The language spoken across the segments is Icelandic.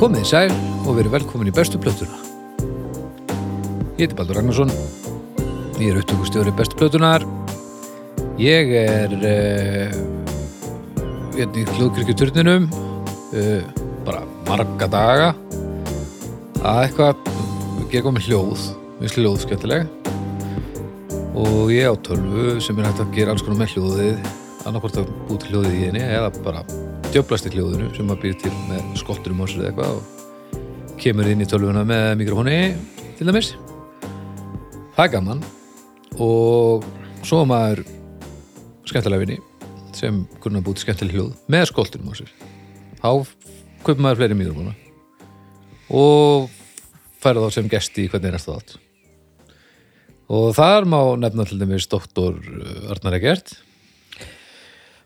komið í sæl og verið velkomin í bestu plötuna. Ég heiti Baldur Ragnarsson, ég er upptökustjóri bestu plötunar, ég er uh, hérna í hljóðkirkjuturninum uh, bara marga daga að eitthvað gera eitthvað með hljóð, minnst hljóð skemmtileg og ég á tölvu sem er hægt að gera alls konar með hljóðið annarkvort að búi til hljóðið í henni eða bara djöflast í hljóðinu sem maður býr til með skotturum á sér eða eitthvað og kemur inn í tölvuna með mikrofóni til dæmis það er gaman og svo er maður skemmtilega vinni sem kunna búið til skemmtileg hljóð með skotturum á sér þá kaupir maður fleiri mikrofóna og færa þá sem gesti í hvernig næsta þátt og þar má nefna til dæmis doktor eh, Arnar Egert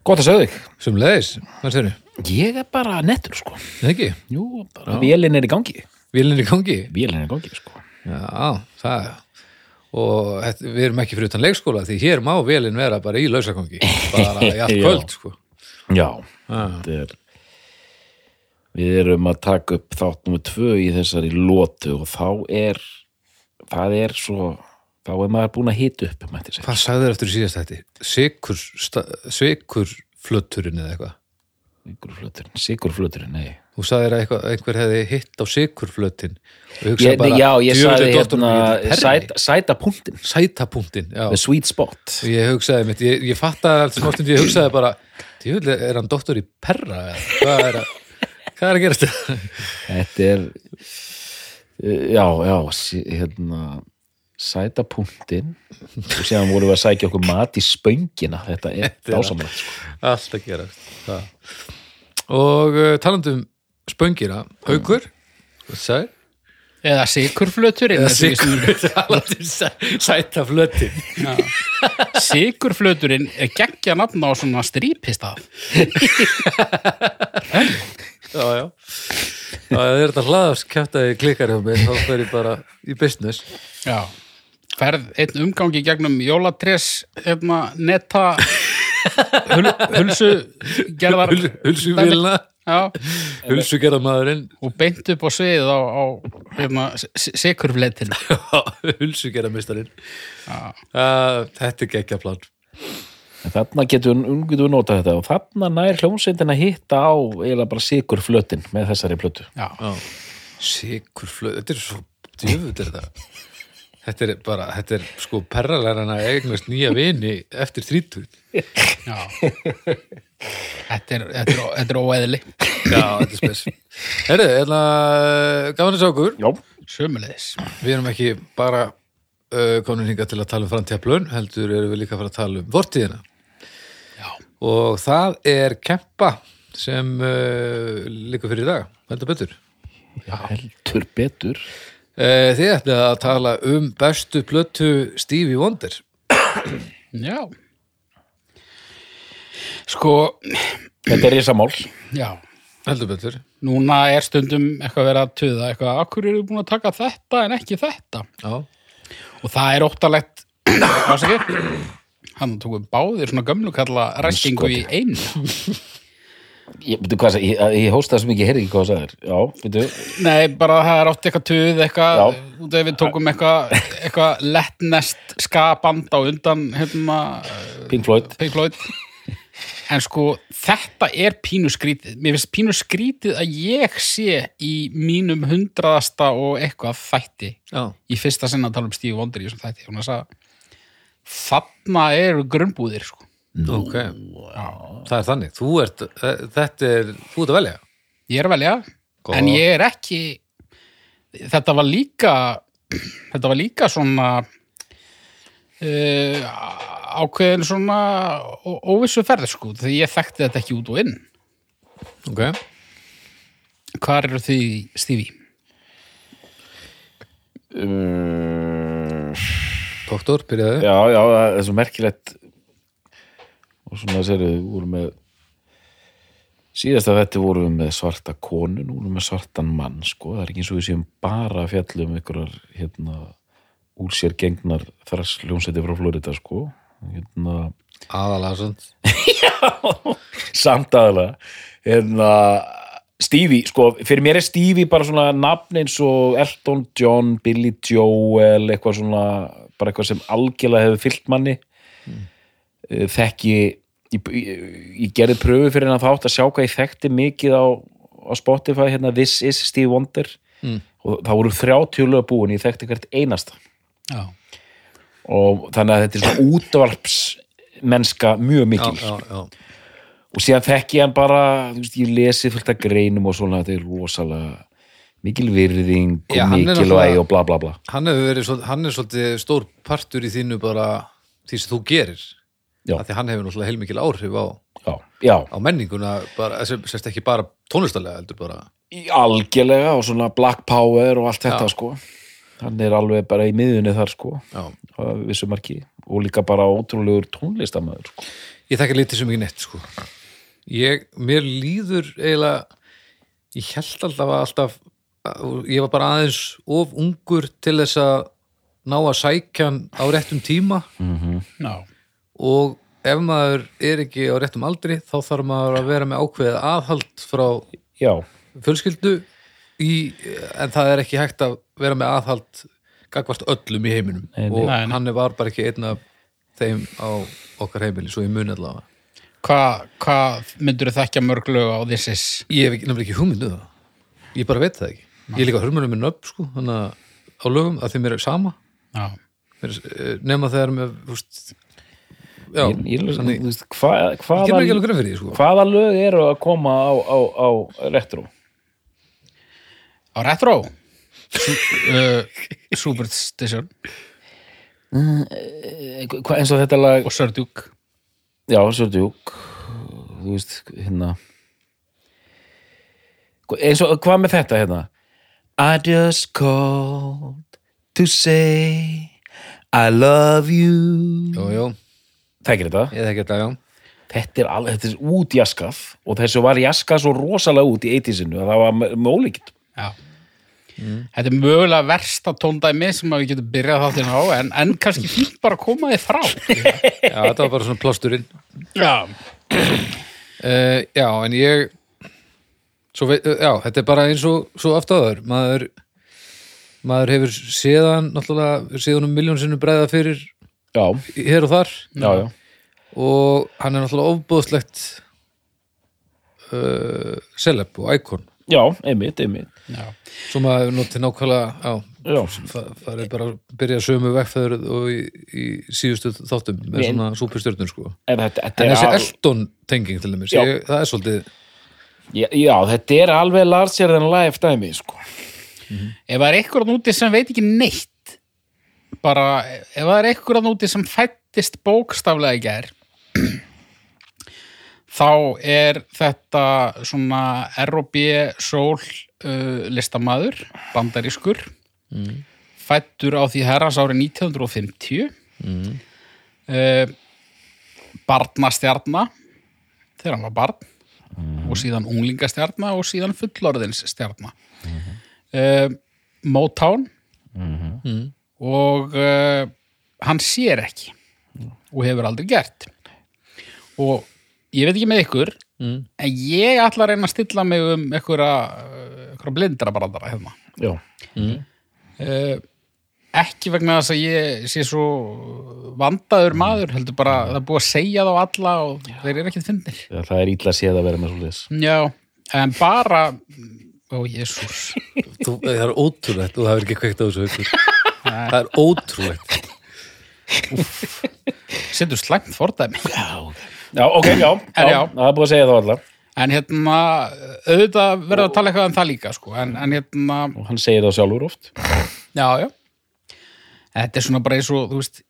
Gott að segja þig. sem leiðis, hvað styrir? Ég er bara nettur, sko. Nei ekki, Jú, bara vélinn er í gangi. vélinn er í gangi Vélinn er í gangi, sko. Já, það og þetta, við erum ekki fyrir utan leikskóla því hér má vélinn vera bara í lausagangi bara í allt Já. kvöld sko. Já. Þetta er... Við erum að taka upp þátt nummer tvö í þessari lótu og þá er, það er svo, þá er maður búin að hita upp, mætti segja. Hvað sagður eftir í síðast þetta? Sikur, sikur flöturinn eða eitthvað Sigurflöturinn, sigurflöturinn, nei. Þú sagðir að eitthvað, einhver hefði hitt á sikurflötinn og hugsaði Ég, já, ég sagði hérna sæta, sæta, sæta punktin, sætapunktin já. the sweet spot. Ég hugsaði mitt, ég, ég fattaði allt sem ástund ég hugsaði bara, djúvel, er hann doktor í perra? eða? Hvað er að, hvað er að gerast þetta? Þetta er eh, já, já sí- hérna sæta punktin og séðan vorum við að sækja okkur mat í spöngina þetta er dásamlegt sko. Allt að gerast það. Og uh, talandum spöngira, haukur Mm. Sæ? Eða sigurflöturinn Eða eins og ég sem- sikur talandi um sæ- Sæta flötin Sigurflöturinn er geggja nafn á svona strípistaf Já, já Já, það er þetta hlaðast kæftaði klikkar hjá mig þá fer ég bara í business Já Ferð einn umgang í gegnum jólatrés hérna, netta hul, hulsu gerðar Hul, Hulsuvélina, Já, hulsugerðamaðurinn og beint upp á sviðið á, á hérna, sigurflöturinn hulsugerðamistarinn Já. uh, Þetta er geggja plan en þarna getum við, getum við notað þetta og þarna nær hljómsveitin að hitta á eiginlega bara sigur flötin með þessari plötu Já, Sikur flöð, þetta er svo djöfut er þetta Þetta er bara, þetta er sko perralæran að eignast nýja vini eftir þrítut já Þetta er, þetta er, þetta er óeðli Já, þetta er spes Herru, hérna, gaman að sjá okkur já, Sömulegis Við erum ekki bara uh, komin hingað til að tala um framtíðaplön heldur erum við líka að fara að tala um vortíðina Já, og það er kempa sem uh, líka fyrir í dag heldur betur heldur betur uh, Þið ætlaði að tala um bestu plötu Stevie Wonder já Sko, þetta er risamál já heldur betur núna er stundum eitthvað verið að tuða eitthvað, akkur eru búin að taka þetta en ekki þetta Já, og það er óttalegt ásakir hann tókum báðir svona gömlu kalla ræskingu í einu ég, veitu hvað, ég, ég, ég hósta það sem ekki, ég heyrði ekki hvað það er já, veitu, nei, bara það er ótt eitthvað tuð eitthvað, Já. út af við tókum eitthvað eitthvað lettnest skaband á undan hérna Pink Floyd Pink Floyd en sko, þetta er pínu skrítið mér finnst pínu skrítið að ég sé í mínum hundraðasta og eitthvað þætti já, í fyrsta sinna að tala um Steve Wonder í þessum þætti hún að sagði þarna eru grunnbúðir sko. ok Það er þannig, þú ert, eh, þetta er þú ert að velja ég er að velja Gott. en ég er ekki þetta var líka þetta var líka svona uh, ákveðin svona ó- óvissu ferð sko því ég þekkti þetta ekki út og inn Ok, hvar eru því Stevie? um, doktor, byrjaðu Já, já, það er svo merkilegt og svona sérðu, við vorum með síðast að þetta vorum við með svarta konu, nú vorum við með svartan mann sko, það er ekki eins og við séum bara að fjalla um einhverjar, hérna úr sér gengnar þrassljónsæti frá Florida sko, hérna aðalega svona samt aðalega hérna Stevie, sko, fyrir mér er Stevie bara svona nafn eins og Elton John, Billy Joel, eitthvað svona, bara eitthvað sem algjörlega hefur fyllt manni. Mm. Þekki, ég, ég, ég gerði pröfu fyrir hennar þátt að sjá hvað ég þekkti mikið á, á Spotify, hérna This is Stevie Wonder. Mm. Og það voru 30 lög búin, ég þekkti hvert einasta. Já. Og þannig að þetta er svona útvarpsmennska mjög já, mikil. já, já. og síðan þekki ég hann bara þú veist, ég lesi fullt af greinum og svona þetta er rosalega mikil virðing Já, og hann er mikilvæg náttúrulega- og bla bla bla Hann, hefur verið, svol- hann er svolítið stór partur í þínu bara því sem þú gerir Já. Af því hann hefur náttúrulega heilmikil áhrif á, já, já, á menninguna bara, sem, sérst ekki bara tónlistarlega heldur bara í- algjörlega og svona black power og allt þetta Já. sko hann er alveg bara í miðunni þar sko já. að vissu marki og líka bara ótrúlegur tónlistamöður sko. Ég þekki litið sem ekki neitt sko ég, Mér líður eiginlega ég held alltaf að alltaf að- ég var bara aðeins of ungur til þess að ná að sækja hann á réttum tíma Já. og ef maður er ekki á réttum aldri þá þarf maður að vera með ákveðið aðhald frá já, fjölskyldu í, en það er ekki hægt að vera með aðhald gagvart öllum í heiminum Nei, nei. og Nei, nei. hann var bara ekki einn af þeim á okkar heimili svo ég muni allavega Hvað hva myndur þú þekkja mörg lög á This Is? Ég hef ekki, nefnilega ekki hugmyndu það Ég bara veit það ekki Ég er líka hörmurinn með nöfn sko Þannig að á lögum að þeim er sama Já. mér, er- eh, Nema þegar með úst, Já, ég, ég, þannig þú veist, hva, Ég gerði ekki hvaða, alveg grein fyrir því sko hvaða lög eru að koma á, á, á retro Á Retro? Sú- uh, Superstition Eh, hva, eins og þetta lag og Sördjúk. Já, svo djúk Þú veist, hérna Hva- eins og, hvað með þetta hérna I just called to say I love you Jú, jú, Þekkir þetta? ég þekki þetta, já Þetta er, alveg, þetta er út jaskaf og þessu var jaskaf svo rosalega út í eitísinu að það var mólíkitt Já. Þetta er mögulega versta tóndæmi sem að við getum byrjað þáttinn á en, en kannski fínt bara að koma þið frá. Já, þetta var bara svona plásturinn Já. uh, Já, en ég svo veit, eh, Já, þetta er bara eins og svo aftáður Maður maður hefur séðan náttúrulega séðan um miljón sinnum bregða fyrir Já, hér og þar já, já og hann er náttúrulega ofbúðslegt uh, celeb og íkon Já, einmitt, einmitt Já. svo maður notið nákvæmlega á, Já, það, það er bara að byrja sömu vegfæður og í, í síðustu þáttum með Nei. svona súpistjörnum sko en en þetta, þetta þessi al- Elton tenging til dæmis, Já. ég, það er svolítið já, já, þetta er alveg larger than life dæmi, sko Ef það er einhver að núti sem veit ekki neitt, bara ef það er einhver að núti sem fættist bókstaflega í gær, þá er þetta svona R.O.B. sól uh, listamaður, bandarískur, fættur á því herras ári 1950, mm. barnastjarna, þegar hann var barn, og síðan unglingastjarna og síðan fullorðinsstjarna. uh, Motown og uh, hann sér ekki og hefur aldrei gert og ég veit ekki með ykkur en ég ætla að reyna að stilla mig um einhverja, uh, einhverja hérna. blindra brandara hefna Já, uh, ekki vegna þess að ég sé svo vandaður maður heldur bara það er búið að segja þá alla og þeir eru ekkert fyndnir Já, það er illa séð að vera með svoleiðis já, en bara ó, jésús þú, það er ótrúlegt og það er ekki kveikt á þessu haukur það er ótrúlegt setur slæmt fordæmi Já, ok, já, já, já. það er búið að segja þá allar En hérna, auðvitað verður að tala eitthvað um það líka, sko, en, en hérna, og hann segir það sjálfur oft já, já. Þetta er svona bara eins og, þú veist,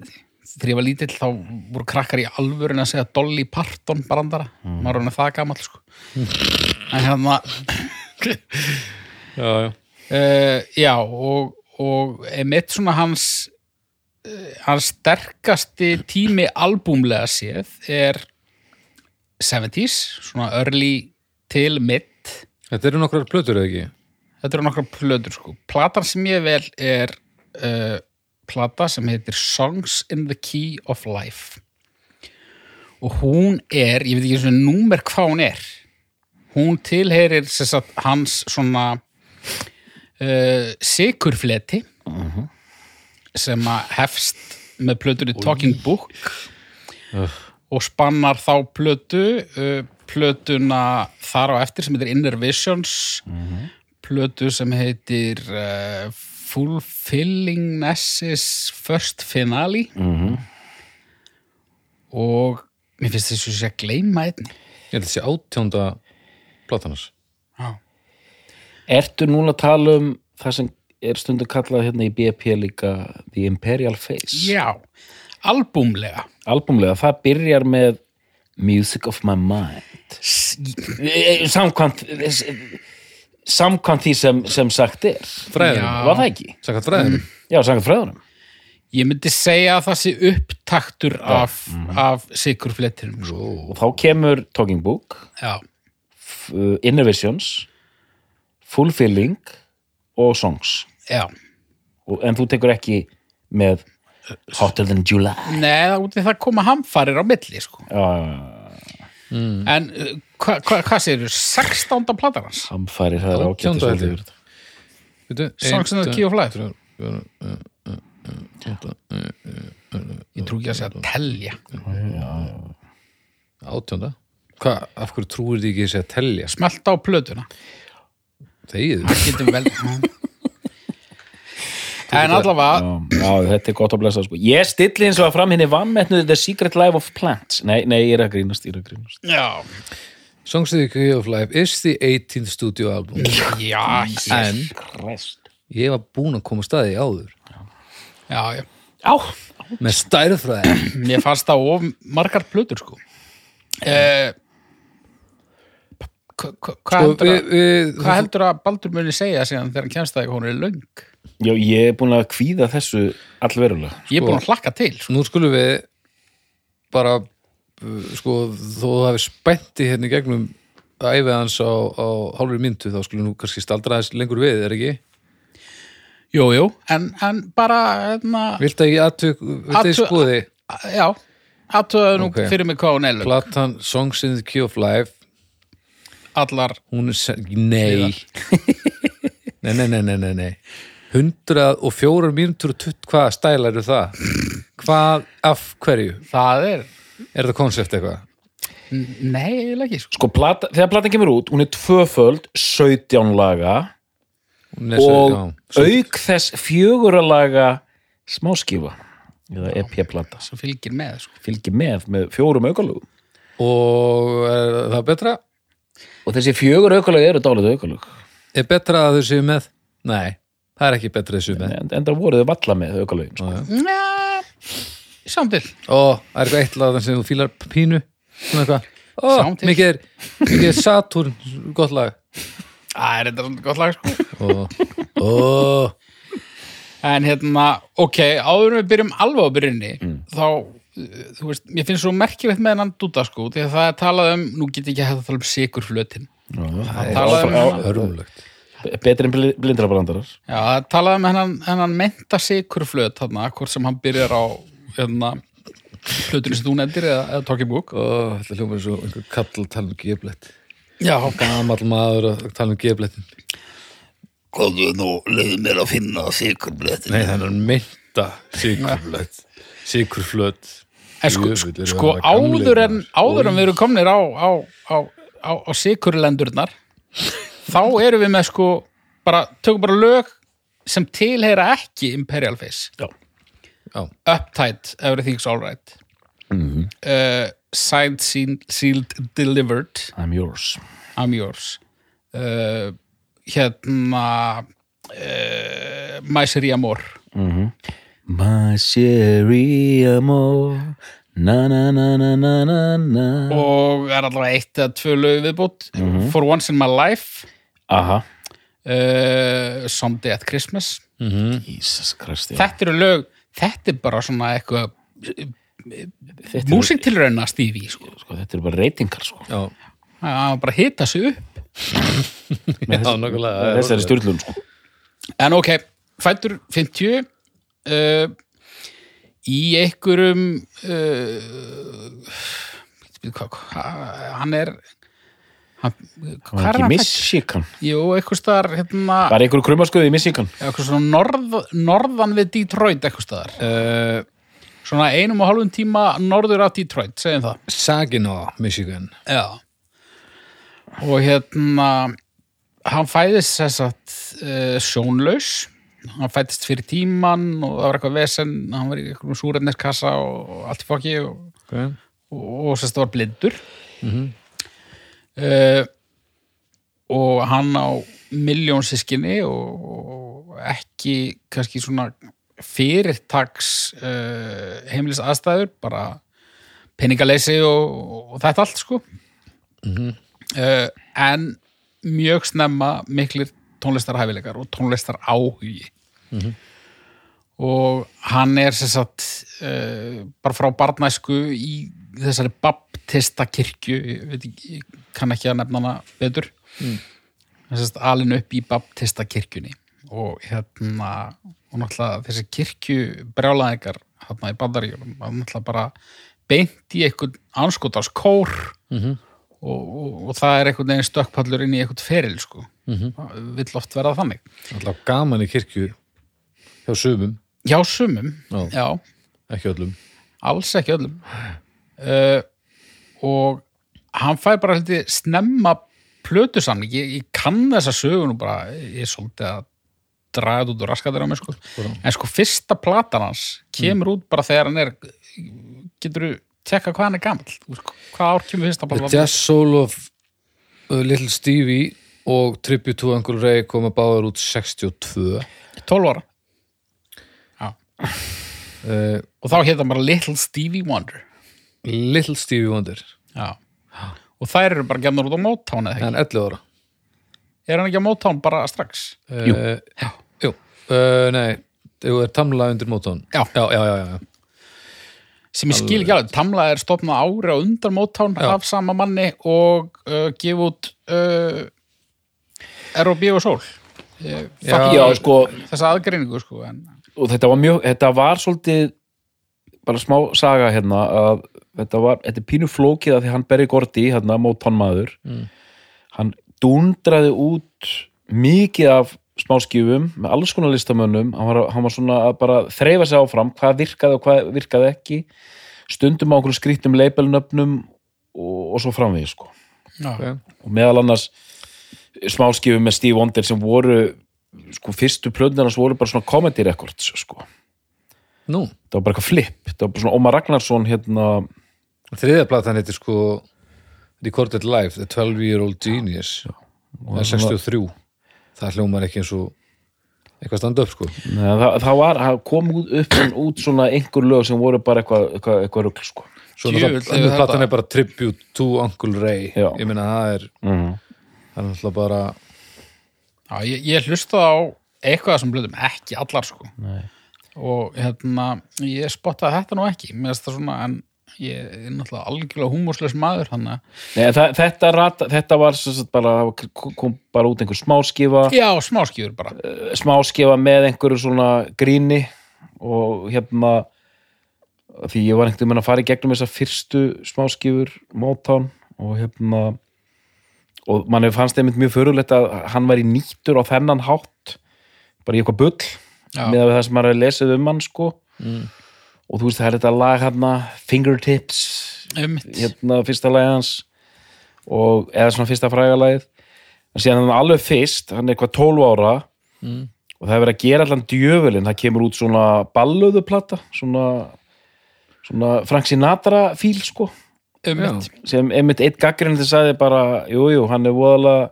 þegar ég var lítill þá voru krakkar í alvörin að segja Dolly Parton barandara, maður er hann það gamall, sko. En hérna, já, já. Uh, já, og, og emitt svona hans eh, hans sterkasti tími albúmlega séð er 70s, svona early til mid þetta eru nokkrar plötur eða ekki þetta eru nokkra plötur sko platan sem ég vel er uh, plata sem heitir Songs in the Key of Life og hún er, ég veit ekki eins og númer hvað hún er hún tilheyrir sem sagt, hans svona uh, sikurfleti sem að hefst með plötunni Talking Book og spannar þá plötu uh, plötuna þar á eftir sem heitir Inner Visions plötu sem heitir uh, Fulfillingness's First Finale og mér finnst þessu sé að gleyma einni Ég held að sé átjónda platanars. Já. Ertu núna að tala um það sem er stundum kallað hérna í BP líka The Imperial Face? Já, albúmlega Albumlega, það byrjar með Music of my mind Eh, Samkvæmt Samkvæmt því sem, sem sagt er Fræðurinn. Já. Var það ekki? Sakat fræðurinn. Já, samkvæmt fræðunum Ég myndi segja að það sé upptaktur af, af sikurfletinum sko. Og þá kemur Talking Book Já, f- uh, Inner Visions Fulfilling og Songs já og, En þú tekur ekki með Hotter than July Nei, það- úti það koma hamfarir á milli sko. Já, En uh, hva- hva- hvað hva segirðu? 16. platar hans? samfærir það er ágætt Átjónda held ég. Bíddu, Songs eitt, in the eh, Key of Life Ég trú ekki að segja telja Átjónda. Hvað, af hverju trúir þið ekki að segja telja? Smelta á plötuna Þegið. Getum vel En allavega Já, þetta er gott að blessa sko. Ég stilli eins og að fram henni vammetnuði The Secret Life of Plants Nei, nei, ég er að grínast, ég er að grínast Já, Songs in the Key of Life is the 18th studio album. já, hér. En Krest ég var búinn að koma að staði áður. já, já Á, Með stærðfræði. Mér fannst það of margar plötur sko eh, hva- hva- Og Hvað heldur, Sko, við- við- hva heldur að Baldur muni segja síðan þegar hann kemst það ekki hún er löng? já, ég er búin að kvíða þessu allverulega Ég er búin að hlakka til sko. Nú skulum við bara uh, sko, þó það hafi spænti hérna í gegnum æfið hans á, á hálfri myndu þá skulum nú kannski staldra aðeins lengur við, er ekki? Jú, jú, en, en bara hefna, Vilt að ég aðtök, vilt að ég Athu- skoði Já, aðtöðu nú Ok. fyrir mig hvað hún er löng platan Songs in the Key of Life Allar, hún er, se- nei nei, nei, nei, nei, nei, nei 104 mínútur og 20 hvað stælar eru það? Hvað, af hverju? það er Er það konsept eitthvað? Nei, eiginlega ekki sko. Sko, plata, þegar platan kemur út, hún er tvöföld 17 laga Hún er svo- og já, svo- auk þess fjögurra laga smáskífa eða EP-plata sem sem fylgir með sko. fylgir með með fjórum aukalögum og er það betra? og þessi fjögur aukalög eru dálítið aukalög Er betra að þau séu með? Nei, það er ekki betra að þau séu með. en, en það voru þau valla með aukalögin sko. Njá, Samt til Ó, það er eitthvað eitt lag þar sem þú fílar pínu, svona eitthvað. Ó, Sjáum til. mikið er, mikið er Saturn, gott lag. Það er þetta svona gott lag sko. Ó, ó, En hérna, ok, áður en við byrjum alveg á byrjunni, þá, uh, þú veist, mér finnst svo merkilegt með hennan dúta sko, því að það er talað um, nú get ég ekki að hægt að tala um sigurflötin. það er talaði um hana. hörmulegt. betri en bli- blindrabrandarar Já, það er talað um hennan, hennan menta sigurflöt, þarna, hvort sem hann byrjar á, hérna, flötunni sem þú nefndir eða, eða Talking Book. Ó, þetta hljómar svo einhver kall að tala um geflett. Já, Gamall maður að tala um geflettin. Komðu nú, leiðu mér að finna sikurblettin. Nei, það er mynda sykurflöt. Sykurflöt. en sko, Jöfull, eru sko það gamlir áður en, maður. áður en við erum komnir á, á, á, á, á sigurlendurnar, þá erum við með sko, bara, tökum bara lög sem tilheyra ekki Imperial Face. já Já, Mhm. Uptight, Everything's Alright uh, Signed, sealed, sealed, Delivered I'm yours I'm Yours uh, hérna uh, My Seria Amor My Sherry Amor Na na na na na na Mhm. na og er allavega eitt eða tvö lög viðbútt For Once in My Life Aha uh, Someday at Christmas Mm. Jesus Christ já. þetta eru lög, þetta er bara svona eitthvað Þetta eru- músík til rauna stífi sko. sko, Þetta eru bara reytingar sko já, það var bara að hita sig upp já, nokkulega. Þessari styrlun sko En ok, fættur 50 uh, í einhverjum eh, uh, hvað- hvað- hann er Hann, Hann var hvar er ekki hann fættur? Michigan Jú, eitthvað staðar, hérna, Var einhver krummaskuði í Michigan eitthvað svona norð, norðan við Detroit eitthvað staðar. Eh, Uh, Svona einum og hálfum tíma norður af Detroit, segjum það. Saginaw, Michigan. Já. Og hérna, hann fæðist þess að uh, sjónlaus, hann fættist fyrir tíman og það var eitthvað vesen, hann var í eitthvað súrefniskassa og allt í fokki og Okay. og og sérst var blindur uh, og hann á miljón sískinni og, og ekki kannski svona fyrirtaks uh, heimilis aðstæður bara peningaleysi og, og þetta allt sko uh, en mjög snemma miklir tónlistarhæfileikar og tónlistar áhugi og hann er sem sagt uh, bara frá barnæsku í þessari baptista kirkju ég, veit ekki, ég kann ekki að nefna hana betur mm. sagt, alin upp í baptista kirkjunni og hérna og náttúrulega þessi kirkju brjálæðingar hérna í bandaríjunum hann náttúrulega bara beint í einhvern anskotars kór -hmm. og, og, og það er einhvern veginn stökkpallur inn í einhvern feril sko mm -hmm. vill oft verða þannig Alltaf gaman í kirkju hjá sumum, já sumum, Já. já ekki öllum. alls ekki öllum uh, og hann fær bara hluti snemma plötusamling, ég, ég kann þessa sögun og bara, ég er svolítið að draga þetta út og raskatir á mig sko. en sko fyrsta platan hans kemur út bara þegar hann er getur þú tekka hvað hann er gamall Þú veist, hvað ár kemur fyrsta The platan Jazz Soul of uh, Little Stevie og Tribute to Uncle Ray koma báðar út 62. 12 ára Uh, og þá hétt hann bara Little Stevie Wonder Little Stevie Wonder, já og þær eru bara gefnur út á Motown eða ekki en 11 ára. er hann ekki á Motown bara strax Jú. Uh, jú. Uh, nei, þú er tamla undir mótón. Já. Já, já, já, já. sem ég skil ekki alveg, Tamla er stofnað ári á undan Motown Já. af sama manni og uh, gefa út uh, R.O.B. og Soul ég, Já. já, Já, sko, þessa aðgreiningu sko, en, og þetta var mjög, þetta var svolítið bara smá saga hérna að þetta var, þetta er pínu flókið að því hann berið gorti hérna mótan maður hann dundraði út mikið af smáskjöfum með alls konar listamönnum hann var, hann var svona að bara þreifa sig áfram hvað virkaði og hvað virkaði ekki stundum á okkur skrýttum leipelnöfnum og, og svo framvegis sko já, Ok. og meðal annars smáskifum með Steve Wonder sem voru sko, fyrstu plöðnarnas voru bara svona comedy records sko. Nú, það var bara eitthvað flip, það var bara svona Ómar Ragnarsson hérna, þriðja platan heitir sko Recorded Live, The 12 Year Old Genius. Það er 63. Það hljómar ekki eins og eitthvað standa upp sko. neða, það, það var það kom út upp en út svona einhver lög sem voru bara eitthvað, eitthvað, eitthvað rugl sko. Svo Djöfull, náttúrulega, hefur önnur þetta- platan er bara Tribute to Uncle Ray. Já. Ég meina það er, Mhm. það er náttúrulega bara, já, ég, ég hlustaði á eitthvað sem blöðum, ekki allar sko. og hérna ég spottaði þetta nú ekki mér finnst það svona, en ég er náttúrulega algjörlega húmúsleis maður hann að, Nei, en það, þetta, rata, þetta var sem sagt, bara, kom bara út einhver smáskifa já, smáskjur bara smáskifa með einhverju svona gríni og hérna því ég var einhvern veginn að fara í gegnum þessar fyrstu smáskifur Motown og hérna og mann hefur fannst einmitt mjög förulegt að hann var í nýttur á þennan hátt bara í eitthvað bull Já. með það sem maður er lesið um hann sko mm. og þú veist það er þetta lag hérna Fingertips Einmitt. hérna fyrsta lagi hans og eða svona fyrsta frægalagið en síðan hann alveg fyrst, hann er eitthvað 12 ára og það er verið að gera allan djöfulinn, það kemur út svona ballöðuplata svona, svona Frank Sinatra fíl sko Einmitt. sem einmitt eitt gaggrindi sagði bara jújú, jú, hann er voðalega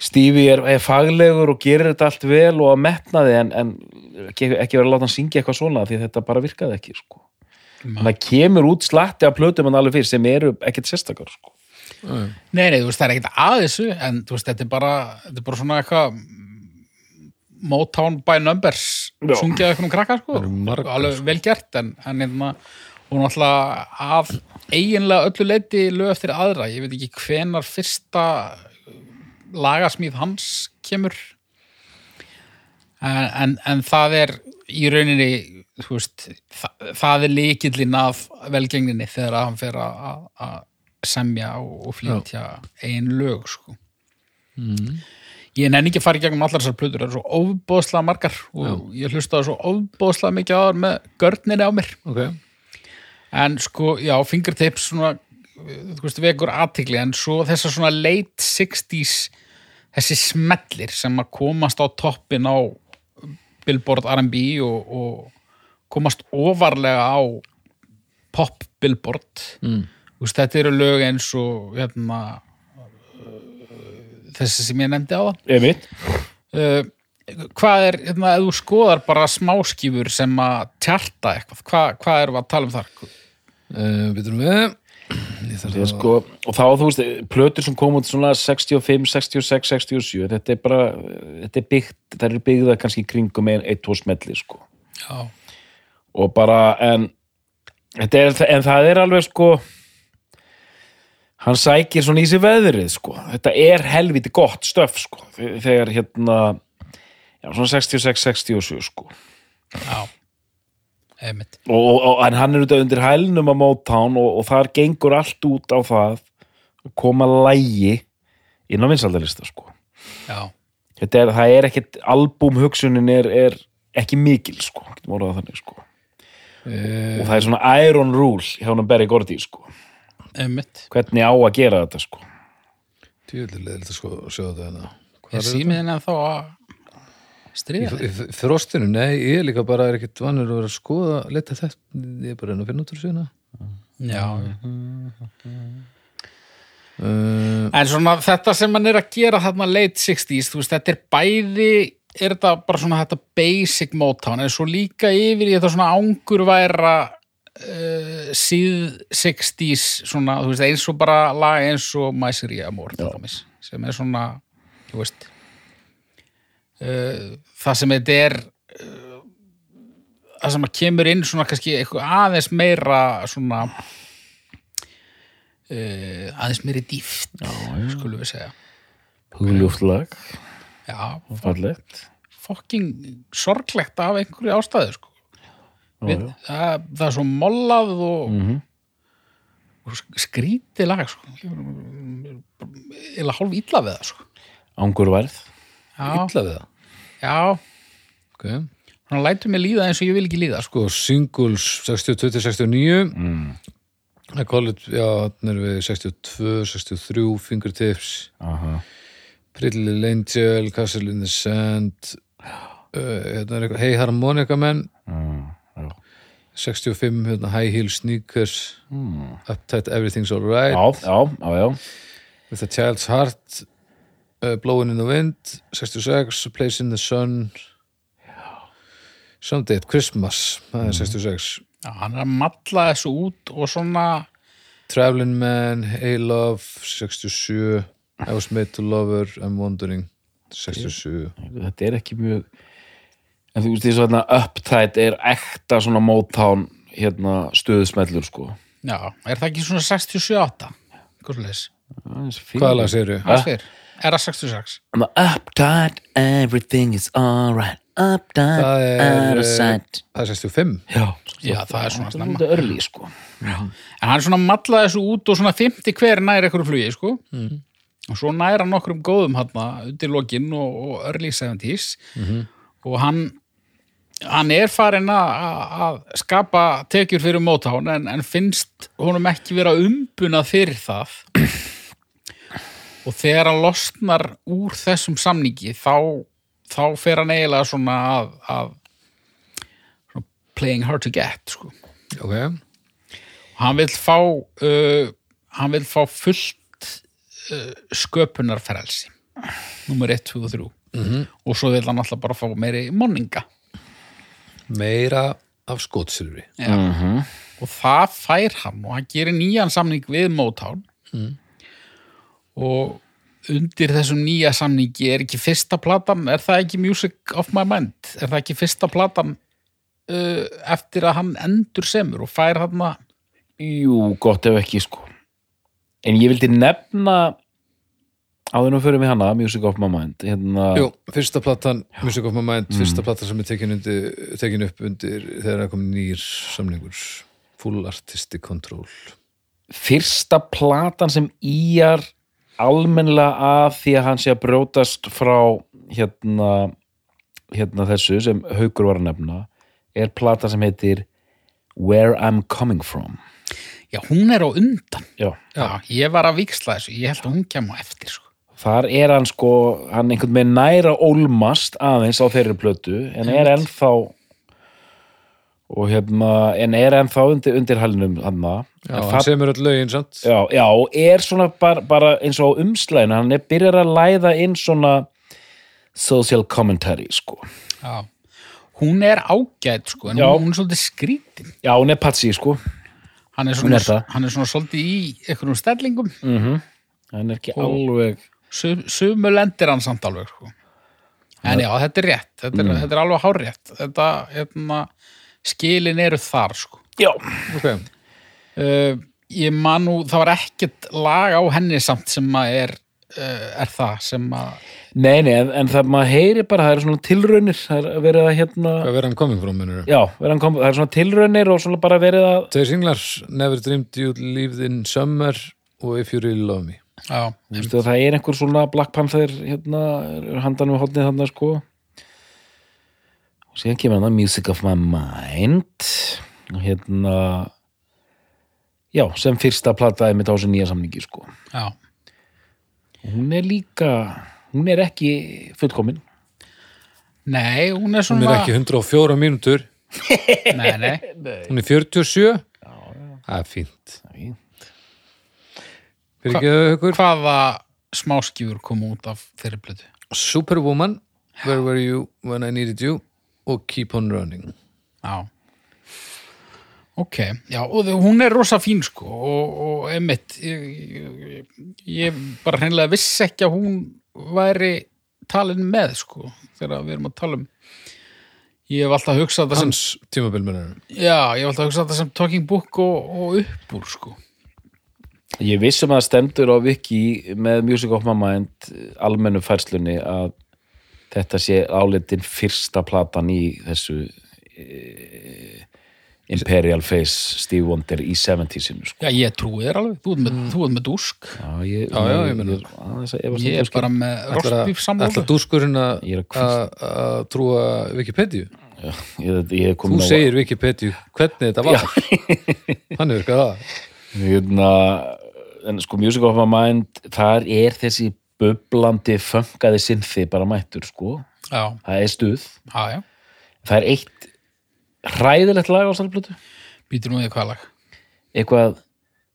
Stevie er, er faglegur og gerir þetta allt vel og að metna þið en, en ekki, ekki verið að láta hann syngja eitthvað svona því þetta bara virkaði ekki sko. en það kemur út slatti af plötum hann alveg fyrir sem eru ekkert sérstakar sko. Nei, nei, þú veist, það er ekkert að þessu en þú veist, þetta er bara, þetta er bara svona eitthvað mm, Motown by numbers Já. sungið eitthvað um krakka, sko eru margar, alveg vel gert, en, en einna, og náttúrulega af eiginlega öllu leiti lög eftir aðra ég veit ekki hvenar fyrsta lagasmíð hans kemur en, en, en það er í rauninni þú veist, það, það er líkillin af velgengninni þegar hann fer að- að að semja og, og flytja ein lög sko. ég nenni ekki að fara í gegnum allar þessar plötur, það eru svo ofbóðslega margar og ég hlustaði svo ofbóðslega mikið á þar með görninni á mér ok, en sko, já, fingertips svona, þú veist, vekur aðtigli en svo þessar svona late 60s þessi smellir sem að komast á toppin á Billboard R&B og, og komast ofarlega á pop Billboard mm. veist, þetta eru lög eins og hérna eh, þessi sem ég nefndi á það Einmitt. uh, hvað er, hérna, ef þú skoðar bara smáskífur sem að tjarta eitthvað, hvað, hvað erum við að tala um þar? uh, byrjum við ég þarf Ég að Sko, og þá, þú veist, plötur sem kom út svona 65, 66, 67 þetta er bara, þetta er byggt það eru byggða kannski í kringum ein, eitt tvo smelli, sko Já. og bara, en þetta er, en það er alveg, sko hann sækir svona í sig veðrið, sko þetta er helviti gott stöf, sko þegar, hérna já, svona 66, 67, sko Já, einmitt og, og, og- en hann er auðvitað undir hælnum á Motown og, og þar gengur allt út á það að koma lægi inn á vinsaldalista sko. Já, þetta er, það er ekkit albúm hugsunin er, er ekki mikil sko, getum orðað það þannig sko og það er svona iron rule hjá hann Berry Gordy sko einmitt hvernig á að gera þetta sko tjóðlega þetta sko sjá þetta hérna Er símiðin að þá að Í stríða fr- þig? í fr- frostinu, nei, ég er líka bara er ekkit vannur að vera að skoða, leta þetta ég er bara að reyna að finna út úr hérna. síðan Já, uh, en svona þetta sem hann er að gera þarna late 60s, þú veist, þetta er bæði er þetta bara svona þetta basic Motown, en svo líka yfir í þetta svona angurværa uh, síð 60s svona, þú veist, eins og bara lag eins og Mæsiría Mór, sem er svona, þú veist uh, það sem þetta er uh, það sem að kemur inn svona kannski eitthvað aðeins meira svona uh, aðeins meiri dýft já, já. skulum við segja hugljúft lag, já, fallegt fucking sorglegt af einhverju ástæðu sko. Við, það, það er svo mollað og, mm -hmm. og skríti lag sko. eða hálf illa við það sko. angurværð já, illa við það já okay. hann lætur mig líða eins og ég vil ekki líða sko. sko, singles 62-69 mm. college, já, þannig erum við 62, 63, fingertips Aha. Pretty Little Angel, Castle in the Sand uh, hérna er eitthvað Hey Harmonica Man já. 65, hérna, High Heel Sneakers Hmm. Uptight Everything's Alright já, já, já, já With a Child's Heart uh, Blowing in the Wind 66, A Place in the Sun Someday at Christmas það er 66 já, hann er að malla þessu út og svona Traveling Man, Hey Love 67, I was made to love her I'm wondering 67 þetta er ekki mjög en þú veist því svona upptætt er ekta svona mótán hérna stöðsmellur sko já, er það ekki svona 67-8 Hvaða lag segirðu? hvað spyr? er það 66? upptætt, everything is alright upptætt, Það er, eh, out of sight Það er 65 já, já, það er svona snemma þetta er örlí sko En hann svona mallaði þessu út og svona 50 hver nær einhverju flugi, sko. Og svo nær hann nokkrum góðum hann undir lokin og, og early 70s. Og hann, hann er farin að- að að skapa tekjur fyrir mótán en, en finnst honum ekki vera umbunað fyrir það. og þegar hann losnar úr þessum samningi þá, þá fer hann eiginlega svona að, að svona playing hard to get, sko Ok, hann vil fá uh, hann vil fá fullt uh, sköpunarferelsi nummer 1, 2 og 3 -hmm. og svo vil hann alltaf bara fá meiri monninga meira af skotsilfri og það fær hann og hann gerir nýjan samning við Motown og undir þessum nýja samningi er ekki fyrsta platan, er það ekki Music of My Mind, er það ekki fyrsta platan uh, eftir að hann endur semur og fær hann að jú, gott ef ekki sko en ég vildi nefna áður nú fyrir mig hana Music of My Mind hérna, Jú, fyrsta platan, Music of My Mind fyrsta platan sem er tekin, undir, tekin upp undir þegar það kom nýr samlingur Full Artistic Control fyrsta platan sem íjar almennilega að því að hann sé að brjótast frá hérna, hérna þessu sem haukur var að nefna er platan sem heitir Where I'm Coming From Já, hún er á undan. Já, Já, ég var að viksla þessu. Ég held að hún kemur á eftir, sko. þar er hann sko hann einhvern veginn næra ólmast aðeins á þeirri plötu en er ennþá og hérna en er ennþá undir, undir hallinum hann Já, hann semur öll lögin, sant? Já, já, og er svona bara, bara eins og á umslæðinu, hann er byrjar að læða inn svona social commentary, sko. Já. Hún er ágætt, sko, en Já. hún, hún er svolítið skrítin. Já, hún er patsi, sko. Hann er Hún svona, er það. hann er svona svolítið í einhverjum stellingum. Mm. Hann er ekki alveg... Sumu lendir hann samt alveg, sko. En já, þetta er rétt. Þetta er, þetta er alveg hárétt. Þetta, hérna, skilin eru þar, sko. Já. Ok, Uh, ég man nú, það var ekkert lag á henni samt sem að er, uh, er það sem að, Nei, nei, en, en það maður heyri bara, það eru svona tilraunir, það er verið að hérna... hvað verður hann coming from, minnur? Já, verið að kom, það eru svona tilraunir og svona bara verið að... Tveir singlar, Never Dreamed You Lived in Summer og If You Really Love Me. já, Þú veistu að það er einhver svona Black Panther, hérna, er handan við hotnið þarna, sko. Og síðan kemur hann að Music of My Mind og hérna... Já, sem fyrsta plataði mitt á þessu nýja samningi, sko. já. hún er líka hún er ekki fullkomin Nei, hún er Hún svona... er ekki 104 mínútur, Nei, nei. hún er 47. Það er fínt. Fyrir ekki aukur. hvaða smáskjúr kom út af þeirri plötu Superwoman, Where Were You When I Needed You og Keep On Running. já ok, já, og þau- hún er rosa fín sko og, og emitt ég, ég- ég bara hreinlega vissi ekki að hún væri talin með sko þegar við erum að tala um ég hef alltaf hugsað það sem Hans tímabil minnur. já, ég hef alltaf hugsað það sem talking book og, og uppbúr sko ég vissum að það stendur á Viki með Music of My Mind almennu færslunni að þetta sé álitin fyrsta platan í þessu e, Imperial Face Steve Wonder í 70-sinu sko. já, ég trúi þér alveg, þú ert með, mm. með dúsk já, ég, Já, já, ég meina. ég, aðeins að efast um ég er kannski. bara með rostbíf Ætla samlóð dúskurinn að Ég er að hvísla. að- að trúa Wikipedia. ég, ég kom Þú nú- segir Wikipedia hvernig þetta var. Hann er virkað það. hérna, en sko Music of My Mind þar er þessi bublandi föngaði sinfi bara mættur sko, já, það er stuð já, já, það er eitt hræðilegt lag á sælblötu býtur nú í hvað lag eitthvað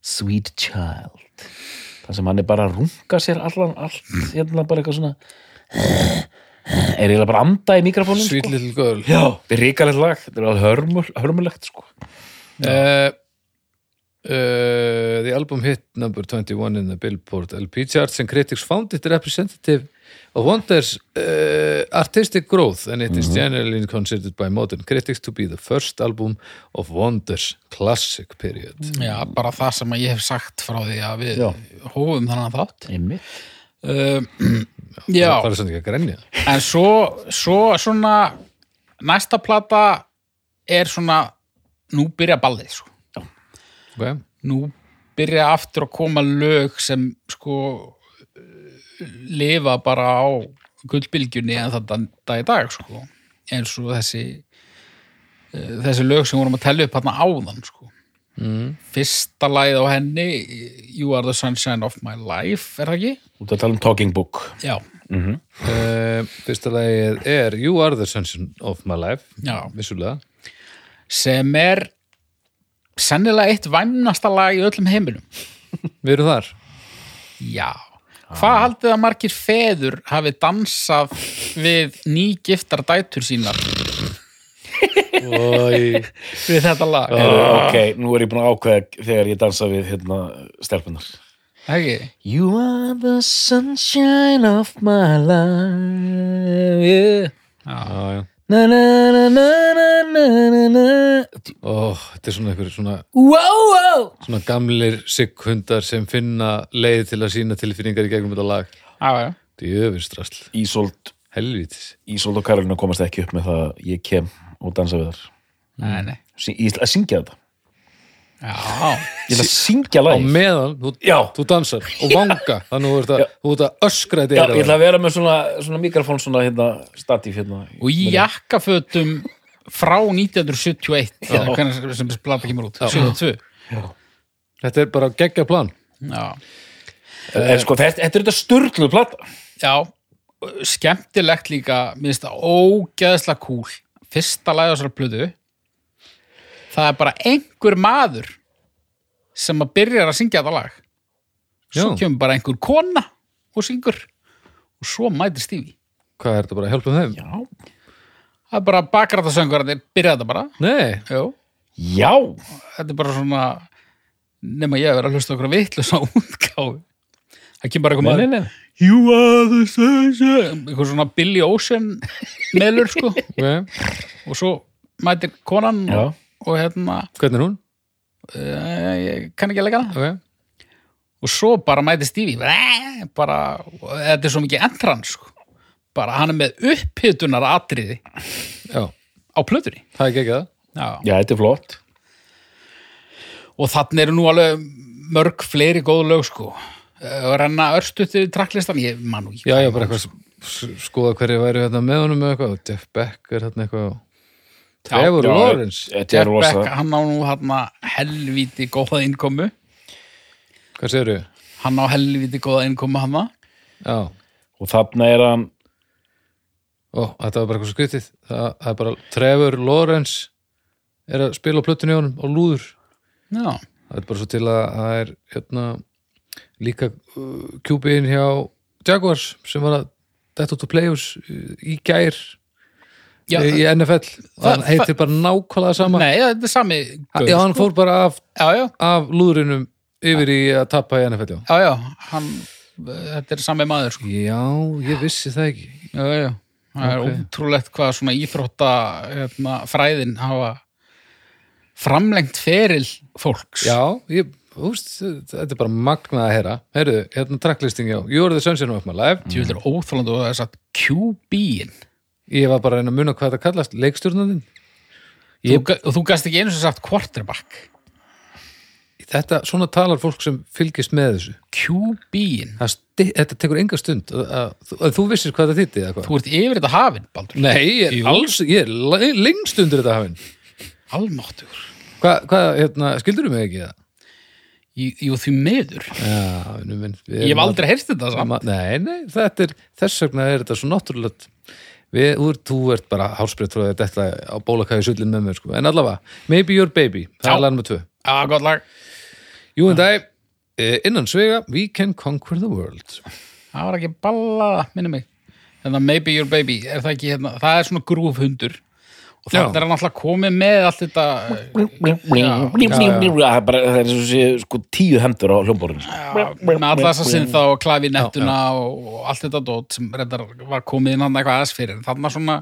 Sweet Child það sem hann er bara að runga sér allan allt, hérna bara eitthvað svona er eiginlega bara að anda í mikrofónum Sweet sko. Little Girl. já, þetta er ríkalegt lag, þetta er alveg hörmul, hörmulegt sko uh, uh, the album hit number 21 in the Billboard LP charts and critics found it representative of Wonder's uh, artistic growth and it Mhm. is generally considered by modern critics to be the first album of Wonder's classic period Já, bara það sem að ég hef sagt frá því að við Já. hófum þannig að þátt. einmitt Uh, já, það er svona ekki að grenja en svo, svo svona næsta plata er svona, nú byrja ballið, sko. okay. Nú byrja aftur að koma lög sem sko lifa bara á gullbylgjunni en þetta dag í dag, sko. Eins og þessi, eh, þessi lög sem vorum að tella upp hérna áðan, sko. Mm. Fyrsta lagið á henni, You Are the Sunshine of My Life, er það ekki? út að tala um Talking Book Já, uh, fyrsta lagið er You Are the Sunshine of My Life Já. vissulega sem er sennilega eitt væmnasta lag í öllum heiminum. við erum þar Já. Hvað haldið að margir feður hafi dansað við nýgiftar dætur sínar við þetta lag? Ah. Eh, ok, nú er ég búin að ákveða þegar ég dansa við hérna stelpunar Ekki? You are the sunshine of my life yeah. já, já. na, na, na, na, na, na, na, na. Ó, þetta er svona einhver svona Wow, wow svona gamlir sikkhundar sem finna leið til að sína tilfinningar í gegnum þetta lag Já, já. djöfinstrasl, Ísold, helvítis Ísold og Karolina komast ekki upp með það að ég kem og dansa við þar Nei, nei. Sy- Ég ætla að syngja þetta Já, Ég ætla að syngja á lagið. meðan þú, Já. þú dansar og vanga þannig þú ert að, Já. þú ert að öskra Já, þetta ég ætla að vera með svona, svona mikrofón svona hérna, statíf hérna. og í jakkafötum frá 1971 Já. eða hvernig sem- sem þessi plata kemur út 72 þetta er bara geggja plan já. En sko, þetta, þetta er þetta sturgluð plata. já, skemmtilegt líka minnst það ógeðslega kúl fyrsta lagi á þessar plötu það er bara einhver maður sem að byrjar að syngja þetta lag svo Já. kemur bara einhver kona og syngur og svo mætir Stífi hvað er þetta bara að hjálpa um þeim? Já. það er bara bakrættasöngur þetta byrja þetta bara Nei, Jó. Já. þetta er bara svona nema ég að vera að hlusta okkur vitlu svo útgáfu það kemur Nei, bara eitthvað nei, maður nei. You are the sunshine eitthvað svona Billy Ocean melur sko ok. og svo mætir konan Já. og, og hérna hvernig er hún? eh, ég kann ekki að leika það Okay. og svo bara mætir Stevie bara, bara og þetta er svo mikið entran sko bara hann er með upphitunar atriði Já, á plötunni það er geggjað Já. Já, þetta er flott. og þannig eru nú alveg mörg fleiri góð lög sko Eh, og renna örstuð til trakklistan ég man nú ekki Já, já, bara eitthvað s- skoða hverju væri hérna með honum eða eitthvað, Jeff Beck er hérna eitthvað Trevor Já, Lawrence, Þetta Jeff er Beck, rosa. hann á nú hann helvíti góða innkomu hvað segirðu? hann á helvíti góða innkomu hann Já, Og þarna er hann, ó, þetta var bara eitthvað skritið það, það er bara Trevor Lawrence er að spila á plötunni í honum og lúður já, það er bara svo til að það er hérna, líka uh, kjúbiðin hjá Jaguars sem var að detta út úr playoffs uh, í gær já í í NFL og hann það- heitir bara nákvæmlega sama nei, já, þetta er sami gaur, já, hann sko. fór bara af, já, já, af lúðrinum yfir í að tappa í NFL já. já, já, hann þetta er sami maður sko. já, ég vissi það ekki já, já, það er Ok. ótrúlegt hvað svona íþrótta hérna, fræðin hafa framlengt feril fólks já, ég, úst, þetta er bara magnað að heyra heyrðu, hérna tracklisting já, You are the sunshine of my life Ég vil er óþólandi og það er satt QB-in ég var bara að reyna að muna hvað það kallast leikstjórnandinn Þú ga- og þú gast ekki einu sem sagt quarterback þetta, svona talar fólk sem fylgist með þessu QB-in Það sti- þetta tekur enga stund að, að, þú- að þú vissir hvað það þýtti eða hvað þú ert yfir þetta hafin, Baldur nei, ég er, alls, ég er le- lengst undir þetta hafinn almáttugur hvað, hva, hérna, skildur mig ekki það? jú, jú, því meður já, vinur minn við ég hef erum að- aldrei heyrst þetta saman Ma- nei, nei, þetta er þess vegna er þetta svo náttúrulegt Við, úr, þú ert bara hálsbreytt frá þetta þetta á bólakæði sullin með mér sko. en allavega, Maybe Your Baby það Já. er lagnum með tvö já, gott lag, Jú en dag, innan svega We Can Conquer the World það var ekki ballað minni mig, hérna Maybe Your Baby er það ekki hérna, það er svona grúfhundur og Já. þannig er hann alltaf komið með allt þetta það er bara, það er svo sé, sko, tíu hendur á hljómborðinu. sko. já, með alla þessa sinn þá og klavinettuna og, og allt þetta dót sem reyndar var komið inn hann eitthvað aðeins fyrir þannig að svona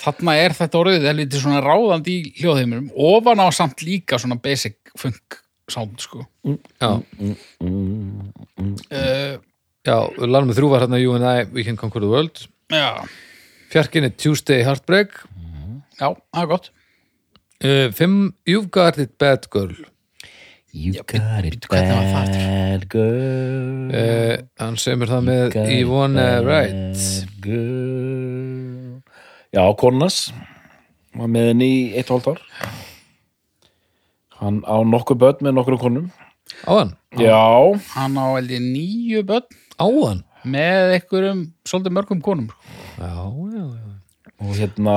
Þarna er þetta orðið helviti svona ráðandi í hljóðheiminum, ofan á samt líka svona basic funk sound sko. Já, Uh, já lagnum með þrjú var hérna You and I, We Can Conquer the World já, Fjarkin er Tuesday Heartbreak já, það er gott. uh, Fimm, You've Got It Bad Girl You got it hvernig var það aftur? bad girl. uh, Hann semur það með Got it Yvonne bad Wright girl. Já, Kornas var með henni í eitt og hálft ár hann á nokkuð börn með nokkur konum Á hann, já, Hann á held ég nýju börn á hann með einhverjum svolítið mörgum konum. sko. Já, já, já og hérna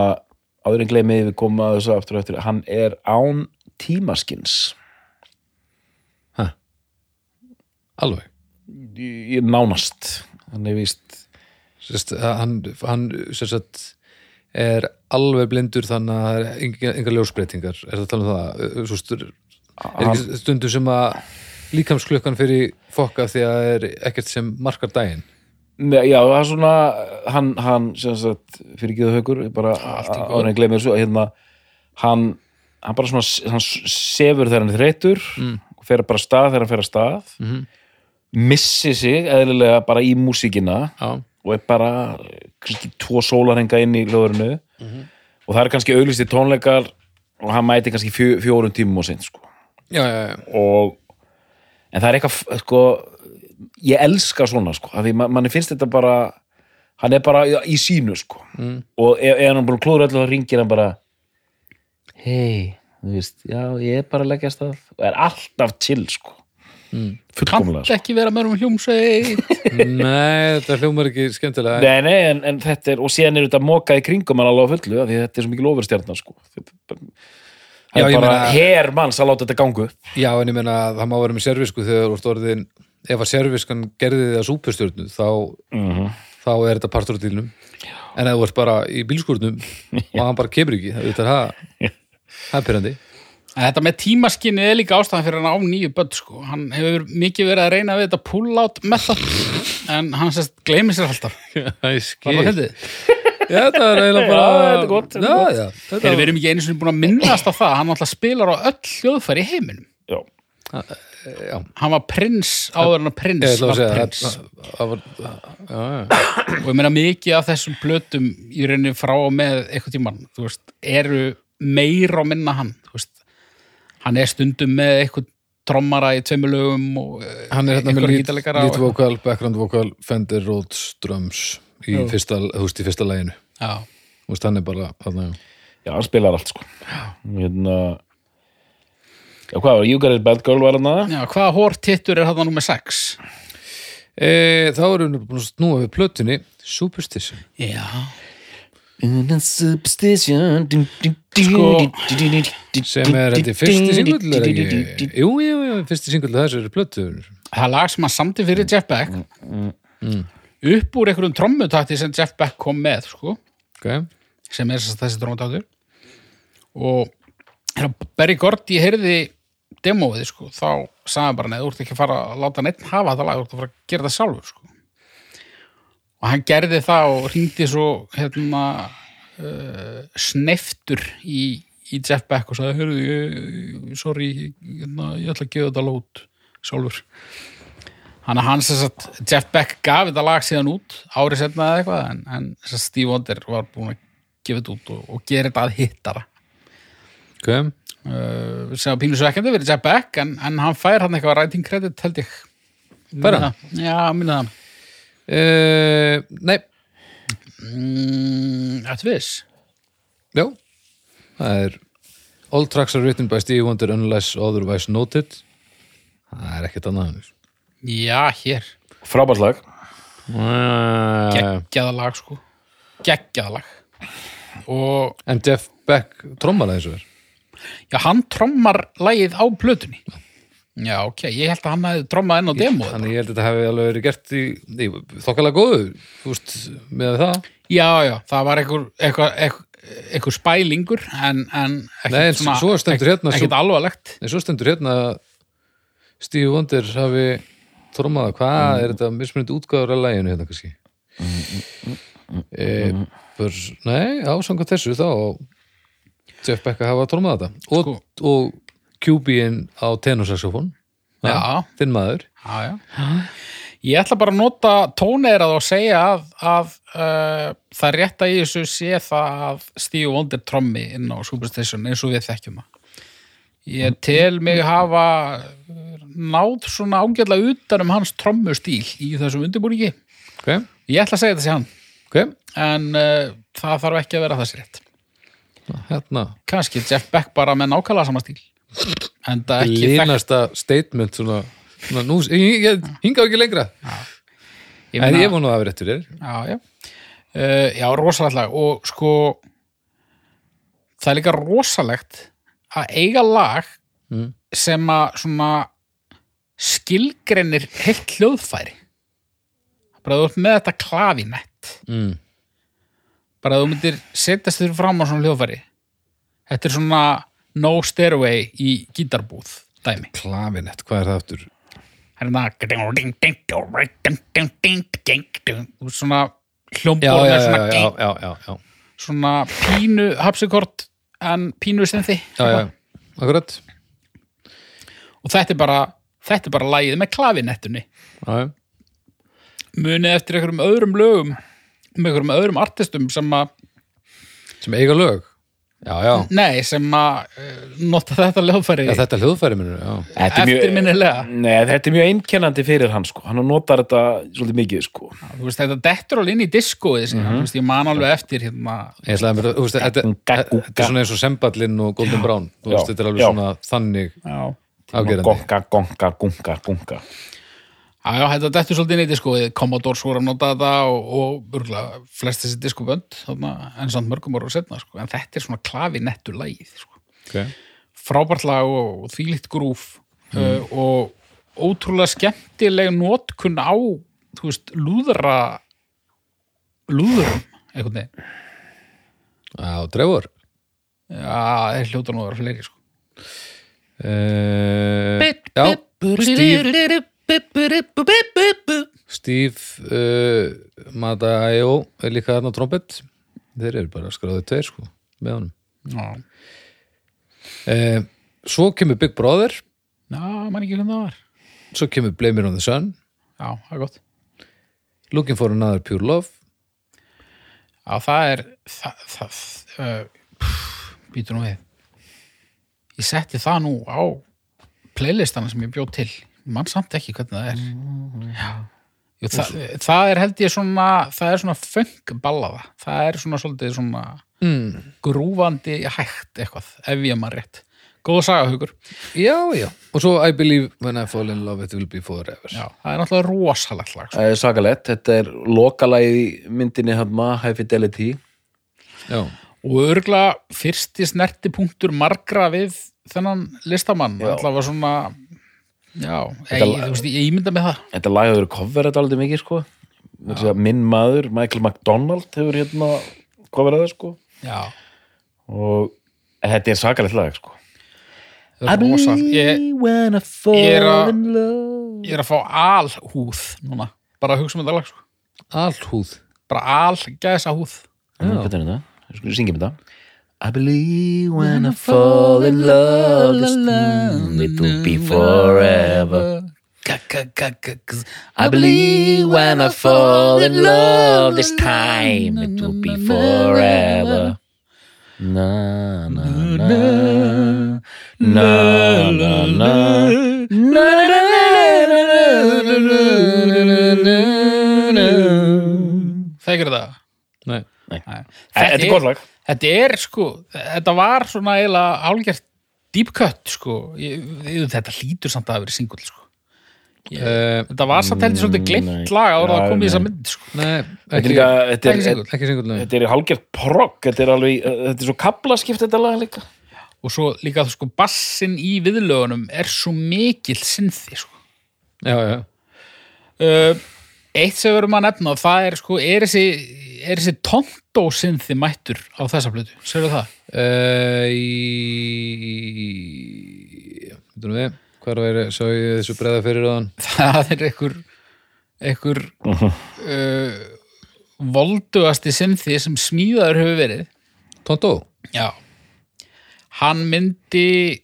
áður en gleymið við komum að þessu aftur og eftir hann er án tímaskins Alveg Í- í- nánast hann er víst Sest, hann, hann sem sagt, er alveg blindur þannig að það er enga, enga ljósbreytingar er það að tala um það Svo stur, er ekki stundu sem að líkamsklukkan fyrir fokka því að það er ekkert sem markar daginn Nei, já, það er svona hann, hann sem sagt, fyrir geðu haukur ég bara áður en gleymið þessu hérna, hann, hann bara svona hann sefur þegar hann er þreytur mm. fer bara af stað þegar hann fer að stað mm -hmm. missi sig eðlilega bara í músíkina Já, og er bara kannski tvo sólarhenga inn í löðurinu og það er kannski auðlisti tónleikar og hann mæti kannski fjó, fjórum tímum og sinn sko. já, já, já. og en það er eitthvað sko, ég elska svona sko, af því man, manni finnst þetta bara hann er bara í sínu sko mm. og ef, ef hann búin að klóra öllu þá ringir hann bara hei, þú veist, já, ég er bara að leggja af stað og er alltaf til sko mm. fullkomlega sko. Kannt ekki vera með um hljómsveit Nei, þetta hljómar ekki skemmtilega Nei, nei, en, en þetta er, og síðan er þetta mokað í kringum hann alveg á fullu, af því þetta er svo mikil ofurstjarnar sko. Þetta er bara- Já, það ég er bara meina- her manns að láta þetta gangu Já, en ég meina að það má vera með servisku þegar þú ert orðin ef að serviskan gerði þið að súpustjörnu þá, Mhm. þá er þetta partur á dýlnum en ef þú ert bara í bílskúrnum og hann bara kemur ekki það er það, það er pyrrandi En Þetta með tímaskinni er líka ástæðan fyrir hann á nýju börn sko. Hann hefur mikið verið að reyna við þetta pull-out method en hann sérst gleymir sér alltaf. Það er Var það fyndið? Já, þetta er eiginlega bara Já, þetta er gott, þetta Já, er gott. já, þetta Þegar við erum ekki einu sinni búin að minnast á það hann alltaf spilar á öll hljóðfæri í heiminum. Já, Hann var prins áður en að prins Ég ætla að var segja prins. það- það- það var- Já, já, og ég meina mikið af þessum plötum í rauninni frá og með eitthvað tímann þú veist, eru meira og minna hann þú veist, hann er stundum með eitthvað trommara í tveimur lögum og eh, Hann er hérna með einhverja lít, gítarleikara og- lít vokal, background vokal Fender Rhodes Drums í fyrsta, þú veist, í fyrsta læginu Já. Þú veist, hann er bara, þarna, já já hann spilar allt sko Hérna Já, hvað var, You Got It Bad Girl var hann aða? Já, hvaða hórtittur er hann nummer 6? E, þá erum við búin að snúa við plötunni Superstition Já, Substation Sko, sem er þetta fyrsti singull er ekki? Jú, jú, jú, fyrsti singull þessu eru plötu það er lag sem hann samti fyrir Jeff Beck upp úr einhverjum trommutakti sem Jeff Beck kom með sko, okay. sem er þess- þessi trommutaktur og hérna, Barry Gordy heyrði demóið sko, þá sagði hann bara neður, þú ert ekki að fara að láta neitt hafa þetta lag, þú ert að fara að gera það sjálfur sko. og hann gerði það og hringdi svo hérna uh, sneftur í, í Jeff Beck og sagði, hörðu, ég- sorry ég- hérna, ég ætla að gefa þetta lót sjálfur Hann að hans þess að Jeff Beck gaf þetta lag síðan út árið setna eða eitthvað en, en þess að Steve Wonder var búin að gefa þetta út og, og gera þetta að hittara Okay. uh, sem að pínu svekkjandi verið Jeff Beck en, en hann fær hann eitthvað writing credit held ég Fær hann? Minna það. Já, minna það E, Nei, mm, Þetta viss já það er All tracks are written by Steve Wonder unless otherwise noted það er ekkert annað hann Já, hér, Frábærslag geggjaða lag sko geggjaða lag og En Jeff Beck trommar það þessu er já, hann trommar lagið á plötunni Já, ok, ég held að hann hefði trommað enn á demóið Þannig ég held að þetta hefði alveg verið gert í, í þokkalega góðu, þú veist, með það Já, já, það var einhver, einhver, einhver, einhver spælingur en, en ekkert Nei, en svo stendur hérna ekkert, ekkert alvarlegt En svo stendur hérna að Steve Wonder hafi trómaða, hvað er þetta mismunandi útgáður að læginu hérna kannski mm. E, bör, Nei, ásanga þessu þá á Jeff Beck að hafa trómaða þetta og, og QB-in á tenorsaxofón Já. Þinn maður já, já. Ég ætla bara að nota tóneirað og segja að, að uh, það rétta í þessu sé það að Steve Wonder trommi inn á Superstation eins og við þekkjum það Ég tel mig hafa eh, náð svona ágætlega utan um hans trommustíl í þessum undirbúningi okay. Ég ætla að segja þetta sé hann Okay. en uh, það þarf ekki að vera þessi rétt Hérna, kannski Jeff Beck bara með nákvæmlega sama stíl en það ekki þekkt línasta statement svona, svona nú, ég, ég hinga ekki lengra ég En meina- ég vonu að hafa réttur þér já, já. Uh, já, rosalega og sko það er líka rosalegt að eiga lag Mm. sem að svona skilgreinir heilt hljóðfæri bara þú ert með þetta klavinett mm. bara þú myndir setjast þér fram á svona hljóðfæri þetta er svona no stairway í gítarbúð dæmi Klavinett, hvað er það aftur? hérna svona Já, já, hljómborð með já, svona, já, já, já, já. svona pínu hapsikort en pínu sem þið já, já, akkurat og þetta er bara þetta er bara lagið með klavinettunni já, já. munið eftir einhverjum öðrum lögum með einhverjum öðrum artistum sem að sem eiga lög já, já, Nei, sem að eh, nota þetta lögfæri já þetta hljóðfæri minnur já. Þetta er mjög- Eftirminnilega. Nei, þetta er mjög einkennandi fyrir hann sko. hann notar þetta svolítið mikið sko. Þú veist, þetta dettur alveg inn í diskóið mm Mhm. -hmm. veist, ég man alveg eftir hérna Ég ætlaði að mér, þú veist, þetta, þetta er svona eins og Semballinn og Golden Brown, þú veist, Já. þetta er alveg Já. svona þannig já. afgerandi. Gonga, gonga, gonga, gonga Já, já, þetta dettur svolítið inn í diskóið Commodore svo að nota þetta og, og örgla, flest þessi diskobönd þarna, en samt mörgum ára setna sko. en þetta er svona klavinettu lagið sko. Okay. frábært lag og, og þvílitt grúf uh, og ótrúlega skemmtileg notkunn á þú veist, lúðra lúðurum einhvern veginn, Já, dreifur. já, þeir hljóta nú að vera fleiri sko. Uh, já, Steve, Steve uh, Madaio er líka þarna á trompet. Þeir eru bara skráðið tveir, sko, með honum. já, Uh, svo kemur Big Brother, já, mann ekki hvernig það var svo kemur Blame It On The Sun, já, það er gott Looking For Another Pure Love, Já, það er það, það uh, býtur nú við ég setti það nú á playlistana sem ég bjóð til mann samt ekki hvernig það er Já, Jú, það, það er held ég svona það er svona funk ballaða það er svona svolítið svona mm. grúfandi hægt eitthvað ef ég maður rétt góða saga hugur já, já, og svo I Believe When I Fall In Love It Will Be Forever. Já, það er náttúrulega rosalegt lag sko. Það er sakalett, þetta er lokalagið í myndinni hann maður, High Fidelity já. og örgla fyrsti snertipunktur margra við þennan listamann Já. allavega svona já, ég, Þetta ég, lag- þú veist, ég ímynda með það Þetta lagið eru cover þetta aldrei mikið sko Mér segja, Minn maður, Michael McDonald hefur hérna coverað það sko já, og en þetta er sakalett lag sko það er rosalegt ég, when I Ég er að- love ég er að fá alhúð núna, bara að hugsa um þetta lag sko. Allt húð. bara algæsa húð Nú, Hvað er þetta? Ég skulle syngja með það I believe when I fall in love this time it will be forever I believe when I fall in love this time it will be forever Na na na Na na na Na na na na na na na þegar það Nei. Nei. Þetta er gott lag. þetta er sko, þetta var svona eiginlega álgjart deep cut sko, ég, ég, þetta hlýtur samt að hafa verið singull sko. Uh, þetta var samt heldur Eh, svolítið mm, nei. glimt lag Já, ára að koma í nei. þessa mynd sko. nei, Þetta er ekki, líka, þetta ekki er, singull. ekki singull lögin. þetta er hálgjart progg, þetta er alveg, eh, þetta er svo kaplaskipt þetta lag líka. og svo líka sko bassin í viðlögunum er svo mikill sinnþi sko. Já, já, uh, eitt sem við verum að nefna það er sko, er þessi er þessi tonto sinnþi mættur á þessa plötu, segir það Uh, í... Veitum við, hvað er að sá ég þessu breða fyrir áðan? það er einhver einhver uh, voldugasti sinnþi sem smíðaður hefur verið Tóntó? já hann myndi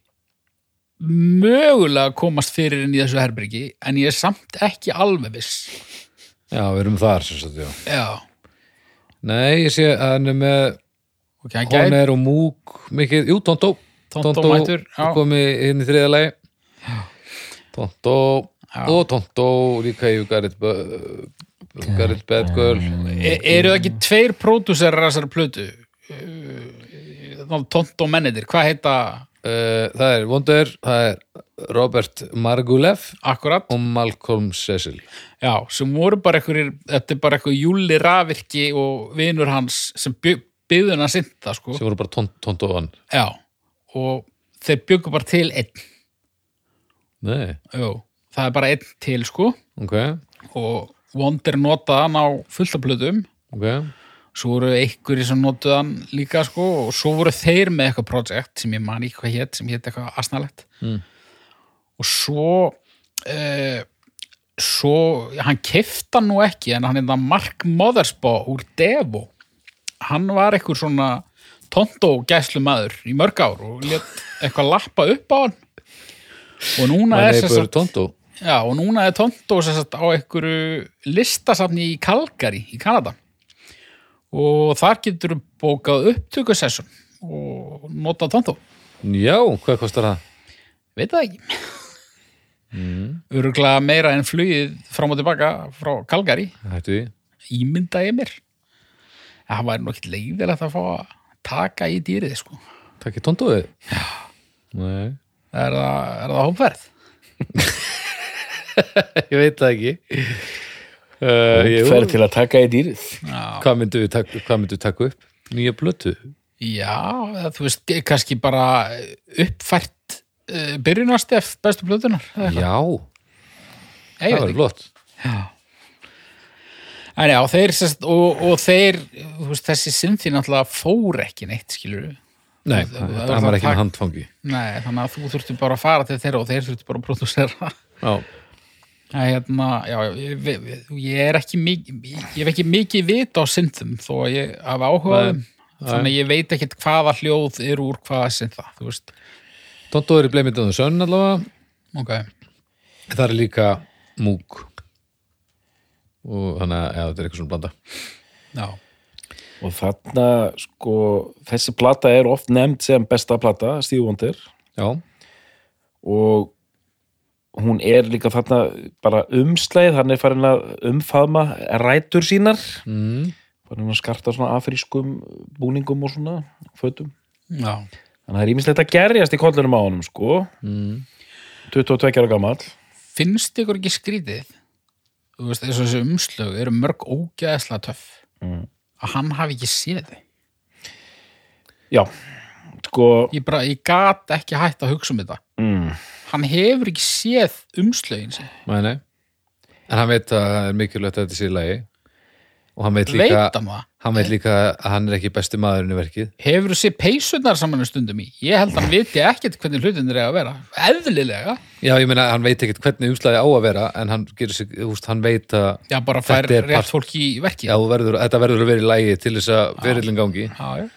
mögulega komast fyrir inn í þessu herbergi en ég er samt ekki alveg viss Já, við erum þar sem sagt, já. já, Nei, ég sé að hann er með ok, hann gæti Hóner og Múk mikið, jú, Tóntó Tonto mætur, já. komi inn í þriða lagi Tóntó Já. og Tóntó líka í Garrett Bu- Garrett Bad Girl E eru það ekki tveir pródúserar þessari plötu? Tonto mennitir, hvað heita Uh, Það er Wonder, það er Robert Marguleff akkurat? og Malcolm Cecil Já, sem voru bara einhverjir, þetta er bara eitthvað júli rafirki og vinur hans sem byggðun að synda, sko. sem voru bara Ton- Tóntó og hann Já, og þeir byggu bara til einn, Nei, jú, það er bara einn til, sko, ok og Wonder notaði hann á fullt af plötum, Ok, svo voru einhverjir sem notuðu hann líka, sko, og svo voru þeir með eitthvað projekt sem ég man ekki hvað hétt, sem hétt eitthvað asnalegt. Mm. og svo uh, svo hann kefta nú ekki en hann er það Mark Mothersbaugh úr Devo hann var einhver svona tonto gæslu maður í mörg ár og let eitthvað lappa upp á hann og núna maður er hefur sérst tóntó já, og núna er tonto sérst á einhverju listasafni í Calgary í Kanada og þar getur bókað upptökusessun og nota tóntó Já, hvað kostar það? veit það ekki mm. öruglega meira en flugið fram og tilbaka frá Kalgari Hættu því ímynda ég mér en það væri nú ekkert leiðilegt að fá að taka í dýrið sko Takk í tóndóðu Nei, er það, er það hópverð ég veit það ekki uh, ég, Fer til að taka í dýrið Hvað myndu, við taka- hvað myndu taka upp? Nýja blötu? já, eða, þú veist, kannski bara uppfært uh, byrjunarstef bestu plötunar eða eitthvað. Já, Ég það veit var flott En já, þeir, sest, og, og þeir, þú veist, þessi synthi náttúrulega fór ekki neitt, skilur við. Nei, Það- það- það var það- ekki með handfangi Nei, þannig að þú þurfti bara að fara til þeirra og þeir þurfti bara að pródúsera. Já, Æ, hérna, já, já, ég, ég, ég er ekki mikið, ég hef ekki mikið vit á synthum þó að ég hafa áhuga á Nei, þeim. Þannig að ég veit ekkit hvaða hljóð eru úr hvaða syntha, þú veist. tóndóður í bleimindunum sönn allavega Ok, Það er líka múk og þannig að ja, þetta er eitthvað svona blanda já, Og þarna, sko, þessi plata er oft nefnd sem besta plata, Steve Wonder Já, og hún er líka þarna bara umslæð, hann er farin að umfaðma rætur sínar mm. farin að skarta svona afrískum búningum og svona, fötum já, Þannig að það er ímislegt að gerjast í kollunum á honum, sko Mm. 22 ára gamall finnst ykkur ekki skrítið þú veist, eins og þessi umslög eru mörg ógæðslega töff Mm. að hann hafi ekki séð þau Já, sko ég bara, ég gat ekki hætt að hugsa um þetta mm, hann hefur ekki séð umslögin sín nei, nei En hann veit að það er mikilvægt að þetta sé í lagi og hann veit líka veit hann það hann veit líka að hann er ekki besti maðurinn í verkið hefur séð peysunar saman um stundum í ég held að hann viti ekkert hvernig hlutin er að vera eðlilega, Já, ég meina, hann veit ekkert hvernig umslæði á að vera en hann gerir sig, þú veist, hann veit að já bara fær Þetta er rétt part- fólk í verki já, þú verður, þetta verður að vera í lagi til þess að verillin gangi Já, já.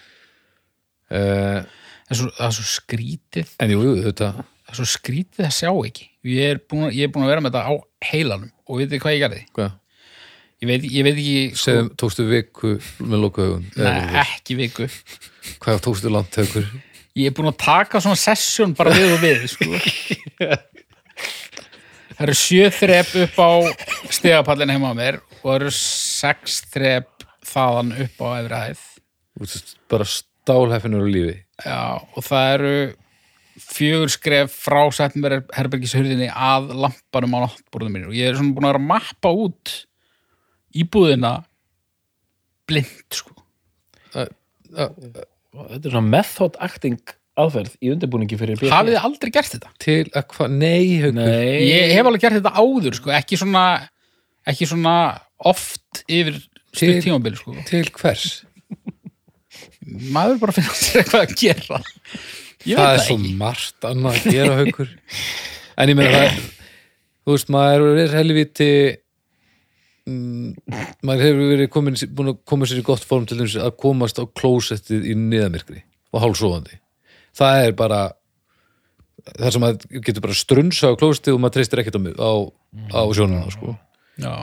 uh, En svo, það er svo skrítið En jú, jú, þetta það er svo skrítið að sjá ekki ég er búin, að- ég er búin að vera með þetta á heilanum og veit þið hvað ég gerði hvað, ég veit, ég veit ekki, sko, sem tókstu viku með lokaugum neð, ekki viku Hvað tókstu langt högur ég er búin að taka svona sessjón bara við og við sko. það eru sjö þrep upp á stegapallin heima á mér og það eru sex þrep þaðan upp á efri hæð bara stálhæfinur á lífi Já, og það eru fjögur skref frá setnverð herbergishurðinni að lampanum á náttborðum mínu og ég er svona búin að vera að mappa út íbúðina blind sko þetta er svona method acting aðferð í undirbúningi fyrir BFG. hafið þið aldrei gert þetta? Til að hvað, nei högur Nei, ég hef alveg gert þetta áður sko. ekki svona ekki svona oft yfir stutt Til- tímabili sko. Til hvers? maður bara finnir sér eitthvað að gera ég það er veit það svo ekki margt annað að gera haukur en ég meina það er þú veist, maður er helviti mm, maður hefur verið komin, búin að koma sér í gott form til þess að komast á klósettið í niðamirkri og hálsóðandi það er bara þar sem maður getur bara strunsa á klósettið og maður treystir ekkert á, mið- á, á sjónuna sko. já,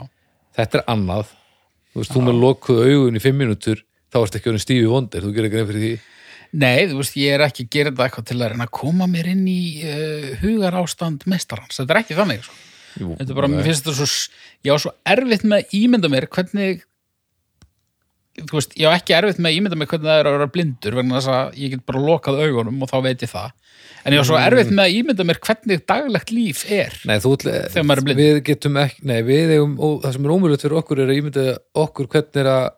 þetta er annað þú veist, þú með lokuð augun í fimm mínútur þá erst ekki orðin stífi vondir, þú gerir ekki nefn fyrir því nei, þú veist, ég er ekki að gera þetta eitthvað til að reyna að koma mér inn í uh, hugar ástand mestarans, þetta er ekki þannig sko. Jú, þetta er bara, mér finnst þetta svo s- ég á svo erfitt með að ímynda mér hvernig þú veist, ég á ekki erfitt með að ímynda mér hvernig það er að vera blindur vegna þess að ég get bara lokað augunum og þá veit ég það en ég á svo erfitt með að ímynda mér hvernig daglegt líf er Nei, þú ætla, Þegar maður er blindur. við getum ekki, nei, við eigum, og það sem er ómjöld fyrir okkur er að ímynda okkur hvernig er að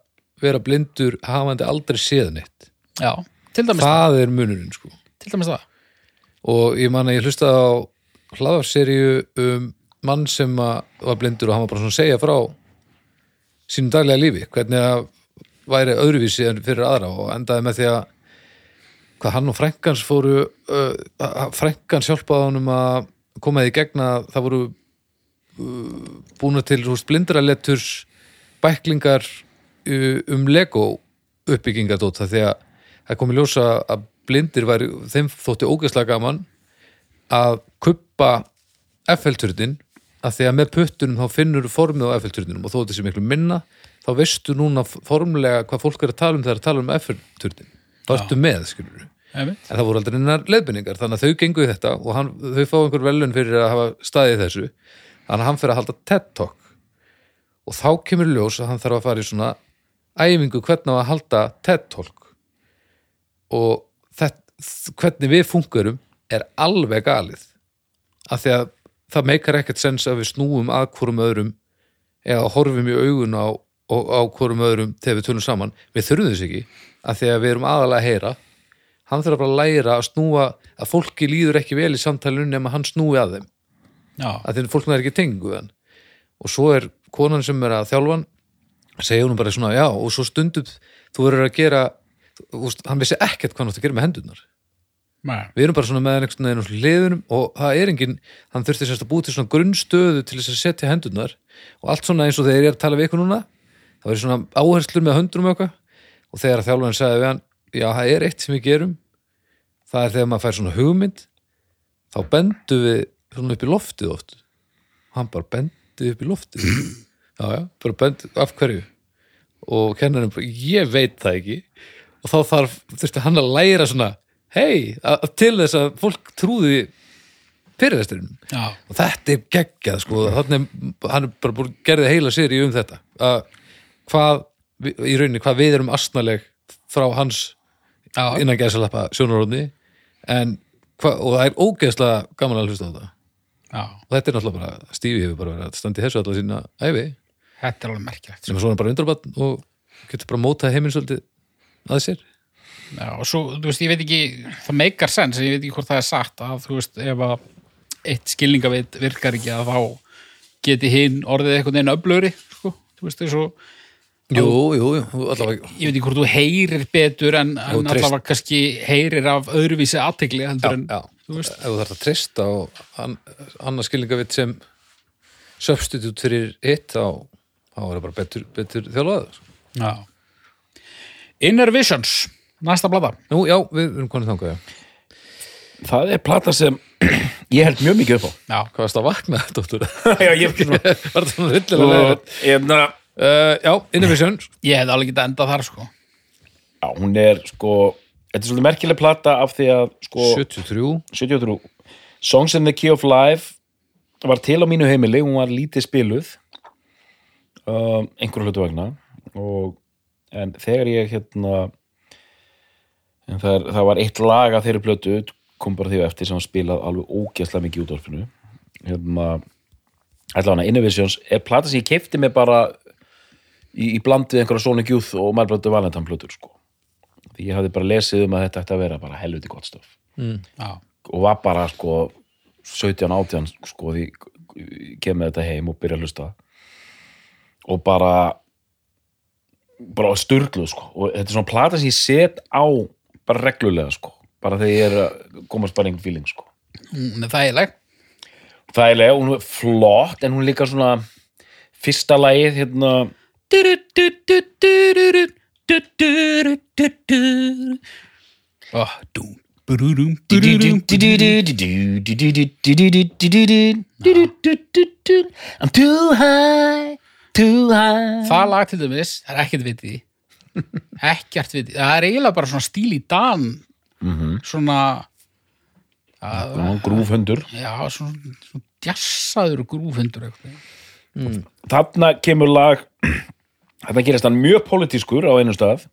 vera blindur hafandi aldrei séð neitt. já, til dæmis það, Það er munurinn, sko. til dæmis það. Og ég man að ég hlustaði á hlaðarseríu um mann sem að var blindur og hann var bara svona að segja frá sínum daglega lífi, hvernig að væri öðruvísi en fyrir aðra og endaði með því að hvað hann og frænkans fóru uh, frænkans hjálpaði honum að koma því gegna það voru uh, búna til húst, blindraleturs bæklingar uh, um Lego uppbyggingadóta því að það komi ljósa að blindir væri, þeim þótti ógeðslega gaman að kuppa F-helturnin að því að með puttunum þá finnur formið á F-helturninum og þó þetta sé miklu minna þá veistu núna formlega hvað fólk er að tala um þegar að tala um F-helturnin þá ertu með, skilur einmitt. en það voru aldrei neinar leiðbendingar þannig að þau gengu í þetta og hann, þau fá einhver velun fyrir að hafa staðið í þessu þannig að hann fyrir að halda TED Talk og þá kemur í ljós að hann þarf að fara í svona æfingu hvernig á að halda TED Talk og þett, hvernig við funkurum er alveg galið af því að það meikar ekkert sens að við snúum að hvorum öðrum eða horfum í augun á, á, á hvorum öðrum þegar við tölum saman við þurfum þess ekki af því að við erum aðalega að heyra hann þarf bara að læra að snúa að fólki líður ekki vel í samtalinu nema hann snúi að þeim já, að þeim fólk næri ekki tengu hann og svo er konan sem er að þjálfa hann segja hún bara svona já og svo stundum þú verður að gera þú veist, hann vissi ekkert hvað hann átt að gera með hendurnar nei, við erum bara svona með hann einhvern veginn á hliðunum og það er enginn, hann þurfti sérst að búi til svona grunnstöðu til þess að setja hendurnar og allt svona eins og þegar ég er að tala við ykkur núna það verður svona áherslur með höndunum og eitthvað og þegar þjálfurinn sagði við hann já, það er eitt sem við gerum það er þegar maður fær svona hugmynd þá bendum við svona upp í loftið oft hann bara bendi upp í loftið já, já, bara bendi, af hverju og kennarinn bara, ég veit það ekki og þá þarf, þurfti hann að læra svona, hei, að- til þess að fólk trúði fyrirvesturinn já, og þetta er geggjað sko, þannig hann er bara búin gerði heila sér um þetta að hvað, við- í rauninni, hvað við erum astnaleg frá hans já, innan gæsalappa sjónaróðni en, hva, og það er ógeðslega gaman að hlusta á þetta já. og þetta er náttúrulega bara, Stífi hefur bara verið að standa í þessu allar sína æfi þetta er alveg merkilegt sem er svona bara undrabann og getur bara mótað heiminn svolítið að sér Já, og svo, þú veist, ég veit ekki, það meikar sens, en ég veit ekki hvort það er sagt að, þú veist, ef að eitt skilningaveit virkar ekki að þá geti hinn orðið einhvern veginn öflöri, sko, þú veist, þessu, Jú, jú, jú, allavega ég veit ekki hvort þú heyrir betur en, en Jú, treyst- allavega kannski heyrir af öðruvísi aðtegli heldur en, já, þú ef veist, þú þarf að treysta á an- annað skilningavitt sem substitute fyrir hitt þá, þá er það bara betur, betur þjálfaður já. Inner Visions, næsta blada, Nú, já, við erum konið þangað já. það er plata sem ég held mjög mikið upp á já, Hvað varst að vakna, dóttur? já, ég held Var það svona og Sko- hryllilega leiðilegt? hérna uh, Já, Innovation ég hefði alveg getað endað þar, sko, já, hún er sko þetta er svolítið merkileg plata af því að sko 73 73 Songs in the Key of Life var til á mínu heimili, hún var lítið spiluð um, einhverju hlutu vegna og en þegar ég hérna en það, er, það var eitt lag að þeirri plötu kom bara því á eftir sem var spilað alveg ógeðslega mikið í útvarpinu hérna allavega Innovations er plata sem ég kefti mig bara í, í bland við einhverja Sonic Youth og Marblötu Valentan plötur sko því ég hafði bara lesið um að þetta ætti að vera bara helviti gott stöf já, og var bara sko 17, 18 sko því ég kem með þetta heim og byrja að hlusta og bara bara sturgluð sko og þetta er svona plata sem ég set á bara reglulega sko bara þegar ég er að komast bara einhvern feeling sko hún Mm, er þægileg, þægilega, hún er flott en hún er líka svona fyrsta lagið hérna ó, dú, brúrum, brúrum, I'm too high too high Það lag til dæmis það er ekkert vitið í. ekkert vitið, það er eiginlega bara svona stíl í dan Mhm. svona grúfhundur já, svona, svona djassaður og grúfundur eitthvað þarna kemur lag þarna gerist hann mjög pólitískur á einu stað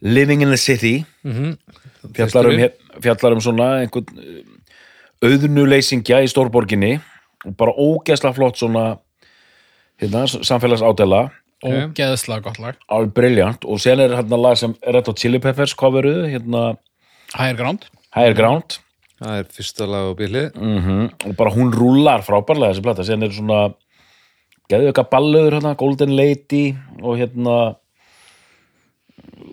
Living in the City fjallar, um, hér- fjallar um svona einhvern eh, auðnuleysingja í stórborginni og bara ógeðslega flott svona hérna, samfélags ádela ógeðslega gott lag, alveg briljant og sen er hérna lag sem Red Hot Chili Peppers coveruðu hérna higher ground Higher Ground Það er fyrsta lag á bílið Mm. Mhm. og bara hún rúlar frábærlega þessi plata sen er svona geðu eitthvað ballöður hérna, Golden Lady og hérna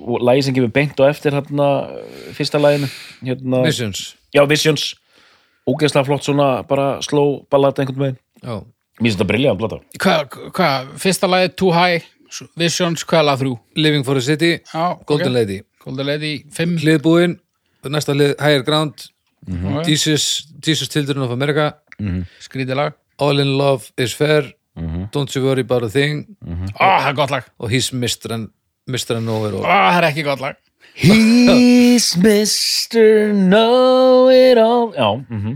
og lagi sem kemur beint og eftir hérna fyrsta laginu hérna, Missions já Visions ógeðslega flott svona bara slow ballata einhvern veginn Já, mér finnst þetta briljant plata hvað, hva, fyrsta lagið Too High Visions, hvað er lag þrjú Living for a City já, Golden ok. Lady Golden Lady 5 Hliðbúin, næsta hlið Higher Ground Mhm. Ok. Jesus, Jesus Children of America skrítið lag All in Love is Fair Mhm. Don't You Worry About a Thing Ó, það er gott lag, og He's Mr. and, Mr. and Over Ó, og það er ekki gott lag He's Mr. Know-it-all Já, mm -hmm.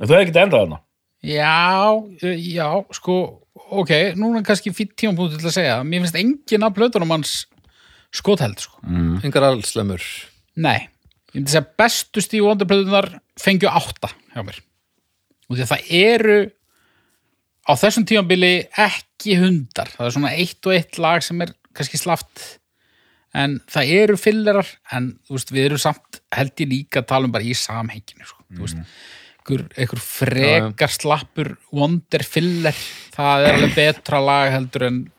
þú hefði ekki endað þarna Já, eh, já, sko ok, núna er kannski fýtt tímapunkt til að segja, það. mér finnst engin af plötunum hans skotheld, sko engar allslemur Nei, ég myndi segja bestu Stevie Wonder plöðunar fengju átta hjá mér og því að það eru á þessum tímabili ekki hundar, það er svona eitt og eitt lag sem er kannski slaft en það eru fillerar en þú veist, við erum samt held ég líka að tala um bara í samhenginu sko. þú veist, einhver, einhver frekar slappur Wonder filler það er alveg betra lag heldur en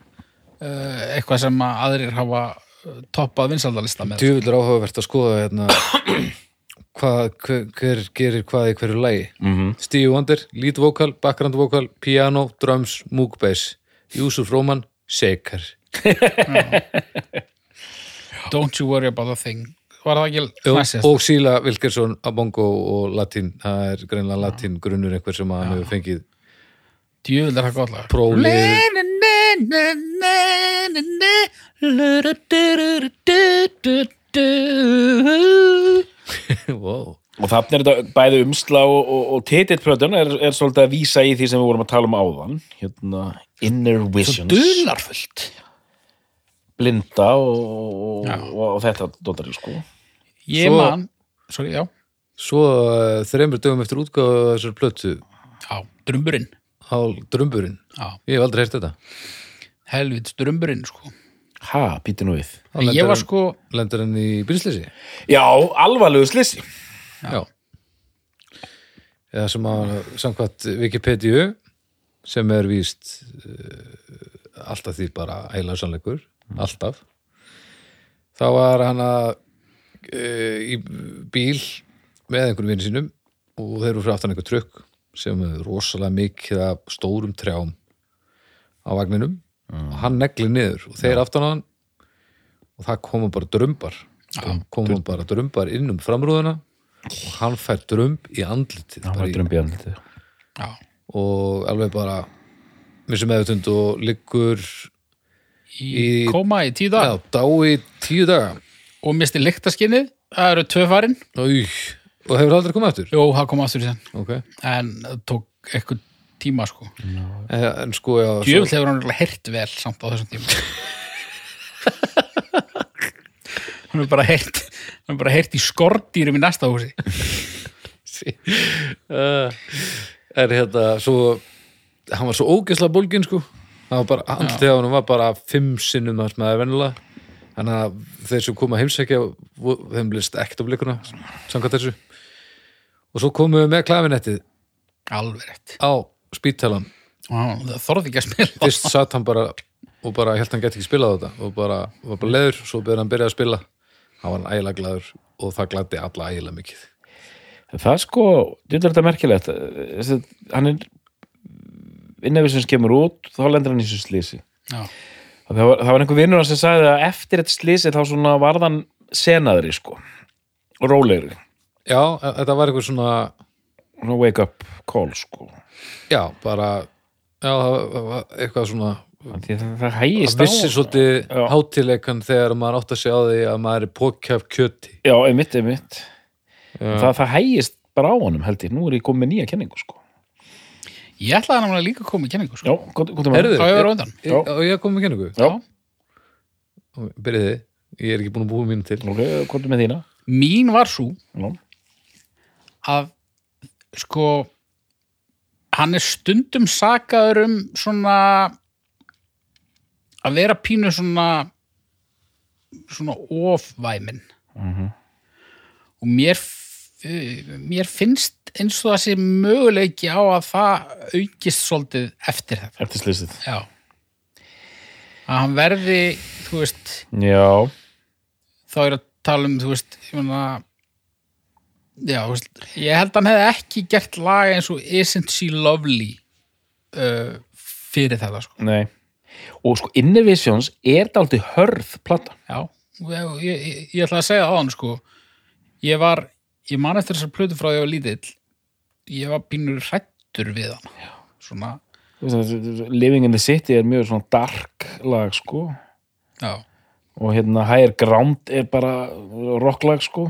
uh, eitthvað sem að aðrir hafa uh, toppað vinsaldalista með djúvill er áhugavert að skoða hérna hvað, hver, hver gerir hvað í hverju lagi -hmm. Stevie Wonder, lead vocal, background vocal piano, drums, moog bass Júsuf Róman, shaker Don't you worry about a thing Var það ekki og, næstist? og Sila Wilkerson á bongo og latín það er greinlega latín grunnur einhver sem að hann hefur fengið Djöfull er það gott lag Prólið. Ne, ne, ne, ne, ne, ne, lu, ru, du, ru, ru, du, du, du. wow. Og þannig er þetta bæði umsla og, og, og titillplötun er, er svolítið að vísa í því sem við vorum að tala um áðan hérna, Inner Visions Dularfullt Blinda og, Já. og, og þetta dóttar sko. Ég Svo- man Sorry, já svo uh, þreymur dögum eftir útgáðu þessar plötu Já, drömburinn á drömburinn Já, ég hef aldrei heyrt þetta helvits drömburinn sko Ha, píti nú við Þá En lendir Ég var hann- sko lendir hann í byrjsleysi Já, alvarlegu slissi já eða sem að samkvæmt Wikipedia sem er víst uh, alltaf því bara heila sannleikur, alltaf þá var hann að uh, í bíl með einhverjum vinn sínum og þeir eru fyrir aftan einhver trukk sem er rosalega mikið af stórum trjám á vagninum og hann negli niður og þeir aftan á hann og það koma bara drömbar ja, koma bara drömbar inn um framrúðuna og hann fær drömb í andlitið bara í- Þetta um Já, og alveg bara missum meðutund og liggur í Í- koma í tíu dag já, dái tíu daga Og misti lyktaskinnið Það eru tvö farin Új, og hefur aldrei komið aftur Jó, það kom aftur sem okay. En það tók eitthvað tíma sko en, en sko já, svo- Djöfull hefur hann örugglega heyrt vel samt á þessum tíma Hann hefur bara heyrt hann hefur bara heyrt í skordýrum í næsta húsi uh, er hérna svo hann var svo ógeðslega bólgin sko hann var bara, andlið á hann var bara fimm sinnum hans maður venjulega þannig að þeir sem koma að heimsækja vo- þeim list ekkert á blikuna samkvæmt þessu og svo komum við með klafinettið Alveg rétt á spítalan Og hann- Það þorði ekki að spila fyrst satt hann bara og bara held hann gæti ekki spilað þetta og bara, var bara leður, svo byrði hann byrjað að spila hann var hann ægilega glaður og það gladdi alla ægilega mikið Það er sko, dýtlar þetta merkilegt Þessi- Hann er Innevisins kemur út, þá lendur hann í þessu slisi Já, Það var, það var einhver vinnur hans sem sagði að eftir þetta slisi þá svona varðan senaðri sko og rólegri, já, e- þetta var eitthvað svona svona wake up call sko já, bara já, það var eitthvað svona Af því það, það það hægist vissi svolítið Já. hátileikan þegar maður átt að segja á því að maður er pókjaf kjöti Já, einmitt, einmitt það, það hægist bara á honum held ég, nú er ég komið með nýja kenningu sko ég ætlaði hann líka að koma í kenningu Já, sko. gott, gott um Heyrðu, Á ég var á undan Ég- og ég kom með kenningu Já, byrjiði, ég er ekki búin að búa mínu til ok, gott með þína Mín var svo Já, að sko hann er stundum sakaður um svona að vera pínu svona svona ofvæmin og mér f- mér finnst eins og það sé möguleiki á að það aukist svolítið eftir þetta eftir slisið já að hann verði, þú veist Já, þá er að tala um, þú veist, ég meina já, þú veist, ég held að hann hefði ekki gert lag eins og Isn't She Lovely uh, fyrir þetta, sko nei Og sko, Innovations er dálítið hörð plata já, ég, ég, ég, ég ætla að segja það á hann, sko ég var, ég man eftir þessar plötu frá því ég var lítill ég var pínur hrættur við hann já. svona, Þú veist, Living in the City er mjög svona dark lag sko já og hérna Higher Ground er bara rocklag sko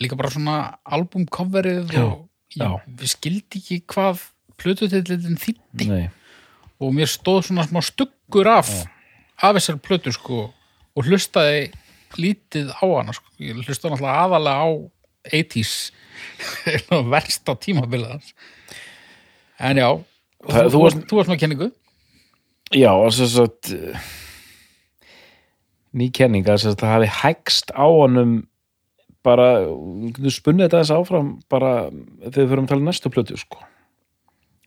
líka bara svona albumcoverið Já, og já. ég, við skildi ekki hvað plötutillin þýtti Nei. og mér stóð svona smá stuggur af af þessar plötu sko og hlustaði lítið á hana sko. ég hlustaði náttúrulega aðalega á 80s versta tímabilið hans en já Það- þú þú, þú, varst- varst, þú varst með kenningu Já, og sem sagt eh, ný kenning að sem sagt það hafi hægst á honum bara, þú spunnið þetta þess áfram bara þegar við förum að tala um næstu plötu sko.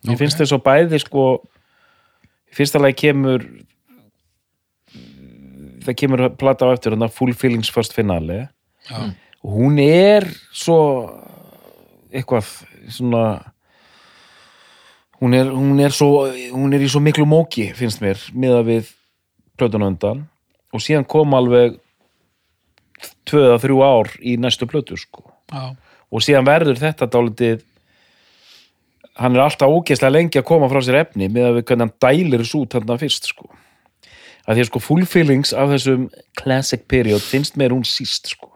Mér finnst þess að bæði sko, í fyrsta lagi kemur það kemur plata á eftir hann að Full Feelings First Finale já, og hún er svo eitthvað svona hún er, hún er svo hún er í svo miklu móki finnst mér miða við plötuna undan og síðan kom alveg tvö að þrjú ár í næstu plötu sko já, og síðan verður þetta dálítið hann er alltaf ógeðslega lengi að koma frá sér efni með að við hvernig hann dælir þessu út þarna fyrst sko að því að sko full feelings af þessum classic period finnst mér hún síst sko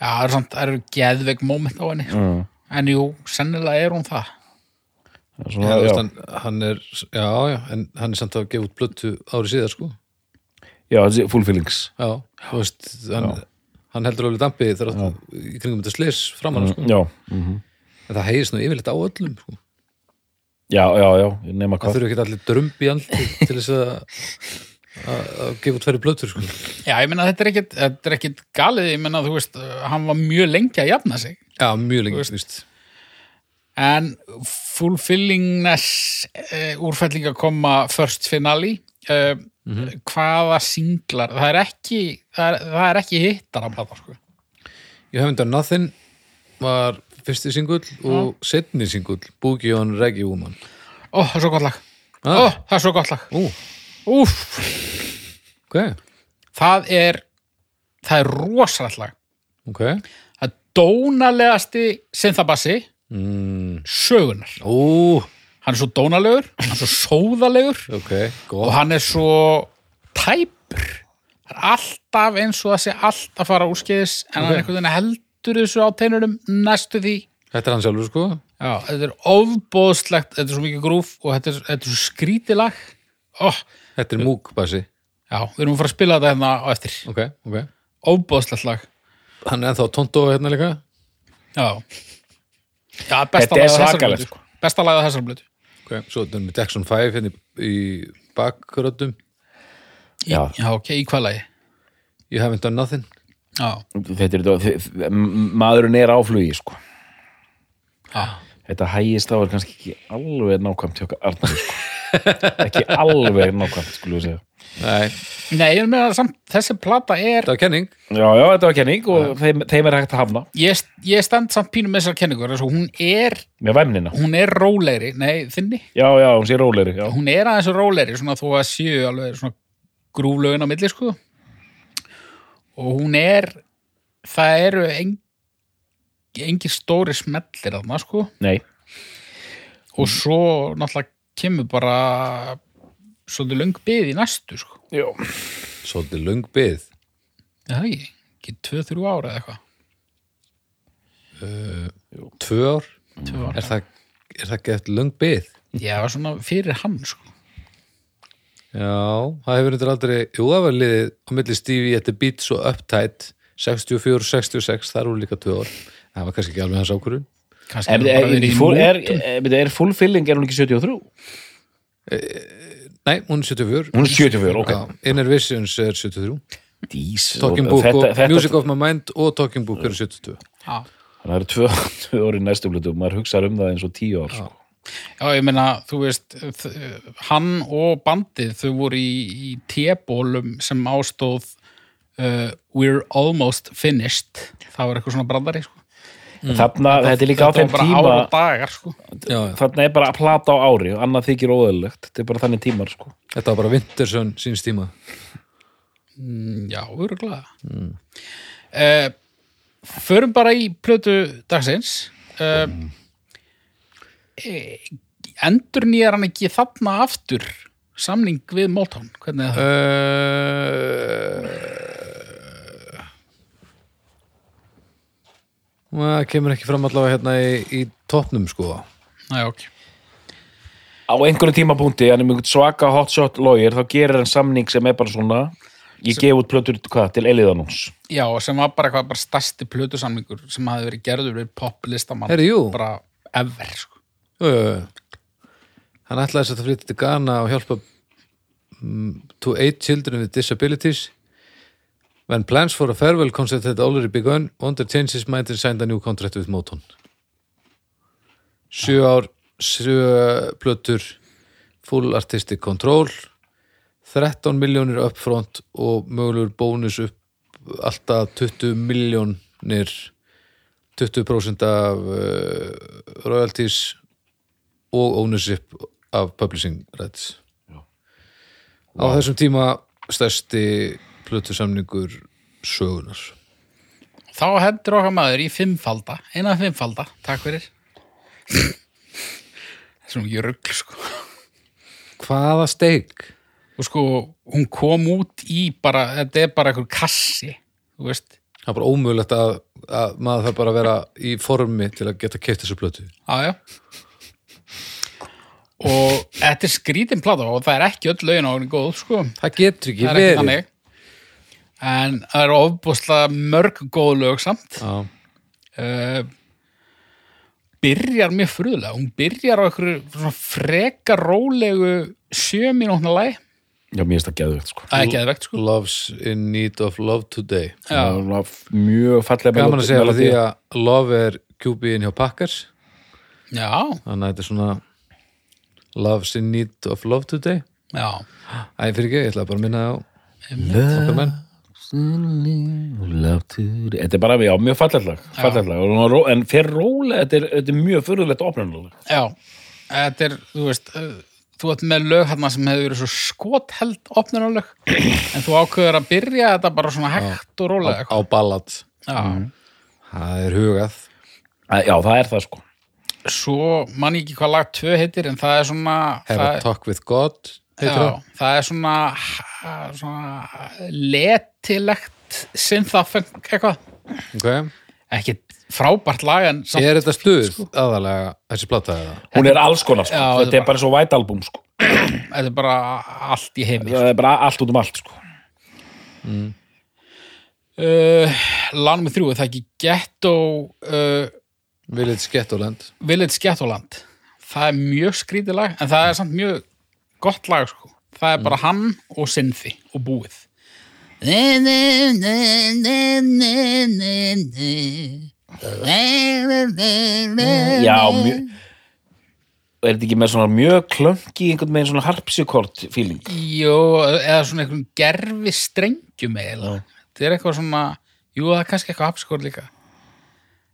já það er samt það eru geðveik moment á henni mm. en jú, sennilega er hún það Það Já, er svona, þú veist, já. hann, hann er, já, já, en hann er samt að gefa út plötu ári síðar, sko. Já, þessi full feelings Já, þú veist, hann, hann heldur alveg dampi þegar hann- í kringum þetta slis framan, sko. Já, En það heiðist nú yfirleitt á öllum, sko. já, já, já, nema Það hvað þurfi ekki allir drömb í andli til þess að að- að gefa út færri plötur, sko. Já, ég meina þetta er ekkit, þetta er ekkit galið, ég meina þú veist, hann var mjög lengi að jafna sig, Já, mjög lengi, þú veist. en fulfillingness uh, úrfælling að koma first finale, uh, Mhm. hvaða singlar, það er ekki, það er, það er ekki hittar að plata, sko. You Haven't Done Nothing var fyrsti singull og setni singull, Boogie on Reggae Woman. Ó, það er svo gott lag, Ah. ó, það er svo gott lag, Ú, úf, ok, það er, það er rosalegt lag, ok. það er dónalegasti synthabassi Mm. sögunar, Ú, hann er svo dónalegur, hann er svo sóðalegur, ok, og góð. hann er svo tæpur hann er alltaf eins og það sé allt að fara úrskeiðis en hann Ok. er einhvern veginn heldur þessu á teinunum næstu því Þetta er hann sjálfur, sko. Já, þetta er ofbóðslegt, þetta er svo mikið grúf og þetta er, þetta er svo skrítilag oh, Þetta er Moog bassi. Já, við erum að fara að spila þetta hérna á eftir Ok, ok. ofbóðslegt lag Hann er ennþá tóndó hérna líka. Já, Já besta Þetta er lagið á þessari svakalegt, blötu, sko. Besta lagið á þessar blötu Ok, svo erum við Jackson 5 hérna í í bakgröddum. Í- Já. Já, ok, í hvað lagi You Haven't Done Nothing. Já, Þetta er þetta, maðurinn er á flugi sko já, Þetta hægist á er kannski ekki alveg nákvæmt hjá Arnar sko. ekki alveg nákvæmt skulum við segja Nei, Nei, ég meina samt, þessi plata er þetta var kenning. Já, já, þetta var kenning og þeim, þeim er hægt að hafna ég, ég stend samt pínum með þessar kenningur þessu, hún er með væmnina. hún er rólegri, nei þinni Já, já, hún sé rólegri já. hún er aðeins rólegri, svona þó að séu alveg svona grúflögin á milli sko og hún er það eru en, engir stóri smellir þarna sko Nei, og svo náttúrulega kemur bara svolítið löng byð í næstu sko já. Svolítið löng byð. er það ekki, ekki tvö, þrjú ára eða eitthvað Tvö ár. Tvö ár. Er það, er það gett löng byð? ég var svona fyrir hann sko Já, það hefur þetta aldrei, jú það var liðið á milli Stevie þetta Beats og Uptight 64, 66, þar voru líka tvö ár það var kannski ekki alveg hans ákvörðun kannski Er, er, er, er, er, er, full- er, er, er fullfilling er hún ekki 73? Nei, hún er 74 Hún er 74, ok. Já, Inner Visions er 73 Dís, Talking Book og Music of My Mind og Talking Book eru 72 er, Það eru tvö, tvö orði næstu blötu og maður hugsaður um það eins og tíu ár sko. Já, ég meina, þú veist, þ- hann og bandið, þau voru í, í tébólum sem ástóð uh, We're Almost Finished. Það var eitthvað svona brandari, sko. Þarna, þetta er líka á Þetta þeim var bara tíma ár og dagar, sko. Já, já. Þarna er bara að plata á ári og annað þykir óðalegt Þetta er bara þannig tímar sko Þetta var bara Winterson síns tíma Mm, Já, öruglega. Mm. Uh, förum bara í plötu dagsins. eh, Uh, mm. Endur nýjar hann ekki þarna aftur samning við Moltón hvernig er það? Uh, það eh, kemur ekki fram allavega hérna í, í toppnum sko Næ, ok á einhverjum tímapunkti, hann er mjög svaka hotshot lawyer, þá gerir hann samning sem er bara svona, ég gef út plötur hvað, til Eliðanús Já, sem var bara eitthvað bara stærsti plötusamlingur sem hafði verið gerður við poplistamann Herri, jú. bara ever sko. Jú, jú, jú. hann ætlaði þess að flytja til Ghana og hjálpa mm, to aid children with disabilities when plans for a farewell concert had already begun Wonder changed his mind and signed a new contract with Moton sjö ár sjö plötur full artistic control 13 miljónir upfront og mögulegur bónus upp alltaf 20 miljónir 20% af uh, royalties og ownership af publishing rights á þessum tíma stærsti plötusamningur sögunar Þá hendur okkar maður í fimmfalda eina fimmfalda, takk fyrir Þessum ekki rugl sko. hvaða steik og sko, hún kom út í bara, þetta er bara einhver kassi þú veist, það er bara ómögulegt að, að maður þarf bara að vera í formi til að geta keitt þessu plötu aðja og þetta er skrítin plata og það er ekki öll lögin á henni góð sko. það getur ekki það er ekki verið þannig en það eru ofbúslega mörg góð lög samt Já. uh, byrjar mjög fruðlega hún byrjar á einhverju svona freka rólegu sjö mínútna læg já, mér finnst það geðvegt sko það er ekki aðvegt sko Love's in need of love today Það er svona mjög fallega gaman að melódi- segja melódía. melodi. því að love er kjúbiðin hjá Packers já, þannig að þetta er svona Love's in need of love today já, Æ, fyrir ekki, ég ætla bara að minna það á okkar menn Þetta er bara, já, mjög falletlag, falletlag. en fyrir rólega, þetta er, þetta er mjög fyrirlegt opnarnulega. já þetta er, þú veist uh, þú ert með lög hérna sem hefur verið svo skotheld opnunarlög, en þú ákveður að byrja þetta bara svona hægt og á, rólega sko. á Mm. ballad já, það er hugað Já, það er það sko. svo man ég ekki hvað lag 2 heitir en það er svona Have það, a talk with God heitir já, það það er svona, svona letilegt synthafeng eitthvað okay. ekki frábært lag en samt, Er þetta stuð aðalega þessi plata eða? Hún er alls konar sko. Já, þetta er bara svo white album sko. þetta er bara allt í heimi Það er bara allt út um allt sko. uh, Lánum með þrjú, er það ekki Ghetto uh, Village Ghettoland Village Ghettoland það er mjög skrítið lag en það er samt mjög gott lag sko. það er bara hann og Sinfi og búið Já, mjög... Er þetta ekki með svona mjög klönki, einhvern veginn svona harpsikort feeling? Jó, eða svona einhvern gerfi strengjum eiginlega. Þetta er eitthvað svona, jú það er kannski eitthvað hapskór líka.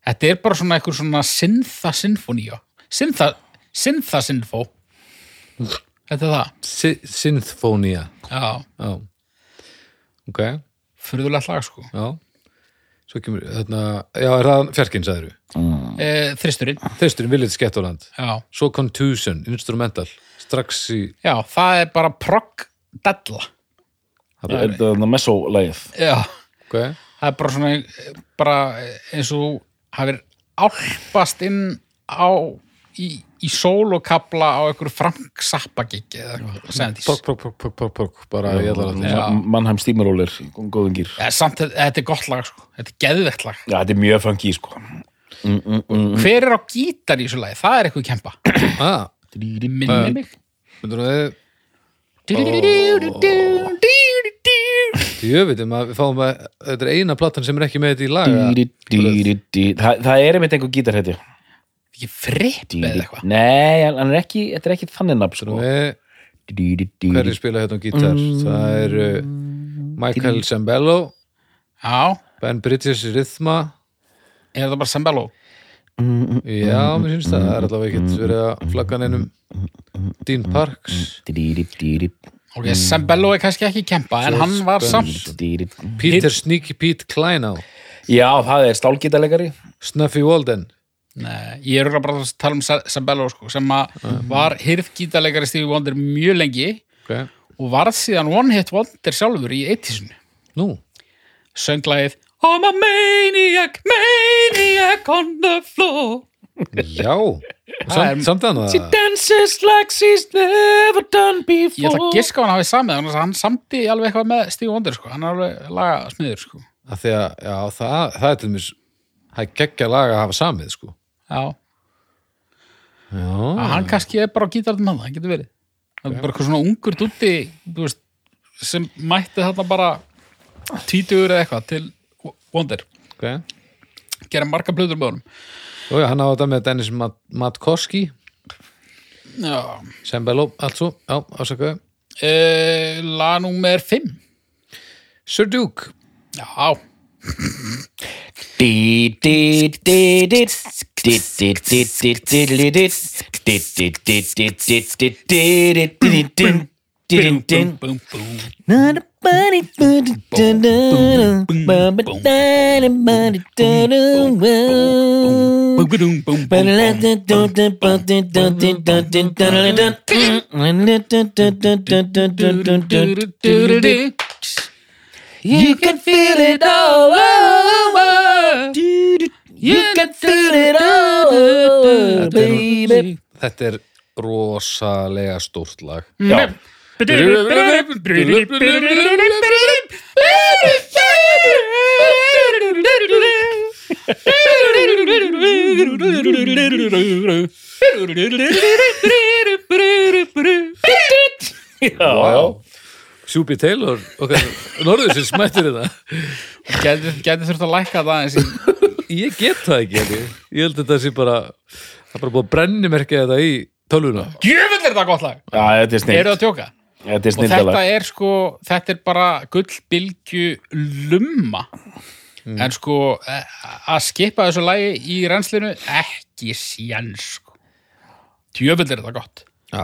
Þetta er bara svona einhver svona syntha sinfoníu. Syntha, syntha sinfó. Þetta er það. Sy Synthfonia Já, Já Ok, já fyrðulegt lag sko. Svo kemur þarna Já, er það fjarkinn sagður E, þristurinn, Þeirsturinn Village Ghettoland já. Svo Contusion, Instrumental Strax í Já, það er bara progg della. það Er bara- þetta þarna messo-lagið? Já, Ok, það er bara svona, eh, bara eins og hafið álpast inn á í, í sól og kapla á einhverju Frank Zappa giggi eða eitthvað, 70s. pokk, pokk, pokk, pokk, pokk, pokk Bara ég ætla að Ma- Mannheim Steamroller, góðum gýr. Ja, samt, þetta- þetta er gott lag, sko. Þetta er geðvett lag. Já, þetta er mjög funky sko. Hver er á gítar í þessu lagi? Það er eitthvað kempa. Ah, Minni mig. myndur við Já, Jöfitum að við fáum að Þetta er eina platan sem er ekki með þetta í lag eða? Dí, dí, dí, dí. Þa, það er einmitt einhver gítar heiti Ekki fripp eða eitthvað. Nei, hann hann er ekki, þetta er ekki þannig nafn sko. Við Dí, dí, dí, hverju spila hérna á gítar það er uh, Michael Sambello Já, Ben Bridges í rithma er þetta bara Sambello? já, mér finnst það, það er allavega ekkert verið að flagga neinum Dean Parks dí, dí, dí, dí, Ok, Sambello er kannski ekki kempa, en hann var samt. dí, dí. Peter Sneaky Pete Kleinow Já, það er stálgítarleikari Snuffy Walden Nei, ég er örugglega bara að tala um Sa- Sambello, sko, sem að var hirðgítarleikari Stevie Wonder mjög lengi okay. og varð síðan One Hit Wonder sjálfur í eittísinu. Nú, Sönglæðið I'm a maniac, maniac on the floor já Það er- Sam, Samt þannig að dances like she's never done before Ég ætla að giska á hann hafi samið, annars hann samdi alveg eitthvað með Steve Wonder, sko. Hann er alveg laga smiður, sko. að því að já, það, það er til mér það er geggja lag að hafa samið sko Já. já, að hann kannski er bara á gítarnum hann, það getur verið það er bara eitthvað svona ungur dútti þú veist, sem mætti þarna bara tvítugur eða eitthvað til Wonder, ok gera marga blöður með honum og já, hann á þetta með Dennis Mat Matkoski já, sem beló, allsvo, já, ásakaðu e, laga númer 5 Sir Duke já, bum, Not bum, bum a body, but a da-da-da. But a body, da-da-da. bum, bum, bum, But bum let the do-da, but the do-da, but the da-da-da. And let the da-da-da-da-da-da-da-da-da. You can feel it all over. You can feel it all over, baby. þetta er rosalega stórt lag Já, wow. Sjúbi Taylor okay. Norðursins mættir þetta Gæti gæti þurft að lækka það eins í ég get það ekki held ég. ég held að þetta sé bara það er bara búið að brennimerkja þetta í tölvuna Gjöfull er það gott lag Já, þetta er Eru það snill að tjóka? Þetta er Og þetta snildalag er sko, þetta er bara gullbylgju lumma Mm. En sko, eh, að skipa þessu lagi í reynslinu ekki sjans sko. Djöfull er þetta gott já,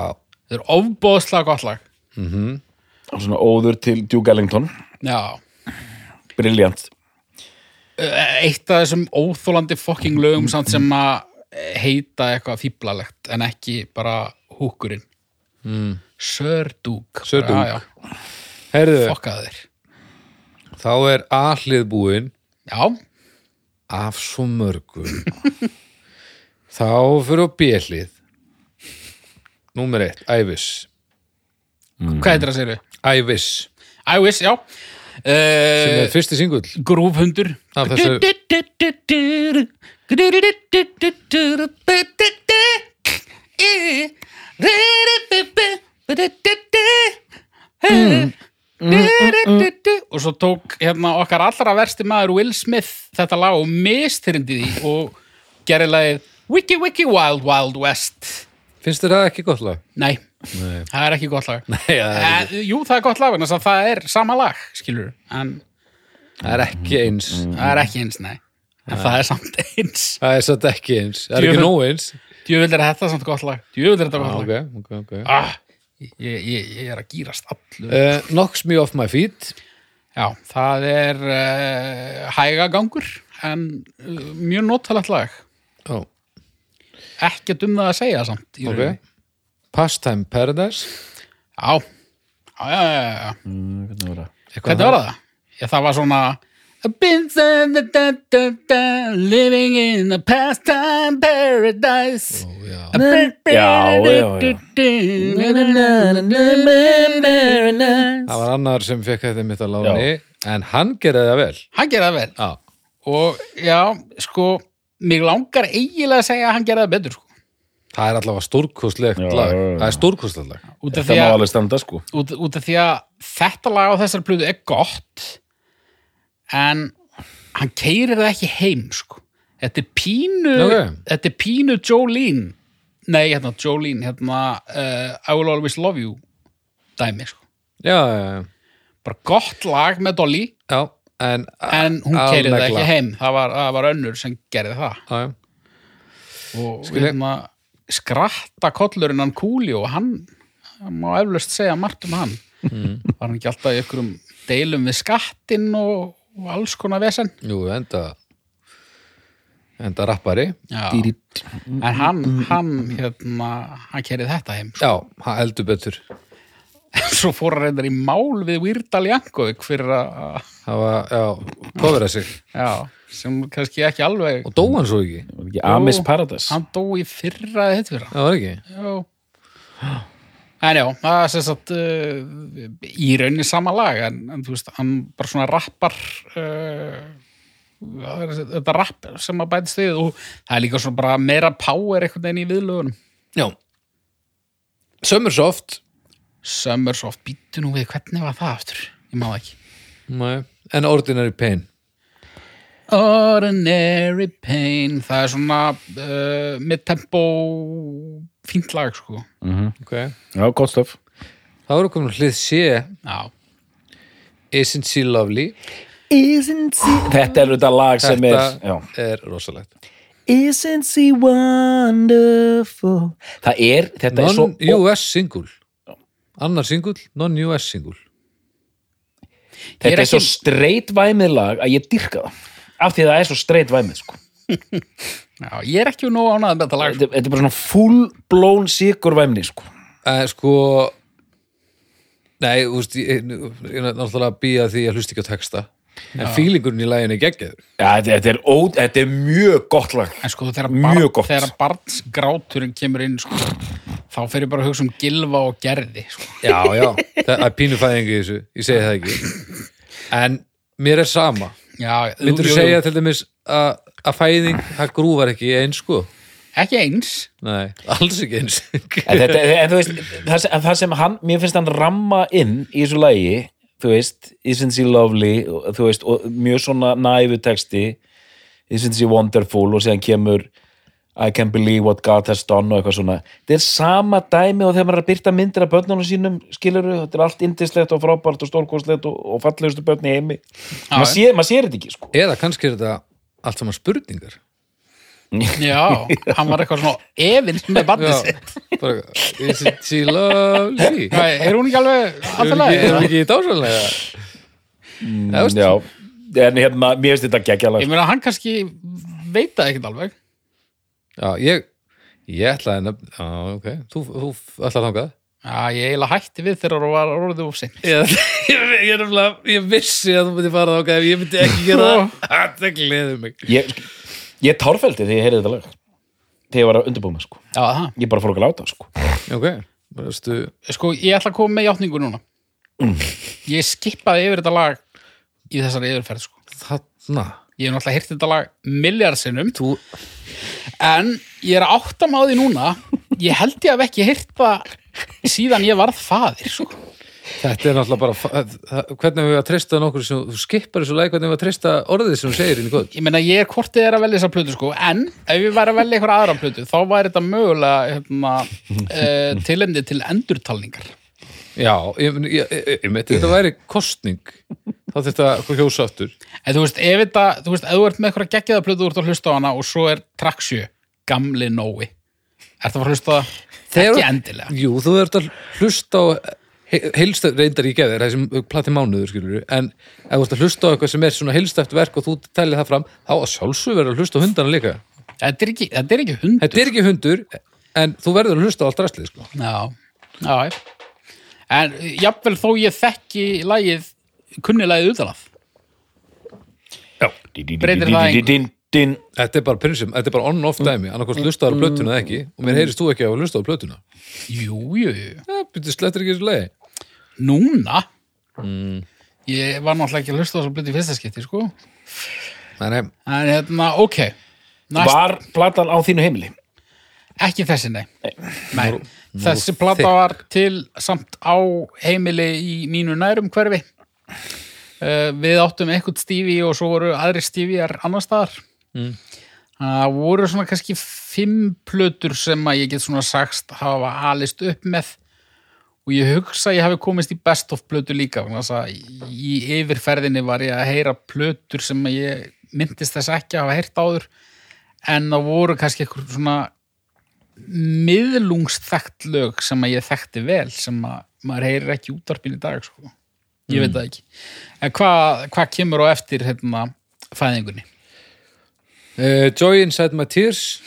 Þetta er ofbóðslega gott lag Svona óður til Duke Ellington Já Briljant E, eitt af þessum óþólandi fokking lögum samt sem að heita eitthvað fíblalegt en ekki bara húkurinn mm. Sördúk Sir Duke. Eh. já, herðu, já, fokkaðir þá er aðlið búin Já, af svo mörgum þá fyrir á bjellið númer eitt, Ævis hvað heitir það segir við? Ævis, I wish, já sem uh, er fyrsti singull Grúfhundur af þessu Mm, og svo tók hérna okkar allra versti maður Will Smith þetta lag og mistyrindi því og gerði lagið Wiki Wiki Wild Wild West finnst þér það ekki gott lag? Nei, það er ekki gott lag Nei, það er Jú, það er gott lag en það er sama lag, skilur en það er ekki eins það er ekki eins, nei en það er samt eins það er satt ekki eins, það er Djöfull. ekki nóg eins Djöfull er þetta samt gott lag Djöfull er þetta gott lag ok, ok, ok ah, ég, ég, ég er að gýrast allur Uh, knocks me off my feet Já, það er uh, hægagangur en uh, mjög notalegt lag oh, ekkert um það að segja samt í okay. rauninni. Pastime Paradise Já, já, já, já, já. Eitthvað Hvernig var það? Já, það var svona I've been da, da, da, da, da, living in a pastime paradise það? I've been- Já, já, já. Það var annar sem fekk þetta mitt að láni en hann gerði það vel Hann gerði það vel Já, og já, sko mig langar eiginlega að segja að hann gerði það betur sko. það er allavega stórkostlegt Já, lag já, já. það er stórkostlegt lag út, af Þetta því má að, alveg standa sko út, út af því að þetta lag á þessar plötu er gott en hann keirir það ekki heim sko. þetta er pínu Ok. þetta er pínu Jolene nei, hérna Jolene hérna, uh, I will always love you dæmi, sko. Já, já, já. bara gott lag með Dolly já en, en hún keirir það Alveg ekki lag. heim það var, það var önnur sem gerði það Já, já. og Skilji. hérna skratta kollurinn hann Kúli og hann hann má eflaust segja margt um hann var hann ekki alltaf í ykkurum deilum við skattinn og, og alls konar vesen Jú, enda enda rappari Já. Mm. en hann, hann hérna, hann kerið þetta heim sko. Já, hann heldur betur svo fór hann reyndar í mál við Weirdal Jankovic fyrir að, það var, já, kofra sig já, sem kannski ekki alveg, og dó hann svo ekki, Var ekki Amis Paradise hann dó í fyrra eða hitt fyrra. það var ekki Já. En já, það er sem sagt uh, í rauninni sama lag en, en þú veist, hann bara svona rappar uh, það er þetta rapp sem að bætist við og það er líka svona bara meira power einhvern veginn í viðlögunum já Summersoft Summersoft, býttu nú við, hvernig var það aftur? Ég má það ekki Nei. en Ordinary Pain Ordinary Pain það er svona uh, mid-tempo fínt lag sko okay. Já, gott stöf það voru komin hlið sé Já, Isn't She Lovely Isn't she, Þetta er auðvitað lag sem er þetta já. er rosalegt isn't she wonderful? Það er, þetta er svo Non-US single annar single, non-US single Ég er Þetta er ekki- svo streitvæmið lag að ég dyrka það af því að það er svo streitvæmið sko. já ég er ekki nú ánægð með þetta lag sko. þetta, þetta er bara svona full blown sigurvæmni sko. Eh, sko Nei, þú veist, ég, ég, ég náttúrulega býja því að hlusta ekki á texta en ja. fílingurinn í læginu er geggjað ja, þetta, þetta, er ó, þetta er mjög gott lag En sko þegar, Mjög barn, gott. þegar barnsgráturinn kemur inn sko, þá fer ég bara að hugsa um gilva og gerði sko. Já, já, það er pínufæðingu í þessu ég segi það ekki en mér er sama Já, jú, myndur þú jú, jú. segja til dæmis að að fæðing, það grúfar ekki eins sko Ekki eins nei, alls ekki eins en, þetta, en þú veist, það, sem- það sem hann mér finnst hann ramma inn í þessu lagi þú veist, Isn't She Lovely og, þú veist, og mjög svona næfu texti Isn't She Wonderful og síðan kemur I can believe what God has done og eitthvað svona þetta er sama dæmi og þegar maður er að byrta myndir af börnunum sínum, skilurðu, þetta er allt indislegt og frábært og stórkostlegt og, og fallegustu börn í heimi maður sér, maður sér þetta ekki sko eða kannski er þetta allt saman spurningar Já, hann var eitthvað svona efins með barnið sitt bara, is it she lovely Hvað, Er hún ekki alveg erum við ekki- erum við aðalega? ekki í dásanlega það veist já, en hérna, mér finnst þetta geggjala Ég meina hann kannski veit það ekkert alveg Já, ég, ég ætlaði nefn, já, ok, þú, þú ætlaði þangað. Já, ég eiginlega hætti við þegar hún var orðið of sinn Ég, ég, ég, er nefnilega- ég vissi að þú myndi fara þangað ef ég myndi ekki gera það. Þetta gleður mig. ég, ég tárfældi þegar ég heyrði þetta lag þegar ég var að undirbúma sko Já, það ég bara fór ekki að láta sko Ok, bara veistu, Sko, ég ætla að koma með játningu núna Ég skipaði yfir þetta lag í þessari yfirferð sko. þarna. Ég hef náttúrulega hýrt þetta lag milljarsinnum Þú, En ég er að átta mig á því núna Ég held ég að ekki heyrt það síðan ég varð faðir sko. þetta er náttúrulega bara, fa- það- hvernig við að treysta nokkur sem, þú skipar þessu læg, hvernig við að treysta orðið sem þú segir inn í góð. Ég meina ég er hvort þið er að velja þessa plötu sko. En ef ég væri að velja einhverja aðra plötu Þá væri þetta mögulega hérna, uh, Tilefni til endurtalningar Já, ég, ég, ég, ég meti, þetta væri kostning, þá þetta hjósa aftur. En þú veist, ef þetta Þú veist, ef þú ert með einhverja geggjaða plötu Þú ert að hlusta á hana og svo er traksjö Gamli Nói Ertu að fara að hlusta á það? Þegar- Ekki endilega Jú, þú ert að hlusta á heilstæft, reyndar ég gefið þér þessum plati mánuður skilur en ef þú ert að hlusta á eitthvað sem er svona heilstæft verk og þú tellir það fram, þá að sjálfsög verður að hlusta á hundana líka. Þetta er ekki, þetta er ekki hund Þetta er ekki hundur en þú verður að hlusta á allt rastlið sko. Já, já já. En jafnvel þó ég þekki lægið, kunni lægið utanaf Breytir það engu? Din-din-din-din-din. Þetta er bara prinsum, þetta er bara on-off dæmi annarkvort hlusta á plötuna eða ekki og mér heyrist þú ekki að hafa hlusta á plötuna. Jú, jú, jú Það byrja slettir ekki þessu leiði. Núna Ég var náttúrulega ekki að hlusta á svo blötu í fyrsta skipti, sko Nei, nei, En hérna, ok Næst, var platan á þínu heimili ekki þessi, nei Nei, þessi nú plata þykk. var til samt á heimili í mínu nærum hverfi uh, Við áttum eitthvað stífi og svo voru aðri stífiar annars staðar Mm. Það voru svona kannski fimm plötur sem að ég get svona sagst hafa alist upp með og ég hugsa að ég hafi komist í best of plötu líka vegna þess að í yfirferðinni var ég að heyra plötur sem að ég myndist þess ekki að hafa heyrt áður en það voru kannski eitthvað svona miðlungsþekkt lög sem að ég þekkti vel sem að maður heyrir ekki í útarpinn í dag sko. ég veit það ekki en hvað hva kemur á eftir hérna, fæðingunni? Uh, Joy Inside My Tears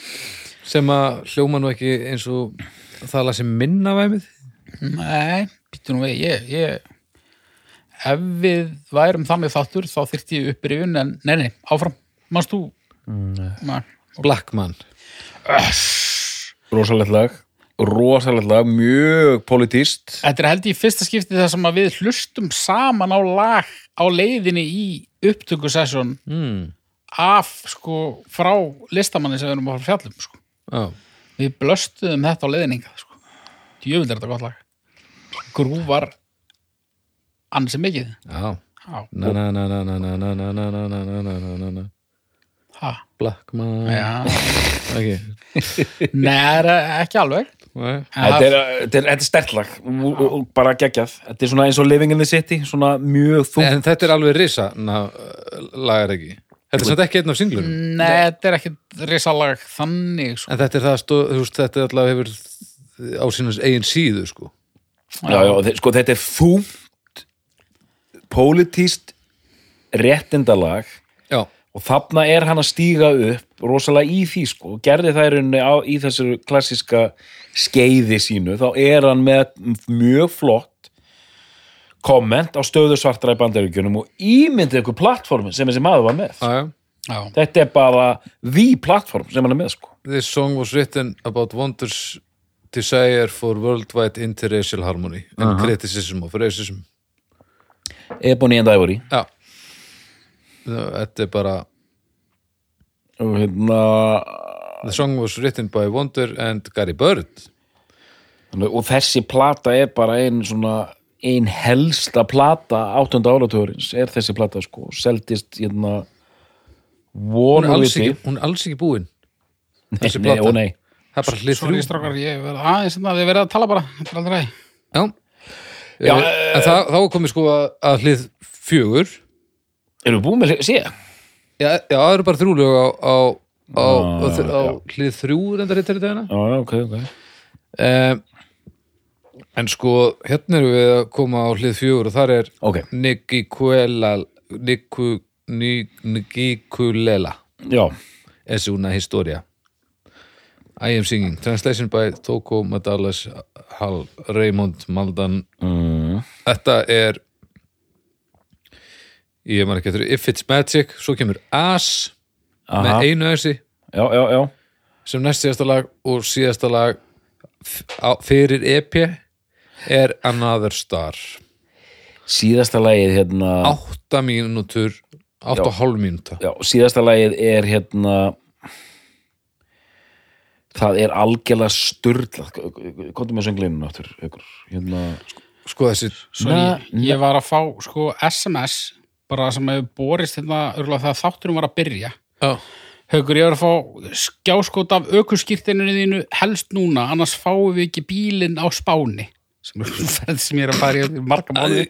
sem að hljóma nú ekki eins og það lasi minna væmið Nei, býttu nú við, ég, ég ef við værum þannig þáttur þá þyrfti ég upprifjun en nei, nei, áfram, manst þú mm. Blackman rosalegt lag rosalegt lag, mjög politist Þetta er held ég fyrsta skipti þar sem að við hlustum saman á lag á leiðinni í upptökusessjón mm. af sko frá listamanni sem við erum að fara að fjallum sko. Já, Við blöstuðum þetta á leiðninga sko. Djöfuld er þetta gott lag Grúvar ansi mikið já Já, Na na na na na na na na na na na na na na na na ha, Blackman já. Ok, Nei, það er ekki alveg nei. Þetta er, eh, þetta er, þetta er stertlag bara geggjað, þetta er svona eins og Living in the City svona mjög þungt En þetta er alveg risa na, lagar ekki Þetta er samt ekki einn af singlunum Nei, þetta er ekki risalag þannig sko. En þetta er það stó, þú veist, þetta allavega hefur á sínum eigin síðu sko já, já, þe- sko, þetta er þungt politist réttindalag Já, og þarna er hann að stíga upp rosalega í því sko, og gerði það í rauninni á, í þessu klassiska skeiði sínu, þá er hann með mjög flott komment á stöðu svartra í bandaríkjunum og ímyndið ykkur platformin sem þessi maður var með. já, já Já. Þetta er bara því platform sem hann er með sko. This song was written about wonders desire for worldwide interracial harmony and criticism of racism Ebony and Ivory Já Þetta er bara og hérna The song was written by Wonder and Gary Bird og þessi plata er bara ein svona ein helsta plata áttunda áratugurins er þessi plata sko, seldist hérna Hún er vonu alls ekki, hún er alls ekki búin Þessi nei, plata. og nei Það er bara hlið Sorry, þrjú strákar, ég verða aðeins hérna, þið verða að tala bara Þetta er aldrei Já, Já, Eh, En það, þá er komið sko að, að hlið fjögur Erum við búin með sé? Já, já það eru bara þrjú lög á, á, á, Ah, á, á hlið þrjú reyndar hérna? hittar í dagina Já, já, ok, ok um, En sko, hérna erum við að koma á hlið fjögur og þar er Ok, Nikikuela Niku, Ni- Nikikulela já, Es una historia I am singing Translation by Toko Madalas Hal Raymond Maldan mm, Þetta er ég maður ekki eftir If It's Magic, svo kemur As Aha. með einu össi já, já, já sem næst síðasta lag og síðasta lag f- á- fyrir EP er Another Star Síðasta lagið hérna átta mínútur átta og hálf mínúta Já, síðasta lagið er hérna Það er algjörlega sturla Kóndum með sönglinum áttur ykkur. Hérna, sko þessi Sorry, ég var að fá sko SMS bara sem hefur borist hérna örgulega þegar þátturum var að byrja já, Haukur, ég var að fá skjáskot af aukurskýrtinunni þínu helst núna annars fáum við ekki bílinn á spáni sem er ferð sem ég er að fara í eftir marga mánuði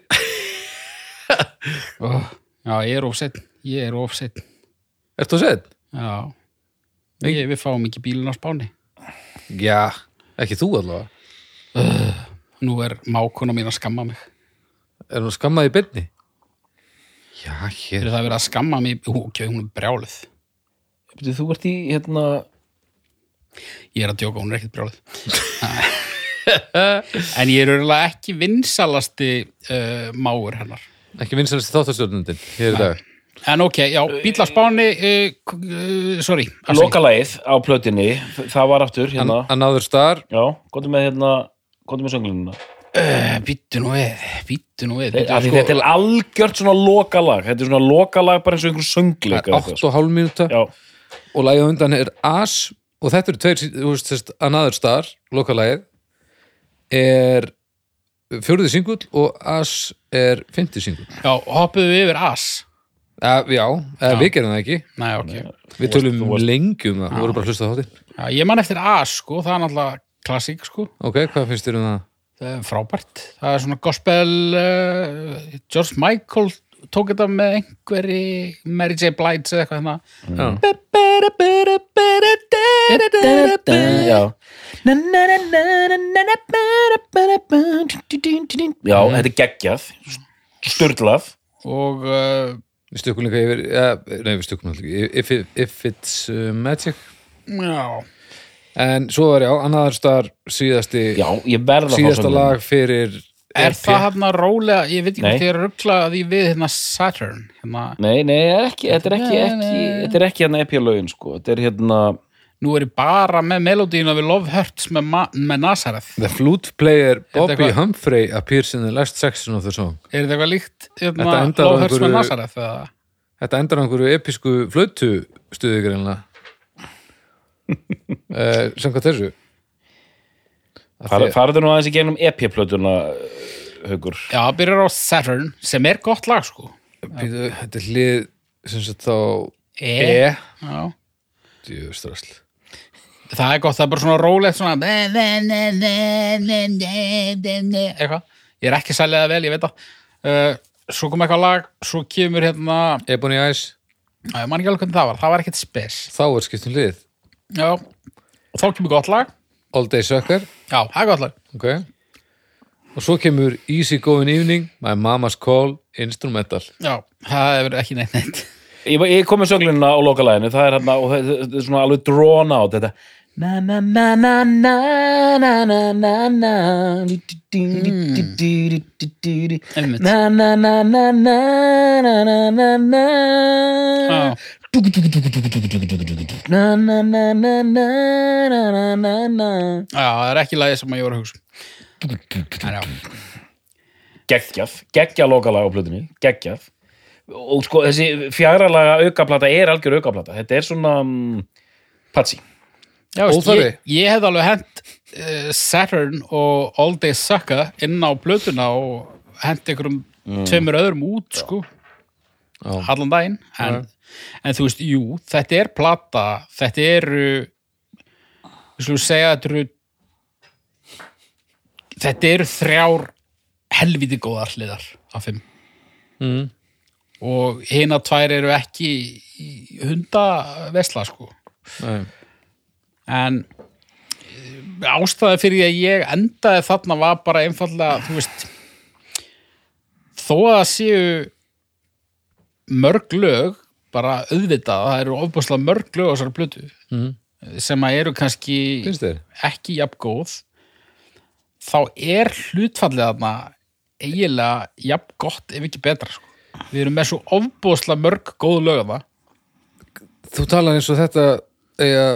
oh, Já, ég er ofsett ég er ofsett ertu að segja? Já, ég, við fáum ekki bílinn á spáni já, ekki þú allavega Nú er mákona mín að skamma mig er hún skammaði í byrni? já, hér Fyrir það að vera að skamma mig, Ú, ok, hún er brjáluð Bíddu, Þú ert í hérna Ég er að djóka, hún er ekkert brjálið. en ég er örgulega ekki vinsalasti uh, máur hennar. ekki vinsanast þáttastjórnundin hér í dag En ok, já, bíla spáni, uh, uh, sorry. að segja. Lokalagið á plötinni Það var aftur An hérna Another Star Já, kóndum með hérna Kóndum með sönglinuna Eh, Bíddu nú við, bíddu nú við. sko. Af því bíddu, Þetta er sko- algjört svona lokalag Þetta er svona lokalag bara eins og einhver söngleik eða eitthvað, átta og hálf mínúta sko. Já, og lagið á undan er As og þetta eru tveir, þú veist, þess, Another Star lokalagið er fjóruði singull og As er fymti singull Já, hoppuðu við yfir as. uh, já, uh, við gerum það ekki Nei, ok. við tölum lengi um það, við vorum bara að hlusta á þáttinn Já, ég man eftir as, sko, það er náttúrulega klassík, sko. ok, hvað finnst þér um það? Það er frábært. Það er svona gospel, uh, George Michael tók þetta með einhverri Mary J. Blight eða eitthvað hérna. Já. já Já, þetta er geggjað Sturlað Og... Uh, við stökkum líka yfir uh, nei, við stökkum alltaf ekki if, it- if It's uh, Magic Já, en svo var já, Another Star síðasti Já, ég verða síðasta lag fyrir Er fé- það hann að rólega, ég veit ekki Nei. hvort ég er að ruggla því við hérna Saturn hérna, Nei, nei, er ekki, þetta er ekki, Nei, ekki, nei. þetta er ekki hérna epilögin, sko. Þetta er hérna, Nú er ég bara með melodíuna við Love Hurts með, Ma- með Nazareth The flute player Bobby eitthvað- Humphrey appears in the last section of the song Er þetta eitthvað líkt hérna, Þetta endar á Love Hurts einhverju- með Nazareth eða? Þetta endar á einhverju episku flötu stuðugreinlega uh, Samkvæmt þessu Af því fara- að- farðu nú aðeins í E genum epiplötuna, haugur. Já, það byrjar á Saturn sem er gott lag sko Býtu, Þetta er hlið sem sagt þá E, Já. Djústrasl Það er gott, það er bara svona rólegt svona eitthvað Ég er ekki sælið það vel, ég veit það uh, Svo kom eitthvað lag, svo kemur hérna Ebony Eyes, Æ, ég man ekki alveg hvernig það var, það var ekkert spes þá er skiptum hlið Já, og þá kemur gott lag All Day Sucker Já, það er gott lag okay. Og svo kemur Easy Going Evening My Mama's Call Instrumental Já, það er ekki neitt neitt Ég, var- ég kom með sönglunina á lokalæðinu, það er hérna, og það, það er svona alveg drawn out, þetta. Na, na, na, na, na, na, na, na, na, du, du, du, du, du, du, du, du, du. Einmitt. Na, na, na, na, na, na, na, na, na. Já. Dúgu, dúgu, dúgu, dúgu, dúgu, dúgu, dúgu, dúgu. Na, na, na, na, na, na, na, na, na. Já, það er ekki lagið sem ég var að hugsa En já, geggjaf, geggja lokalag á plötunni, geggjaf og sko þessi fjagralaga aukaplata er algjör aukaplata, þetta er svona um, patsi, já veist, Óþarfi. ég, ég hefði alveg hent uh, Saturn og All Day Sucker inn á blötuna og hent einhverjum Mm. tveimur öðrum út sko, allan daginn en, en þú veist, jú, þetta er plata þetta eru við slúum segja þetta eru þetta eru þrjár helviti góðar hliðar af fimm mm. og hina tvær eru ekki í hundavesla sko Nei. en eh, ástæða fyrir því að ég endaði þarna var bara einfallega þú veist þó að það séu mörg lög bara auðvitað, það eru ofbúslega mörg lög á þessari plötu Mhm. sem að eru kannski Finnst þér? ekki jafn góð þá er hlutfallið þarna eiginlega jafn gott ef ekki betra sko. við erum með svo ofbúslega mörg góð lög þarna Þú talar eins og þetta eiga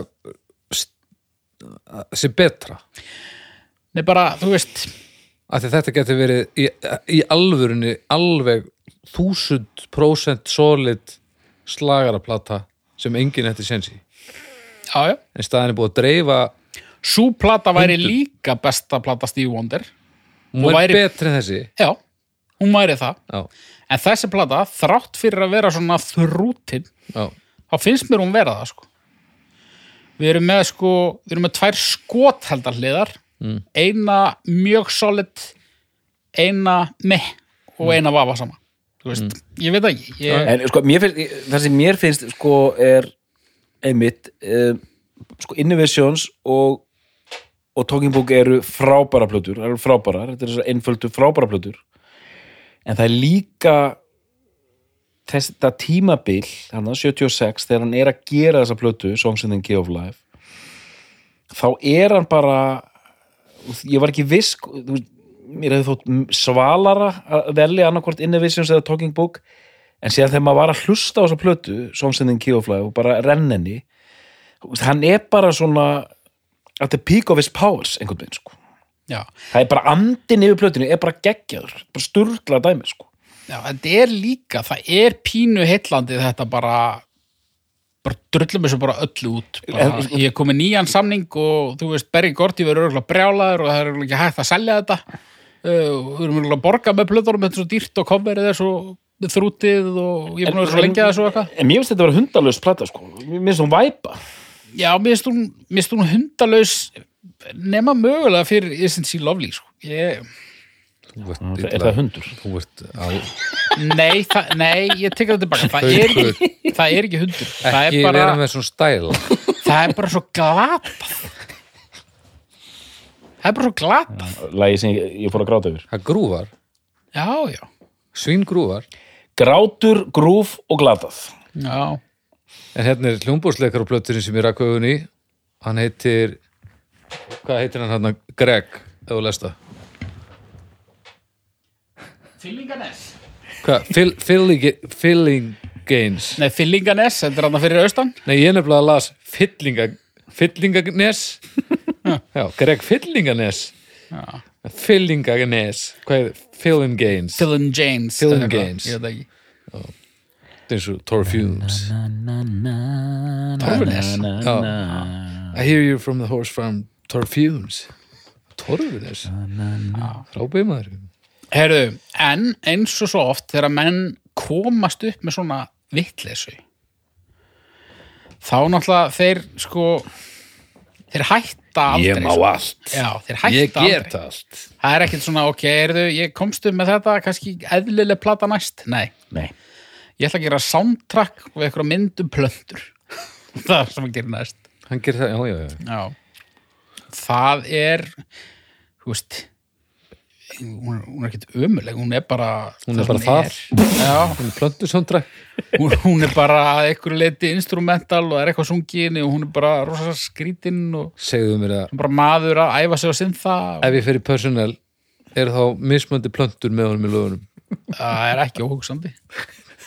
st- sé betra Nei bara, þú veist, af því að þetta getur verið í, í alvörunni alveg 1000% solid slagaraplata sem enginn ætti sens í já, já en staðan er búið að dreifa Sú plata væri líka besta plata Steve Wonder hún er Og væri- betri en þessi Já, hún væri það já, En þessi plata, þrátt fyrir að vera svona þrútin já, þá finnst mér hún vera það sko Við erum með sko, við erum með tvær skotheldar hliðar mm. eina mjög solid eina meh og eina vafa sama Þú veist, ég veit það ekki ég, en sko mér finnst, það sem mér finnst sko er einmitt um, sko Innovations og og Talking Book eru frábæra plötur það eru frábærar, þetta er þessar einföldu frábæra plötur en það er líka þetta tímabil hann 76 þegar hann er að gera þessa plötu Songs in the Key of Life þá er hann bara ég var ekki viss þú veist, mér hefði þótt svalara að velja annarkvort Innovations eða Talking Book en síðan þegar maður var að hlusta á þessa plötu Songs in the Key of Life og bara renninni hann er bara svona at the peak of his powers einhvern veginn sko já, það er bara andin yfir plötunni er bara geggjaður, bara sturla dæmi sko já, þetta er líka það er pínu heillandi þetta bara bara drullum þessu bara öllu út bara, En- ég kom með nýjan samning og þú veist Berri Gorti verður örgulega brjálaður og það er örugglega ekki hægt að selja þetta uh, og við erum örgulega að borga með plöðunum þetta er svo dýrt og coverið er svo þrútið og ég er búin að vera svo lengi að þessu og eitthvað en mér finnst þetta að vera hundalöst plata sko mér finnst hún væpa Já, mér finnst hún, mér finnst hún hundalaus nema mögulega fyrir Isn't She Lovely sko. ég, þú ert er illa- það hundur? þú ert á, nei, það, nei, ég tekur þetta tilbaka það er ekki, það er ekki hundur það ekki er, bara, vera með svona stæla það er bara svo glatað það er bara svo glatað lagi sem ég, ég fór að gráta yfir það grúvar, já, já, svíngrúvar grátur, grúf og glatað já en hérna er hljómbúrsleikar á plötunni sem ég rakka augun í hann heitir hvað heitir hann hann Greg, ef þú lesta Fyllinganes Hvað? Fill- filling- Fillinggains Nei, Fyllinganes, þetta er hann fyrir austan Nei, ég nefnilega las Fillinga, Fillingagnes Já, Greg Fillinganes Já. Fillingagnes Hvað er Fillingains? Fillin James Fillin eða eitthvað, James. Ég veit það ekki Þetta er svo Torfumes Torfunes I hear you from the horse farm Torfumes Torfunes Rábið maður Herðu, en eins og svo oft þegar menn komast upp með svona vitleysu þá náttúrulega þeir sko þeir hætta aldrei Ég má sko. allt. Já, þeir hætta Ég aldrei get allt Það er ekkert svona, ok, herðu, ég komst upp með þetta kannski eðlileg plata næst Nei, Nei. ég ætla að gera soundtrack og eitthvað myndum plöndur Það er sem að gera næst Hann gerir það, já, já, já Já. Það er, þú veist, hún, hún er ekkert ömuleg, hún er bara... Hún er það bara sem hún er. Já, Hún plöntu sondra hún, hún er bara að einhverju leiti instrumental og er eitthvað sungin og hún er bara rosa skrítinn og Segðu mér að hún er bara maður að æfa sig á sinþa og ef ég fer í personnel er þá mismöndi plöntur með honum í lögunum það er ekki óhugsandi.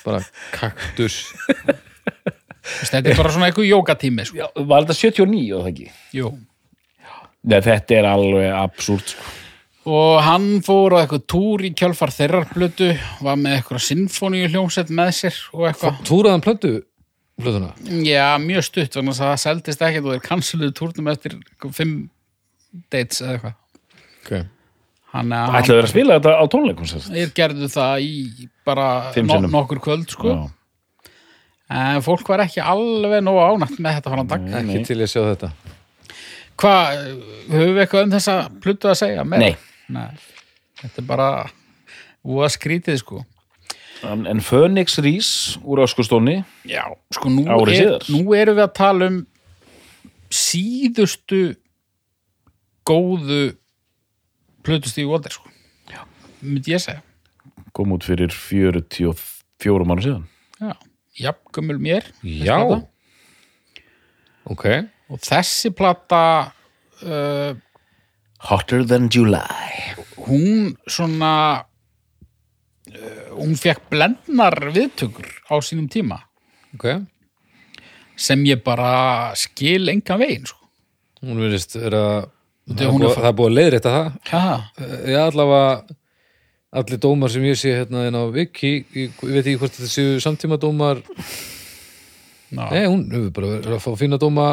bara kaktus Þú veist, Þetta er bara svona einhver jókatími, sko. Já, var þetta 79 og það ekki? Jú. Nei, þetta er alveg absúrt sko. Og hann fór á eitthvað túr í kjálfar þeirrar plötu, var með eitthvað sinfóníu hljómsett með sér og eitthvað. Túraðan plöntu plötuna Já, mjög stutt, þannig að það seldist ekkert og þeir kansiluðu túrnum eftir einhver fimm dates eða eitthvað. okay. Hann að hann, Ætlaðu þeir að spila þetta á tónleikum sem sagt? þeir gerðu það í bara Fimm no, sinnum. nokkur kvöld, sko. Já. En fólk var ekki alveg nóg ánætt með þetta hann dag. ekki til ég sjá þetta Hvað, höfum við eitthvað um þessa pluttu að segja? meira? Nei. Nei. Þetta er bara úa skrítið, sko. En, en Phoenix Rís úr öskustónni Já. Sko, nú, Ári er, síðar. nú erum við að tala um síðustu góðu plötustíu Walter, sko. Já. Myndi ég segja. kom út fyrir 44 mánu síðan. Já, jafngömmul mér þessi Já. plata. ok, og þessi plata uh, Hotter than July. hún svona uh, hún fekk blendnar viðtökur á sínum tíma ok sem ég bara skil engan veginn sko. hún verðist vera það er er hún búið- að- það er búið að leiðrétta það ha, ég allavega allir dómar sem ég sé hérna inn á Viki ég, ég veit ekki hvort þetta séu samtíma dómar ná, nei, hún hefur bara verið að fá fína dóma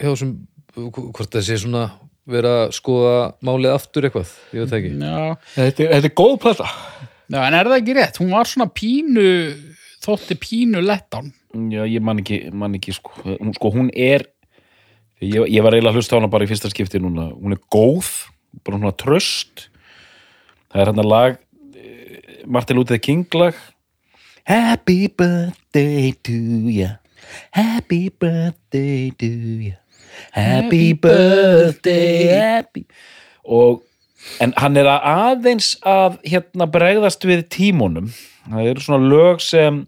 hjá sem hvort það sé svona vera að skoða málið aftur eitthvað, ég veit það ekki já, Þetta, þetta er góð plata. já, en er það ekki rétt hún var svona pínu þótti pínu lettan Já, ég man ekki, man ekki sko. Hún, sko, hún er ég, ég var eiginlega að hlusta á hana bara í fyrsta skipti núna. Hún er góð, bara hún er tröst. Það er hann að lag eh, Martin Luther King lag Happy birthday to you Happy birthday to you Happy birthday happy. og en hann er að aðeins að hérna bregðast við tímunum það eru svona lög sem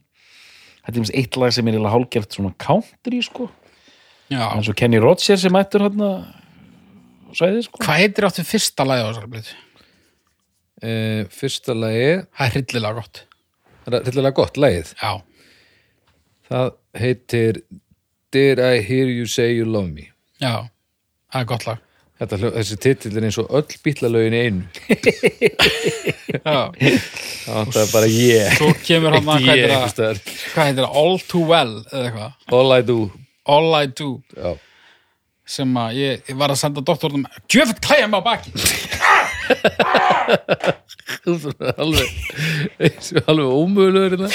þetta er til dæmis eitt lag sem er eiginlega hálgert svona country sko já, en svo Kenny Rogers sem mættur hérna sæði sko hvað heitir áttu fyrsta lagi á þessari plötu? e, fyrsta lagi, það er hryllilega gott það er rillilega gott lagið já, það heitir Did I Hear You Say You Love Me já, það er gott lag Þetta, hljó- þessi titill er eins og öll bítlalögin í einu já, það er bara ég svo kemur hann að hvað ég heitir það? einhvers staðar. hvað heitir það, All Too Well eða eitthvað, All I do All I Do Já. sem að ég, ég var að senda doktornum djöfitt klæja mig á baki alveg, eins og alveg ómögulegur hérna.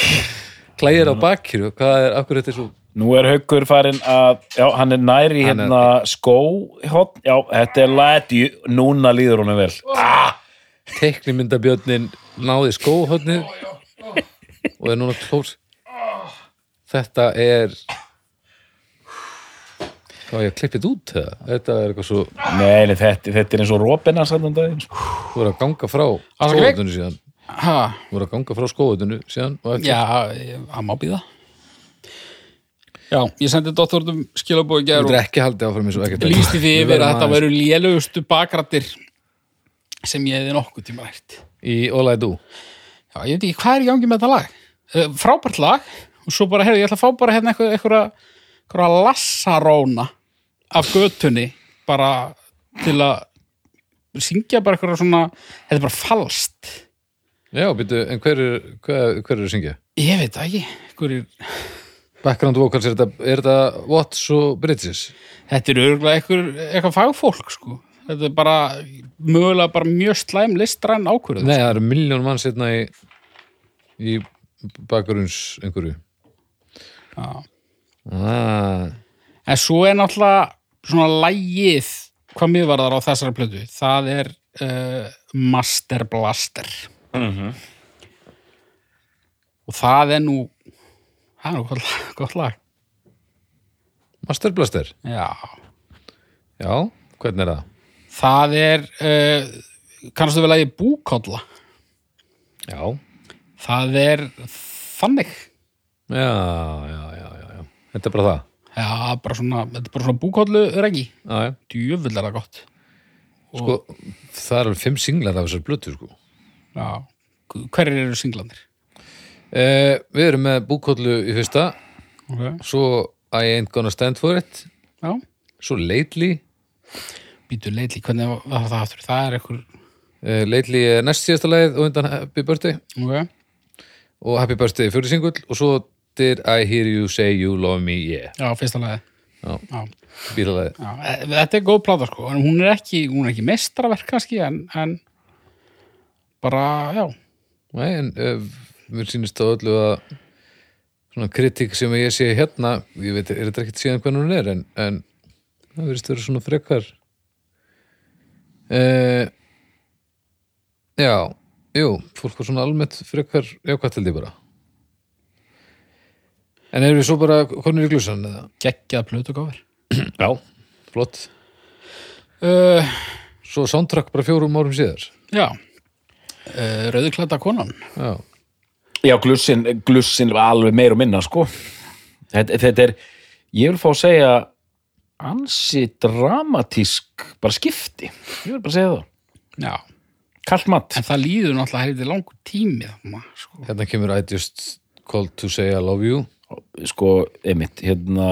klæðir á bakkir hvað er, akkur þetta er svo nú er Haukur farinn að já, hann er næri Hann er- hérna skó hot, já, þetta er læti núna líður honum vel teiknimyndabjörnin náði skóhotnið og er núna klós þetta er þá ég að klippa þetta út það. þetta er eitthvað svo nei, nei þetta, þetta er eins og rópina sannan daginn sko. þú voru að ganga frá Greg? skóhotninu síðan ha, þú voru að ganga frá skóhotninu síðan og ekki já, ég- hann má býða já, ég sendi doktornum skilabói þú gerð getur og ekki haldið áfram eins og ekkert væri. lýsti því Við yfir verðum að þetta aðeins- veru lélugustu bakrættir sem ég hefði nokkuð tíma rætt í All I Do Já, ég veit ekki, hvað er í gangi með þetta lag? Eh, Frábært lag, og svo bara, heyrðu, ég ætla að fá bara hérna eitthvað, eitthvað, eitthvað lassaróna af götunni, bara til að syngja bara eitthvað svona, þetta er bara falskt. Já, býtu, en hver er, hver, hver er að syngja? Ég veit það ekki, einhverjir, Background vocals, er þetta, er þetta Watts og Bridges? þetta er örgulega einhver, eitthvað fagfólk, sko. Þetta er bara, mögulega bara mjög slæm listræn ákvörðu. Nei, það eru miljón mann setna í, í bakgrunns einhverju Já. ah, En svo er náttúrulega svona lægið hvað mér varðar á þessari plötu. Það er uh, Master Blaster. Og það er nú, það er nú gott, lag- gott lag. Master Blaster, Já. já, hvernig er það? Það er, uh, kannast við lægið Búkolla. Já, Það er þannig. já, já, já, já, já. Þetta er bara það Já, bara svona, þetta er bara svona búkollu regi. Já, já, Djöfull er það gott. sko, það eru alveg fimm singlar af þessar blötu, sko Já. Hverjir eru singlandir? eh, Við erum með búkollu í fyrsta Okay. svo I ain't gonna stand for it Já. svo Lately Býtu leitli, hvernig var- var það aftur? Það er eitthvað... eh, Lately er næst síðasta lagið og undan Happy Birthday Okay. og Happy Birthday er fyrir singull og svo Did I hear you say you love me, yeah Já, fyrsta lagi Já. Já, Bílalagið já. E- Þetta er góð plata sko en hún er ekki, hún er ekki mestraverk kannski en, en bara, já Nei, en uh, mér sýnist á öllu að svona kritik sem ég sé hérna, ég veit, er þetta ekkert síðan hvernig hún er, en, en það verðist vera svona frekar uh, Já, jú, fólk var svona almennt frekar jákvætt held ég bara En erum við svo bara konur í glúsan eða? geggjað plötugáfur Já, flott uh, Svo soundtrack bara fjórum árum síðar Já uh, Rauðuklæta konan Já, Já, glussin, glussin var alveg meir og minna, sko. Þetta, þetta er, ég vil fá að segja, ansi dramatísk bara skipti. Ég vil bara segja það. Já, Kallt mat. en það líður náttúrulega heldur langur tími þarna, sko. hérna kemur I just called to say I love you Sko, einmitt, hérna,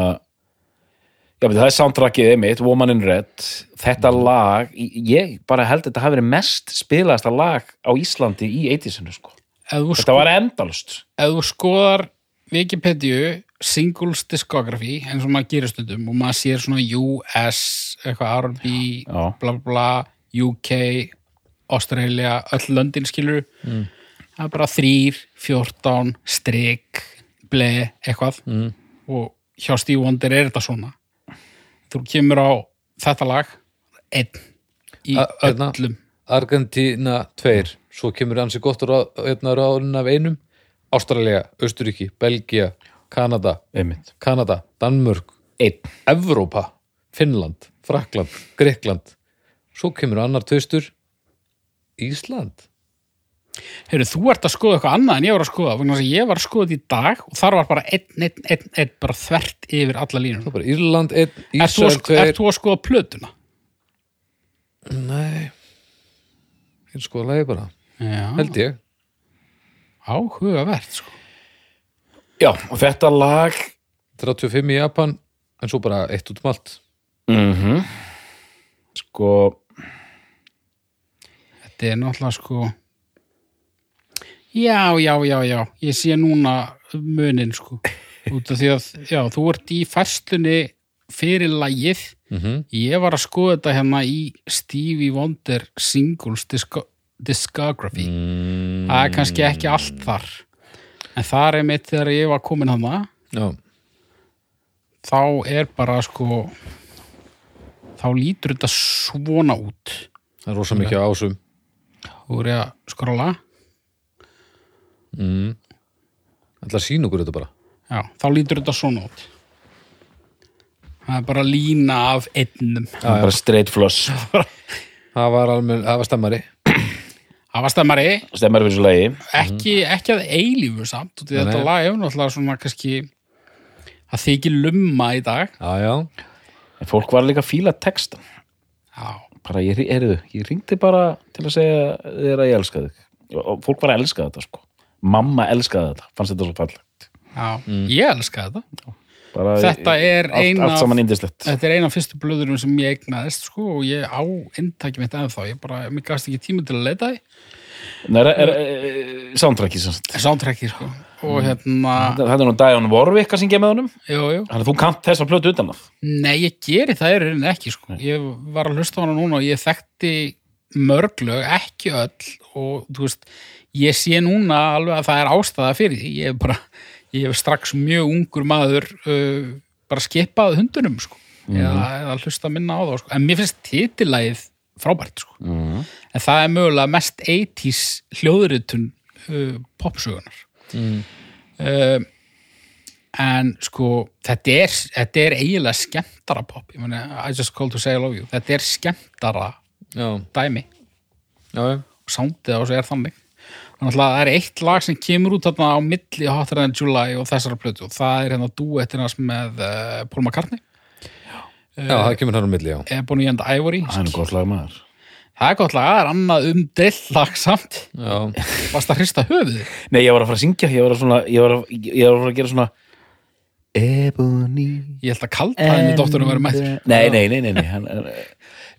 já, veit, það er soundtrackið einmitt, Woman in Red. Þetta lag, ég bara held að þetta hafi verið mest spilaðasta lag á Íslandi í 80-sinu, sko. Ef þú, Þetta sko, var endalust. ef þú skoðar Wikipedia singles discography eins og maður gerir stundum og maður sér svona US, eitthvað R&B Já. bla bla bla, UK Australia, öll löndin skilur það er bara þrýr 14, strik ble, eitthvað mm. og hjá Steve Wonder er þetta svona þú kemur á þetta lag einn í A- hérna. öllum Argentina 2 svo kemur ansi gott ráð, hérna ráðun af einum Ástralja, Austuríki, Belgia Kanada, Einmitt. Kanada Danmörk, Einn. Evrópa Finnland, Frakland, Grekland svo kemur annar tvistur Ísland Heyrðu, þú ert að skoða eitthvað annað en ég var að skoða vegna þess að ég var að skoða þetta í dag og þar var bara einn, einn, einn, einn bara þvert yfir alla Svo línum bara Írland 1, Er þú, að, Ísrael sk- 2 ert þú að skoða plötuna? Nei Ég sko að lagi bara, Já, held ég áhugavert sko. Já, og þetta lag 35 í Japan, en svo bara eitt út um allt mm sko Þetta er náttúrulega sko Já, já, já, já Ég sé núna munin sko út af því að, já, þú ert í færslunni fyrir lagið Mhm. Ég var að skoða þetta hérna í Stevie Wonder singles disco discography mm, Það er kannski ekki allt þar en þar er mitt þegar ég var komin hana Já, þá er bara sko þá lítur þetta svona út það er rosa mikið á ásum Þú er ég að skrolla Það er sín okkur þetta bara Já, þá lítur þetta svona út Það er bara lína af einnum bara straight flush Það var almenn, það var stemmari Það var stemmari, stemmar fyrir þessu lagi ekki, Mhm. ekki að eilífu samt og Nei, þetta nei. lag er náttúrulega svona kannski að þykir lumma í dag Já, já, en fólk var líka að fíla textan Já, bara ég, erðu, ég ringdi bara til að segja þér að ég elska þig og fólk var að elska þetta sko mamma elskaði þetta, fannst þetta svo fallegt Já, Mm. ég elska þetta. Bara, Þetta er allt, ein allt af- saman indislegt Þetta er eina af fyrstu blöðurum sem ég eignaðist sko og ég á inntækjum mitt ennþá. Ég bara, mér gafst ekki tíma til að leita því. Nei, er, er, er soundtracki sem sagt Sántrekki sko. Og hérna, Þetta þetta er nú Dion Warwick að syngja með honum jú, jú. Þannig að þú kant þessa plötu utan það Nei, ég geri það er raunin ekki sko. Ég var að hlusta á hana núna og ég þekkti mörglög, ekki öll og þú veist, ég sé núna alveg að það er ástæða fyrir því ég er bara, ég hef strax mjög ungur maður uh, bara skipað hundunum sko, eða, eða hlusta minna á þá sko, en mér finnst titillægið frábært sko, en það er mögulega mest 80s hljóðuritun uh, popsögunar mm. en sko þetta er, þetta er eiginlega skemmtara pop ég meni, I just called to say I love you þetta er skemmtara já, dæmi já, já. og soundið á þessu er þannig þannig að það er eitt lag sem kemur út þarna á milli Hotter than July og þessara plötu og það er hérna duettinast með uh, Paul McCartney, já, það kemur hann á milli, já Ebony and Ivory Það er nú gott lag maður það er gott lag, það er annað umdeill lag samt já, varst að hrista höfuðið Nei, ég var að fara að syngja, ég var að, svona, ég var að, ég var að, fara að gera svona Ebony ég held að kalda henni dótturum verið mættur já, Nei, nei, nei, nei, nei hann, er,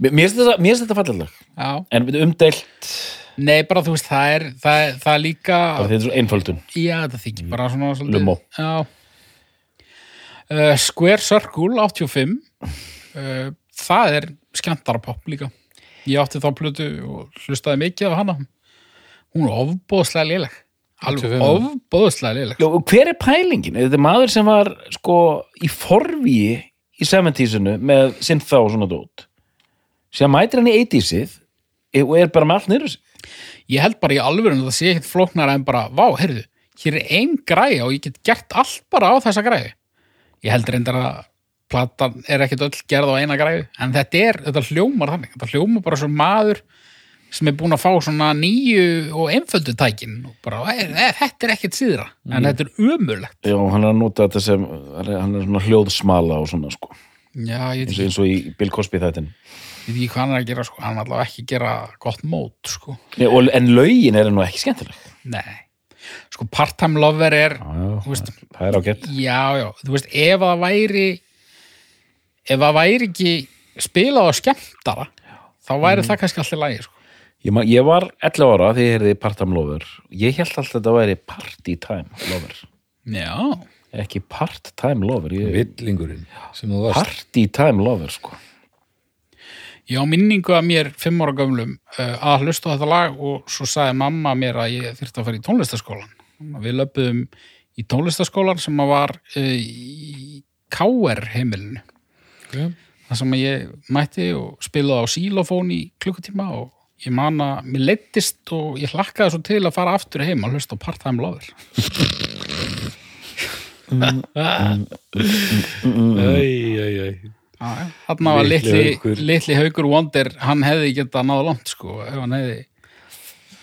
Mér mér finnst þetta, mér finnst þetta fallileg En við umdeilt, nei bara þú veist það er, það er, það er líka bara þetta er svo einföldun já þetta þykir bara svona svolítið- Lumó. já uh, Square Circle 85 uh, það er skemmtara pop líka ég átti þá plötu og hlustaði mikið á hana hún er ofbóðslega léleg alveg 85. ofbóðslega léleg Já, og hver er pælingin? Er Þetta er maður sem var sko í forvíi í 70-sinu með sinnþá og svona dót sem mætir hann í 80-sið og er bara með allt niður sig ég held bara í alvörun að það sé ekkert flóknara en bara, vá, heyrðu, hér er ein græja og ég get gert allt bara á þessa græju ég held reyndar að platan er ekkert öll gerð á eina græju en þetta er, þetta hljómar þannig þetta hljómar bara svo maður sem er búin að fá svona nýju og einföldu tækin og bara, "Æ, e, þetta er ekkert síðra en Mhm. þetta er umurlegt Já, hann er að nota þetta sem hann er svona hljóðsmala og svona sko já, ég veit eins ekki, og, eins og í Bill Cosby þættin ég veit ekki hvað hann er að gera sko. hann er allavega ekki að gera gott mót sko. Nei, og- En lögin er nú ekki skemmtileg nei, sko part-time lover er Já, Þú veist- það er ágætt Já, já, þú veist, ef að væri ef að væri ekki spilað á skemmtara þá væri það kannski alltaf lægi sko. ég, man- ég var 11 ára því ég heyrði part-time lover Ég held alltaf að þetta væri party-time lover Já, Ekki part-time lover ég... villingurinn sem þú varst Party-time lover sko ég á minningu að mér fimm ára gömlum uh, að hlusta á þetta lag og svo sagði mamma mér að ég þyrfti að fara í tónlistaskólan við löpum í tónlistaskólan sem að var uh, í KR heimilinu Ok. það sem að ég mætti og spilaði á sílofón í klukkutíma og ég man að mér leittist og ég hlakkaði svo til að fara aftur heim að hlusta á part-time lover Mm. Æ, Þarna var Litli litli, Haukur. litli haukur Wonder, hann hefði getað náða langt sko, ef hann hefði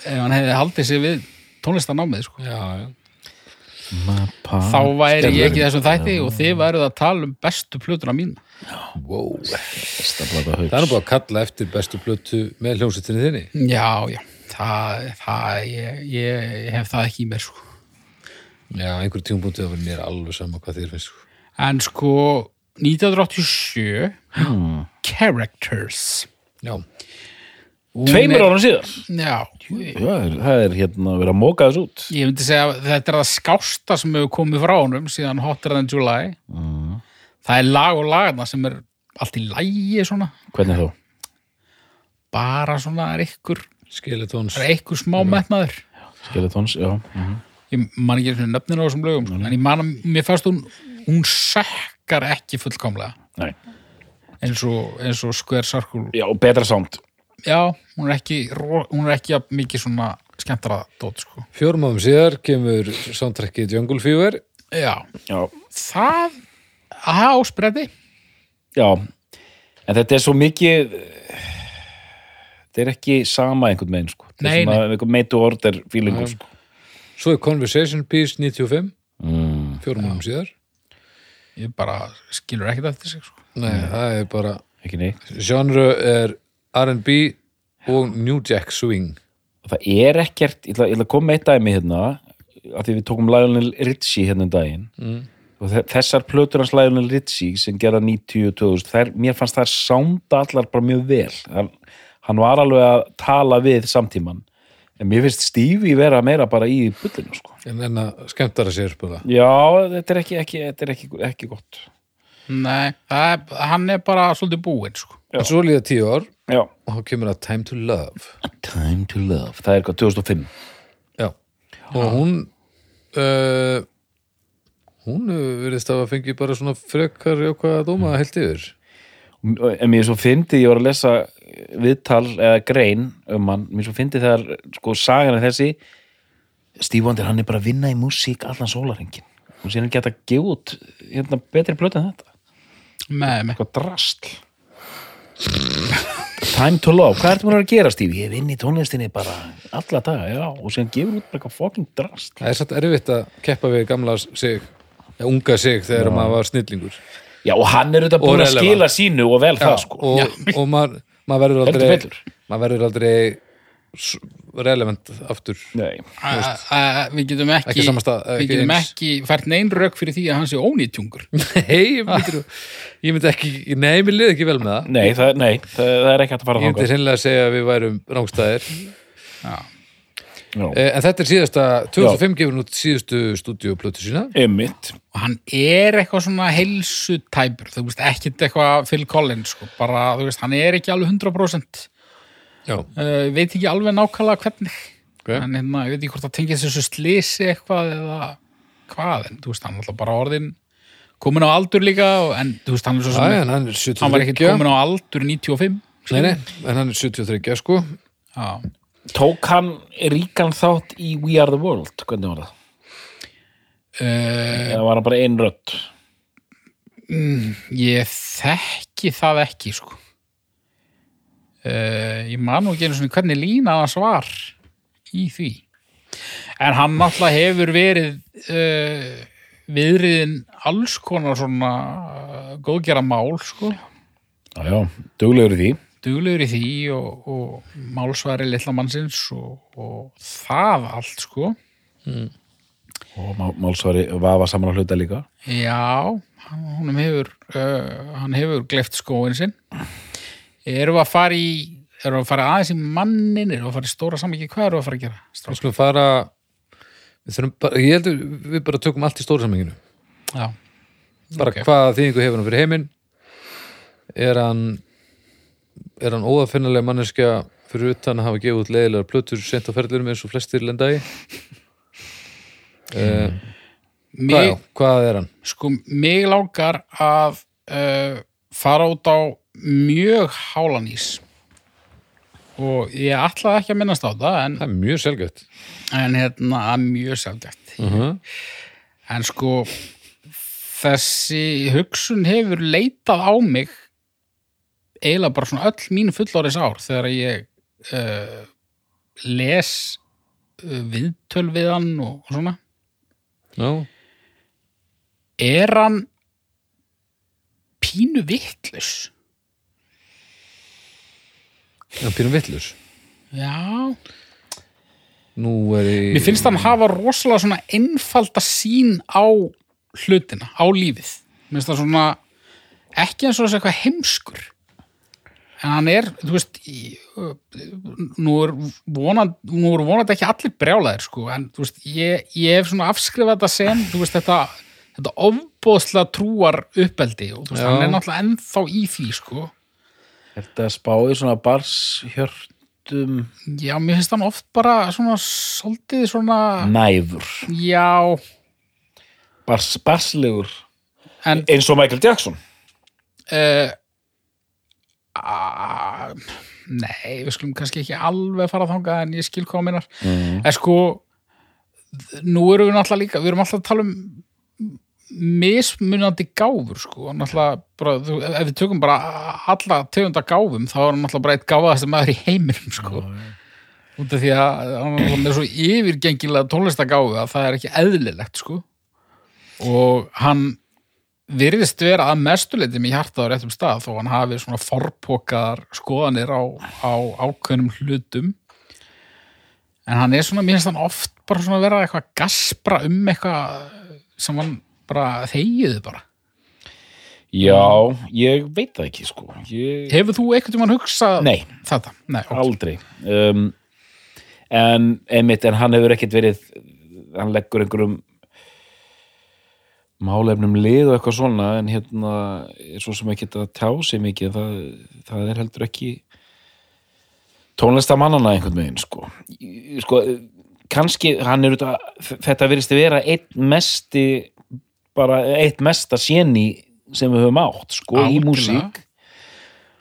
ef hann hefði haldið sig við tónlistanámið sko. já, já þá væri ég ekki í þessum þætti og þið væruð að tala um bestu plötuna mín wow. ekki það er nú bara að kalla eftir bestu plötu með hljómsettinni þinni Já, já, það, það ég, ég hef það ekki í mér sko. já, einhver tímpúntu það var mér alveg sama hvað þér finnst sko. en sko 1987 Hmm. Characters já, Hún Tveimur er- árum síðar Já, Já, það er hérna að vera að móka þessu út ég myndi segja að þetta er það skásta sem hefur komið frá honum síðan Hotter than July það er lag og lagna sem er allt í lægi svona Hvernig þá? bara svona er ykkur, skeletons er ykkur smá metnaður Skeletons, já mhm. ég man ekki einu sinni nöfnin á þessum lögum sko, en ég man að mér fannst hún hún sökkar ekki fullkomlega Nei. eins og, eins og Square Circle Já, og betra sound já, hún er ekki, ro- hún er ekki jafn mikið svona skemmtara dót sko. fjórum áfum síðar kemur soundtrackið Jungle Fever já, Já, það það áspreði já En þetta er svo mikið Þetta er ekki sama einhvern megin sko Þetta Nei, er svona einhvern meitu order feelingu sko svo er Conversation Piece 95 mm. fjórum áfum síðar ég bara skilur ekkert eftir sig sko. Nei, það er bara Ekki neitt genre er R&B og New Jack Swing það er ekkert, ég ætla, ég ætla að koma með eitt dæmi hérna, af því við tókum Lionel Richie hérna um daginn mm. og þe- þessar plötur hans Lionel Richie sem gera 90 og 2000, þær, mér fannst þær sánda allar bara mjög vel hann, hann var alveg að tala við samtíman, en mér finnst Stevie vera meira bara í bullinu sko. en enna skemmtara sér spila já, þetta er ekki, ekki, þetta er ekki, ekki gott Nei, það er, hann er bara svolítið búinn, sko. en svo líða tíu ár já. og þá kemur að Time to Love Time to Love, það er hvað, 2005 Já. og hún uh, hún verðist að fengi bara svona frekar jákvæða dóma heilt yfir en mér svo fyndi, ég var að lesa eh, viðtal eða grein um hann, mér svo fyndi þegar sko sagan er þessi Steve Wonder, hann er bara að vinna í músík allan sólarhengin og síðan geta að gefa út hérna, betri plötu en þetta, Nei, nei. eitthvað drastl Time to Love hvað ertu mér að gera Steve? Ég vinn í tónlistinni bara alla daga, já, og síðan gefur út bara eitthvað fucking drastl það er satt erfitt að keppa við gamla sig eða unga sig þegar maður var snillingur já, og hann er auðvitað búin að relevant. skila sínu og vel það sko og, og maður mað verður Heldur aldrei betur. maður verður aldrei s- relevant aftur Nei. A, a, a, við getum ekki, Ekki sama stað, ekki við getum eins. ekki fært neinn rauk fyrir því að hann sé ónýtjungur. hei, ég myndi, ég myndi ekki nei, mér liði ekki vel með það Nei, það, nei, það, það er ekki hægt að fara ég myndi hreinlega að segja að við værum rángstæðir þangað Eh, En þetta er síðasta, 2005 gefur hún út síðustu stúdíuplötu sína Emmitt Og hann er eitthvað svona heilsutæpur, þú veist, ekkit eitthvað Phil Collins, sko. Bara, þú veist, hann er ekki alveg 100%. Já, Uh, veit ekki alveg nákvæmlega hvernig. ok En hérna, ég veit ekki hvort það tengið þessu slisi eitthvað eða hvað, en þú veist, hann er alltaf bara orðin komin á aldur líka, og- en þú veist, hann er Æ, svo sem... en hann er hann var ekkert 73 komin á aldur 95 Nei, nei, en hann er 73 sko Já. Tók hann ríkan þátt í We Are The World, hvernig var það? Uh, Eða var hann bara einn rödd? ég þekki það ekki sko. uh, ég man nú ekki einu sinni hvernig lína hans var í því en hann náttúrulega hefur verið uh, viðriðin alls konar svona uh, góðgera mál sko. Já, já, duglegur í því duglegur í því og, og málsværi litla mannsins og, og það allt sko Og má- málsvari vafa saman á hluta líka Já, hann hefur, uh, hann hefur gleft skóin sinn. Erum við að fara í, erum við að fara aðeins í mannin, erum við að fara í stóra samvikið, hvað erum við að fara að gera? Við Strákar? skulum fara við þurfum bara, Ég heldur við bara tökum allt í stóra samhenginu Já, Bara Ok. okay. hvaða þýðingu hefur hann fyrir heiminn Er hann er hann óafinnilega manneskja fyrir utan að hafa gefið út leiðilegar plötur sent á ferðlurum eins og flestir lenda í mig, hvað, já, hvað er hann? sko, mig langar að uh, fara út á mjög hálanís og ég ætlaði ekki að minnast á það en, Það er mjög selgjögt en hérna, það er mjög sjálfgætt. uh En sko, þessi hugsun hefur leitað á mig eiginlega bara svona öll mín fullorðis ár þegar ég uh, les uh, viðtöl við hann og, og svona. Já, Er hann pínu vitlaus? hann pýrum villur Já. Nú er ég Mér finnst hann hafa rosalega svona einfalda sín á hlutina, á lífið. Mér finnst það svona ekki eins og þessi eitthvað heimskur. En hann er, þú veist, í, ö, nú er vonandi, nú er vonandi ekki allir brjálaðir, sko, en þú veist, ég, ég hef svona afskrifað þetta sem, þú veist, þetta, þetta ofbóðslega trúar uppeldi og þú veist, Já. hann er náttúrulega ennþá í því, sko. Er þetta spáði svona barshjörtum Já, mér finnst hann oft bara svona, svolítið svona, næfur já, Bars, Barslegur en Eins og Michael Jackson uh, a, Ah, Nei, við skulum kannski ekki alveg fara þangað en ég skil hvað minnar mm. en sko nú erum við náttúrulega líka, við erum alltaf að tala um mismunandi gáfur sko, náttúrulega bara, þú, ef við tökum bara alla tegunda gáfum þá er hann náttúrulega bara eitt gáfaðasti maður í heiminum sko út af því að hann er náttúrulega með svo yfirgengilega tónlistagáfu að það er ekki eðlilegt sko og hann virðist vera að mestuleiti með hjartað á réttum stað þó hann hafi svona forpokar skoðanir á, á ákveðnum hlutum en hann er svona, mér finnst hann oft bara svona vera eitthvað að gaspra um eitthvað sem hann bara þegiðu bara Já, ég veit það ekki sko ég, Hefur þú einhvern tímann hugsað Nei. þetta? Nei, ok. Aldrei um, En einmitt, en hann hefur ekkert verið hann leggur einhverjum málefnum lið og eitthvað svona en hérna, er svo sem ekkert að tjá sig mikið, það, það er heldur ekki tónlistamannana einhvern veginn sko, Í- sko kannski hann er út að þetta virðist að vera eitt mesti bara eitt mesta séni sem við höfum átt sko í Algjörlega. músík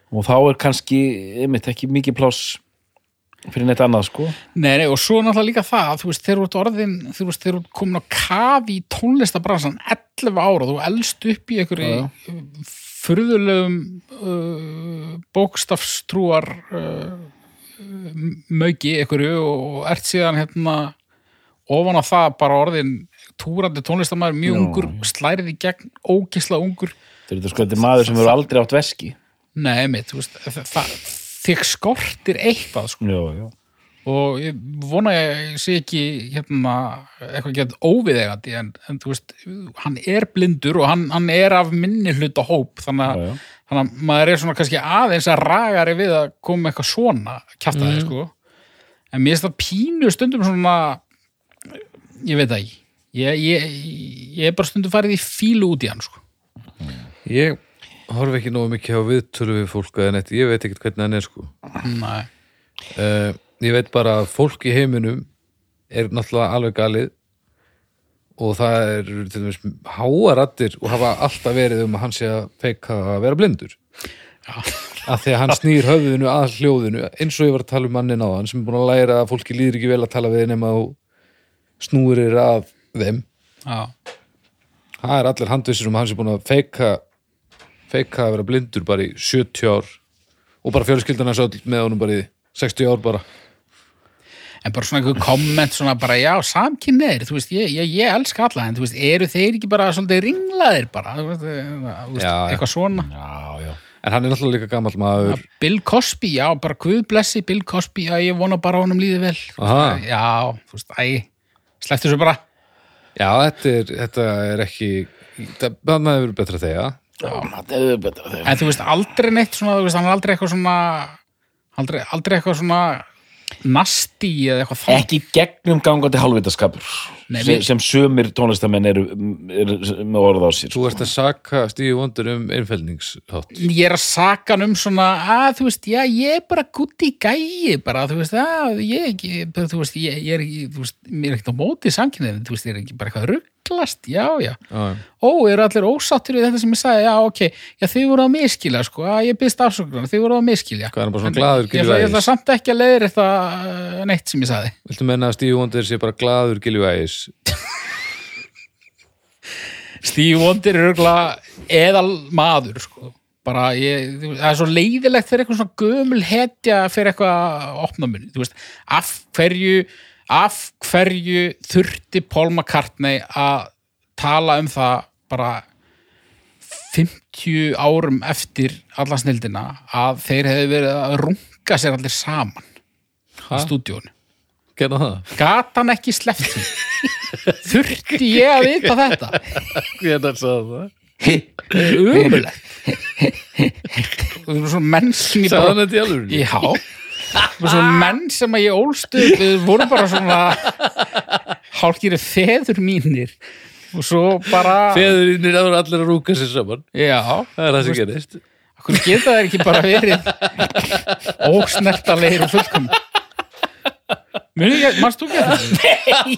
og þá er kannski einmitt ekki mikið pláss fyrir neitt annað sko Nei, nei, og svo náttúrulega líka það, þú veist, þeir eru orðin, þú veist, þeir eru komin á kafi í tónlistabransan 11 ára, þú elst upp í einhverju Já, furðulegum uh, bókstafstrúar uh, mögi einhverju og, og ert síðan hérna ofan á það bara orðin túrandi tónlistamæður mjög Já, ungur, slærið í gegn, ógisla ungur Þetta er þetta sko, þetta er maður sem hefur aldrei átt veski Nei, mitt, þú veist, það, það, þig skortir eitthvað, sko Já, já og ég vona ég sé ekki hérna, eitthvað gett óviðegandi en, en þú veist, hann er blindur og hann, hann er af minni hluta hóp þannig Já, já. að, þannig að maður er svona kannski aðeins að ragari við að koma með eitthvað svona kjaftaði Mhm. sko en mér finnst það pínu stundum svona ég veit það ekki ég, ég, ég er bara stundum farið í fílu út í hann sko Ég horf ekki nógu mikið á viðtölu við fólk eða neitt, ég veit ekkert hvernig hann er sko. Nei. Uh, ég veit bara að fólk í heiminum er náttúrulega alveg galið og það er til dæmis háarattir og hafa alltaf verið um að hann sé að feika að vera blindur. Af því að hann snýr höfðinu að hljóðinu eins og ég var að tala um mannin á hann sem er búin að læra að fólki líður ekki vel að tala við nema þú snúrir að þeim. Já. Það er allir handvissir um að hann sem búin að feika feika að vera blindur bara í 70 ár og bara fjölskyldan hans öll með honum bara í 60 ár bara en bara svona einhver komment svona bara já, samkynneir, þú veist, ég, ég, ég elska alla en þú veist, eru þeir ekki bara svolítið ringlaðir bara, þú veist, eh, þú veist Já, já. eitthvað svona Já, já en hann er náttúrulega líka gammal maður Bill Cosby, já, bara guð blessi Bill Cosby, já, ég vona bara honum líði vel Þú veist, Aha. já, þú veist, æ slepptu þessu bara, Já, þetta er, þetta er ekki það maður verið betra þegar Þetta er betra þegar en þú veist, aldrei neitt svona, þú veist, hann er aldrei eitthvað svona aldrei, aldrei eitthvað svona nasti eða eitthvað það ekki gegnum gangandi hálfvitaskapur Nei, sem, mér- sem sömur tónlistamenn eru, eru með orð á sér sko. Þú ert að saka Stífi Vondur um einfældningshátt ég er að saka hann um svona að þú veist, já, ég er bara gutt í gæi bara, þú veist, að ég ég- bara, þú veist, ég, ég er ekki, þú veist mér er ekkert á móti samkynniðin, þú veist, ég er ekki bara eitthvað rugglast, já, já ó, eru allir ósáttir við þetta sem ég sagði já, ok, já, þið voru að miskilja sko, að ég byrst afsökunar, þið voru að miskilja Hvað er hann bara svona glaður, ég, Gylfi ætla- ég ætla Ægis? samt ekki að leiðir þetta neitt sem ég sagði Viltu menna að Stífi Vondur sé bara glaður giljuægis Steve Wonder er örgulega eðal maður sko. bara ég, þú- það er svo leiðilegt þegar eitthvað svona gömul hetja fyrir eitthvað að opna munni, þú veist af hverju, af hverju þurfti Paul McCartney að tala um það bara 50 árum eftir alla snildina að þeir hefði verið að runga sér allir saman í stúdíónu Gerða það? gat hann ekki sleppt því þurfti ég að vita þetta Hvernig sagði það? umulegt og það er svona menn sem ég Sagði hann bara þetta í alveg? já og svona menn sem að ég ólst upp við vorum bara svona hálkýri feður mínir og svo bara Feðurinnir það voru allir að rúka sér saman já, Það er það sem gerist hvernig geta það ekki bara verið ósnertalegir og fullkom mannst þú geta það?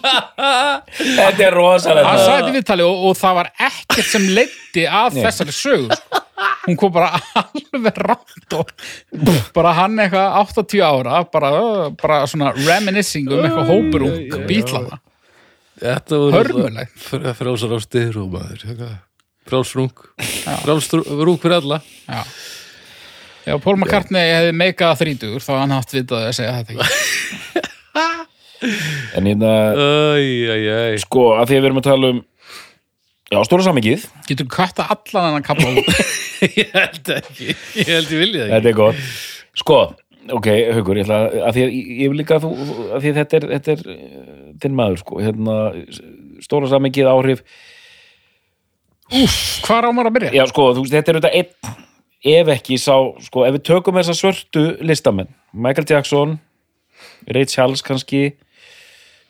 Þetta er rosalega hann sagði við tali og, og það var ekkert sem leiddi að þessari sögur sko. hún kom bara alveg rátt og bara hann eitthvað 80 ára bara, bara svona reminiscing um eitthvað hópurung bítlana Þetta voru Hörmulegt. alltaf frjálsar á styrum hérna. Frjálsrung Frjálsrung fyrir alla já Já, Paul McCartney hefði meikað þrítugur þá hefði hann haft vitað að segja þetta ekki. En hérna, Æ, æ, æ sko, að því að við erum að tala um Já, stóra samingið, Getur kvætta allan hann að kappa út. Ég held ekki Ég held ég vilja það þetta er gott Sko, ok, Haukur, ég ætla að, að því að ég vil líka að þú, að því að þetta er, þetta er eh, þinn maður, sko, hérna stóra samengið áhrif Hvar á maður að byrja? já, sko, þú veist, þetta er auðvitað einn ef ekki sá, sko, ef við tökum þessa svörtu listamenn, Michael Jackson Ray Charles kannski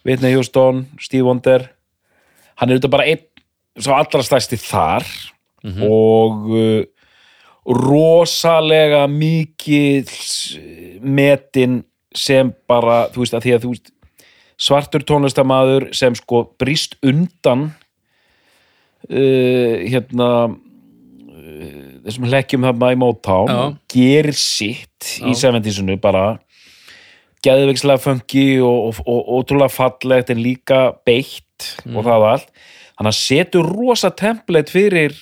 Whitney Houston Steve Wonder hann er auðvitað bara einn, sá allra stærsti þar og uh, rosalega mikið metin sem bara, þú veist, að því að þú veist svartur tónlistamaður sem sko brist undan uh, hérna uh, þessum hlekkjum þarna í Motown Já. gerir sitt í 70-sunu bara geðveikslega funky og, og, og ótrúlega fallegt en líka beitt og það allt þannig að setur rosa template fyrir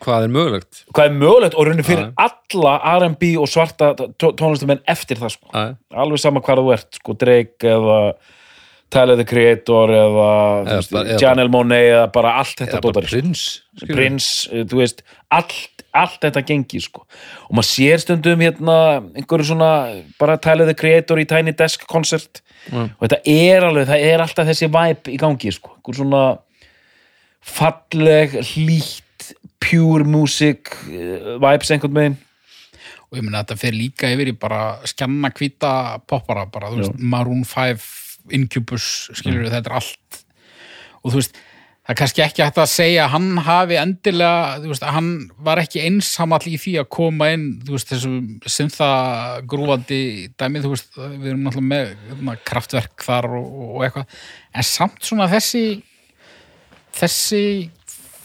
Hvað er mögulegt? hvað er mögulegt og raunir fyrir alla R&B og svarta tó- tónlistamenn eftir það sko. Að, alveg sama hvað þú ert, sko, Drake eða Tyler the Creator eða, Eða eða, veist, bara- eða Janelle Monáe eða bara allt þetta eða sko. bara dótar prins skilur. prins, eh, þú veist allt, allt þetta gengi sko og maður sér stundum hérna einhverju svona, bara Tyler the Creator í Tiny Desk koncert og þetta er alveg, það er alltaf þessi vibe í gangi sko, einhver svona falleg, hlýtt pure music eh, vibes einhvern veginn og ég meina þetta fer líka yfir í bara skjanna hvita poppara bara, þú veist, Maroon 5 Incubus, skilur við, þetta er allt og þú veist, það er kannski ekki hægt að segja að hann hafi endilega þú veist, að hann var ekki einsamall í því að koma inn, þú veist, þessu syntha grúandi dæmi þú veist, við erum náttúrulega með hérna, kraftverk þar og, og eitthvað en samt svona þessi þessi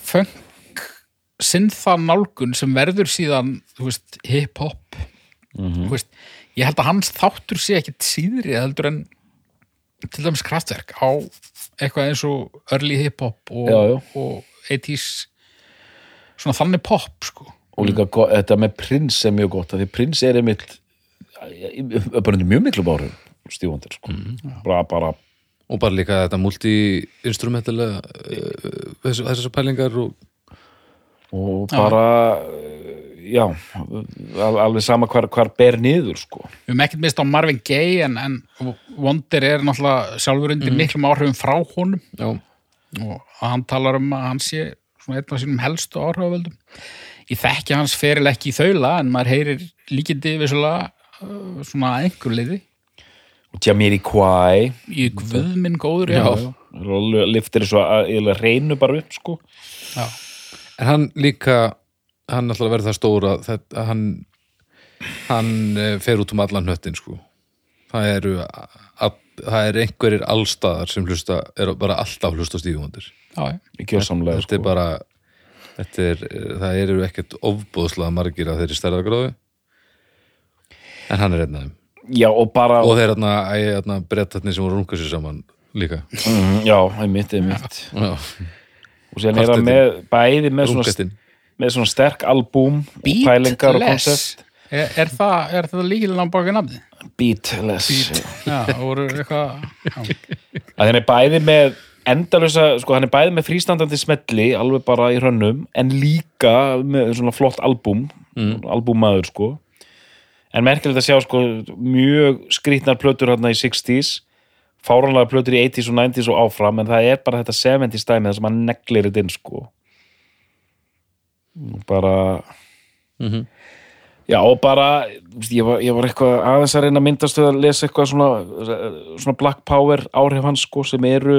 funk syntha nálgun sem verður síðan þú veist, hip-hop Mhm. þú veist, ég held að hans þáttur sé ekkit síðri heldur en til dæmis kraftverk á eitthvað eins og early hip-hop og, Já, já. og 80s svona þannig pop sko. og líka go- þetta með prins er mjög gott af því prins er einmitt eh, bara undir mjög miklu bárum stífandir sko, bara, bara og bara líka þetta multi-instrumentalega uh, þessu- þessar pælingar og og bara eh, já, al- alveg sama hvar, hvar ber niður sko við höfum ekkert mist á Marvin Gaye en, en Wonder er náttúrulega sjálfur undir Mhm. miklum áhrifum frá honum já, og að hann talar um að hann sé svona einn af sínum helstu áhrifavöldum ég þekki hans feril ekki í þaula en maður heyrir líkindi vissulega uh, svona að einhver leiði og Jamiroquai í guð minn góður já, Rólu- lyftir svo að eiginlega reynu bara upp sko já. en hann líka hann ætlar að verða það stóra þetta, að hann hann eh, fer út um allan hnöttin sko það eru að, það eru einhverjir allstaðar sem hlusta eru bara alltaf hlusta stífumundir Já, já. í kjörsamlega þetta sko. er bara þetta er, eh, það eru ekkert ofbóðslega margir af þeirri stærðargráðu en hann er einn af þeim já og bara, og þeir hérna, hérna brettarnir sem voru runga sér saman líka mm, já, einmitt, einmitt Já, og sér er hann með, bæði með svona, rungatinn með svona sterk albúm og pælingar og koncept er, er það, er það líkilega á baki nafni? beatless Beat. já, og voru eitthvað já. að hann er bæði með endalösa, sko hann er bæði með frístandandi smetli alveg bara í hrönnum en líka með svona flott albúm mm. albúmaður sko en merkilegt að sjá sko mjög skrýtnar plötur hann í 60s fáranlega plötur í 80s og 90s og áfram en það er bara þetta 70s dæmi þar sem hann neglir þetta inn sko Og bara Já, og bara, þú veist, ég var, ég var eitthvað aðeins að reyna að myndast við að lesa eitthvað svona, svona Black Power áhrif hans sko sem eru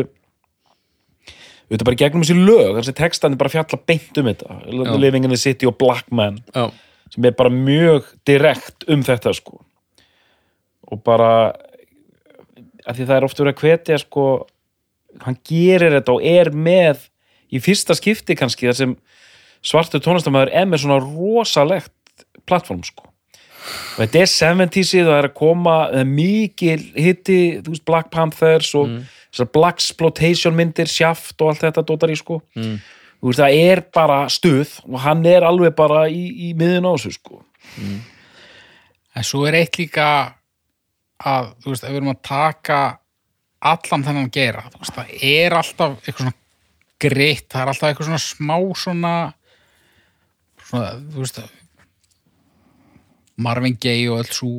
auðvitað bara í gegnum þessi lög, þessi textan er bara að fjalla beint um þetta, Já. Living in the City og Black Man, Já, sem er bara mjög direkt um þetta sko og bara að því það er oft verið að hvetja sko, hann gerir þetta og er með í fyrsta skipti kannski þar sem svartu tónlistamæður er með svona rosalegt plattform sko og þetta er 70-sið og það er að koma það er mikil hitti, þú veist Black Panthers og þessar Black Exploitation myndir, Shaft og allt þetta dótar í sko mm. þú veist það er bara stuð og hann er alveg bara í, í miðun á þessu sko en svo er eitt líka að, þú veist, ef við erum að taka allan þennan geira þú veist, það er alltaf eitthvað svona greitt, það er alltaf eitthvað svona smá svona svona, þú veist Marvin Gaye og alls svo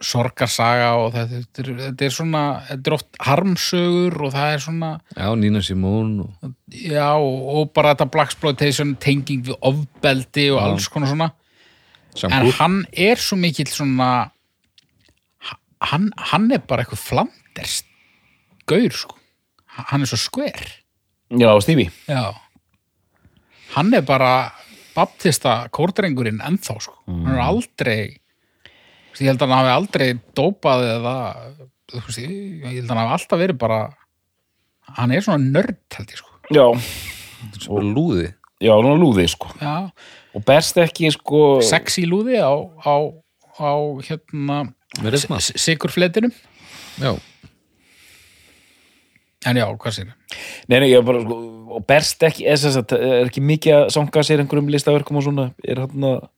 sorgarsaga og það, þetta, er, þetta er svona þetta er oft harmsögur og það er svona Já, Nina Simone og... já og, og bara þetta blaxploitation tenging við ofbeldi og alls konar svona en Samkúr hann er svo mikill svona hann, hann er bara eitthvað flanders gaur sko hann er svo skver Já, Stífi já hann er bara baptista kórdrengurinn ennþá sko hann er aldrei þú veist, ég held að hann hafi aldrei dópað eða þú veist, ég held að hann hafi alltaf verið bara hann er svona nörd held ég sko Já, sem bara lúði já, hann er lúði sko já, og berst ekki sko sexy lúði á, á, á hérna með resma sigurfletinum Já, en en já, hvað sér Nei, nei, ég er bara sko, og berst ekki er, sem sagt, er ekki mikið að sanga sér einhverjum listaverkum og svona er hann að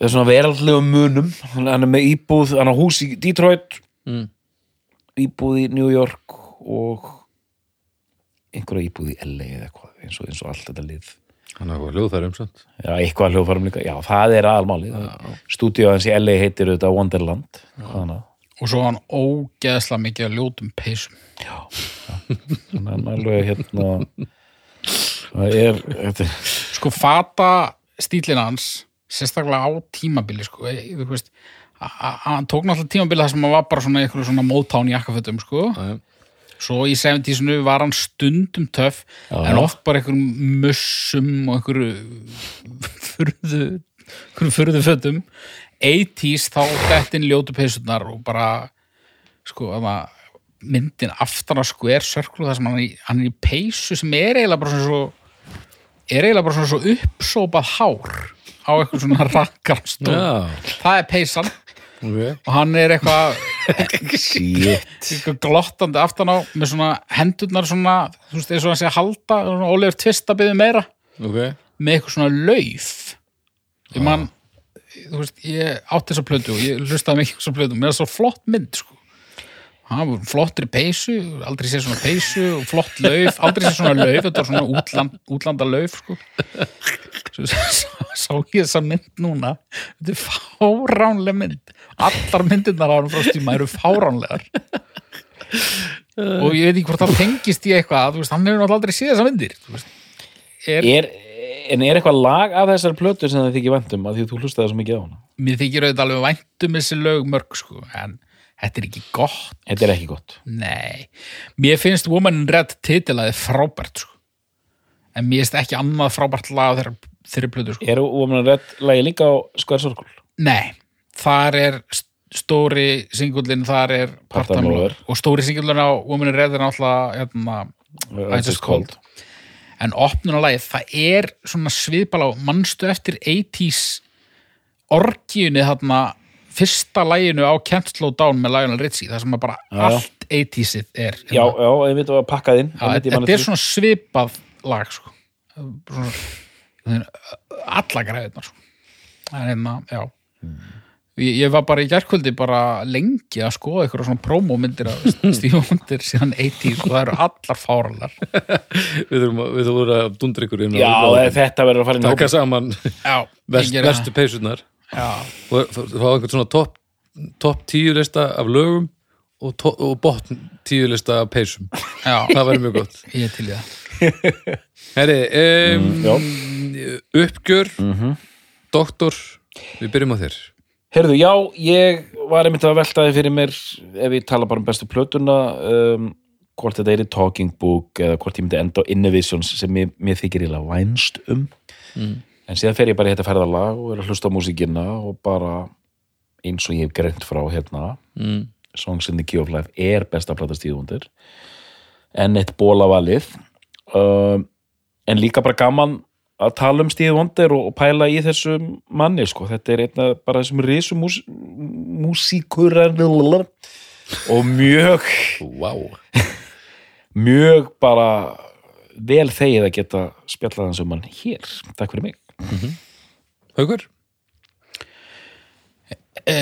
er svona veraldlega munum hann hann er með íbúð, hann á hús í Detroit Mm. íbúð í New York og einhverja íbúð í LA eða eitthvað eins og, eins og allt þetta lið hann hafa ljóð þar umsamt Já, eitthvað hljóðfærum líka, já, það er aðalmáli stúdíu hans í LA heitir auðvitað Wonderland hann að og svo var hann ógeðslega mikið að um ljótum peysum hann er alveg hérna það er, þetta er sko fata stílinn hans sérstaklega á tímabili sko, eh, þú veist a- a- hann tók náttúrulega tímabili þar sem hann var bara svona eitthvað svona mótán í jakkafötum sko Já, já. svo í 70-snu var hann stundum töff en oft bara einhverjum mussum og einhverju furðu einhverjum furðu fötum 80s þá dettin ljótu peysunar og bara sko að það myndin aftan á square circle þar sem hann er, í, hann er í peysu sem er eiginlega bara svona svo er eiginlega bara svona svo uppsópað hár á eitthvað svona rakkarstóð Já. það er peysan Okay. og hann er eitthvað shit eitthvað glottandi aftan á með svona hendurnar svona, þú veist, eins og hann sé að halda svona Ólefur Tvista byggði um meira Okay. með eitthvað svona lauf ég man, þú veist, ég átti þessa plötu og ég hlustaði mikið á þessa plötu, mér er svo flott mynd, sko hann var flottri peysu, aldrei sé svona peysu og flott lauf, aldrei sé svona lauf þetta var svona útland, útlanda lauf sko. svo sá, sá ég þessa mynd núna þetta er fáránleg mynd allar myndirnar á hann frá stíma eru fáránlegar og ég veit ekki hvort það tengist í eitthvað þú veist, hann hefur náttúrulega aldrei séð þessa myndir þú veist. er, er, en er eitthvað lag af þessar plötu sem það þykir væntum að því að þú hlustaði svo mikið á hana mér þykir auðvitað alveg vænt um þessi lög mörg sko, en þetta er ekki gott þetta er ekki gott nei, mér finnst Woman in Red titilaði frábært sko. en mér finnst ekki annað frábært lag á þeirra, þeirra plötu sko. er Woman in Red lagi líka á Square Circle nei, þar er st- stóri singullin, þar er Part Time Part-Time Lover. Lover. og stóri singullin á Woman in Red er náttúrulega hérna, Uh, I Just Called en opnunarlagið, það er svona sviðbala og mannstu eftir 80s orgiunni þarna fyrsta læginu á Can't Slow Down með Lionel Richie, það sem að bara allt 80sið er já, Hérna. já, ég veit að pakka þinn Já, þetta er svona svipað lag sko. svona, alla græðina sko. en hérna, já Hmm. Ég, ég var bara í gærkvöldi bara lengi að skoða eitthvað svona prómómyndir af stífumyndir síðan 80s og það eru allar fáralar Við þurfum að, við þurfum að dundra ykkur inn á- já, eða þetta verður að fara inn í taka hópinn. saman Já, best, ég geri bestu peysunar það. Já, og f- fá einhvern svona topp top tíu lista af lögum og, to- og botn tíu lista af peysum já, það væri mjög gott ég er til í það Herri, um, já. uppgjör doktor, við byrjum á þér Heyrðu, já, ég var einmitt að veltaði fyrir mér ef ég tala bara um bestu plötuna um, hvort þetta er í Talking Book eða hvort ég myndi enda á Innovations sem mér, mér þykir eiginlega vænst um en síðan fer ég bara í þetta ferðalag og er að hlusta á músíkina og bara eins og ég hef greint frá hérna mm. Songs in the Key of Life er besta plata stíðundir en eitt bólavalið um, en líka bara gaman að tala um stíðundir og, og pæla í þessu manni sko. þetta er einna bara þessum risum mús, músíkurar og mjög wow. mjög bara vel þegið að geta spjallað hans um hann hér, takk fyrir mig Haukur? e,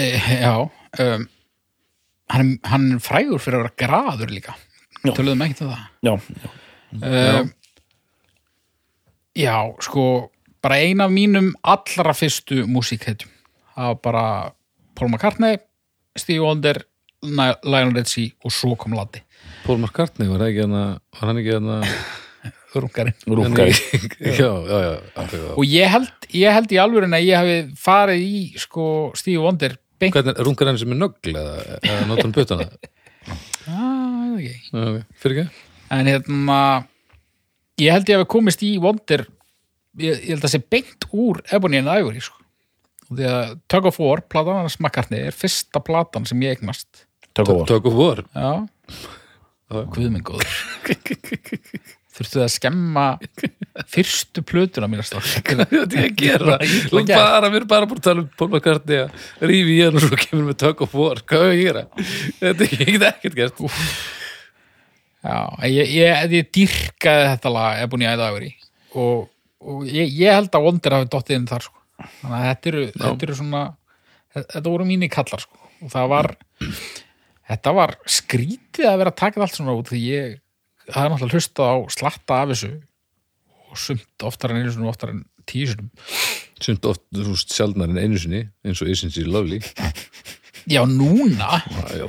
Já um, hann, hann er frægur fyrir að vera graður líka Já. Töluðum ekki til það já, um, Já, sko bara ein af mínum allra fyrstu músíkhetjum það var bara Paul McCartney, Steve Wonder Ni- Lionel Richie og svo kom Latti Paul McCartney var, það ekki hana, var hann ekki hana Rungarinn Rúkaði. já, já, já, já, já. og ég held, ég held í alvörin að ég hafi farið í sko Steve Wonder beint Hvernig, rungar hann sem er nögl eða, eða notar hann puttana ah, okay. Já, ok, fyrir ekki en hérna ég held ég hafi komist í Wonder ég, ég held að sé beint úr Ebony and Ivory sko Og því að Tug of War, platan hans McCartney er fyrsta platan sem ég eignast Tök og vor. Tug of War já, guðminn góður þurftu að skemma fyrstu plötuna mína strákar. Hvað er ég að gera? Þú að gera. bara, við erum bara búin að tala um Paul McCartney að rífi í hann og svo kemur með Tug of War Hvað er ég að gera? Þetta er ekki ekkert gert já, en ég, ég, ég dýrkaði þetta lag Ebony Æðaveri og, og ég, ég held að Wonder hafi dottið inn þar sko. þannig að þetta eru, þetta eru svona þetta voru mínir kallar sko. og það var þetta var skrítið að vera að taka það allt svona út því ég það er náttúrulega hlustað á slatta af þessu og sumt oftar en einu sinni og oftar en tíu sinum Sumt oft, þú veist, sjaldnar en einu sinni eins og Isn't She Lovely já núna Já, já.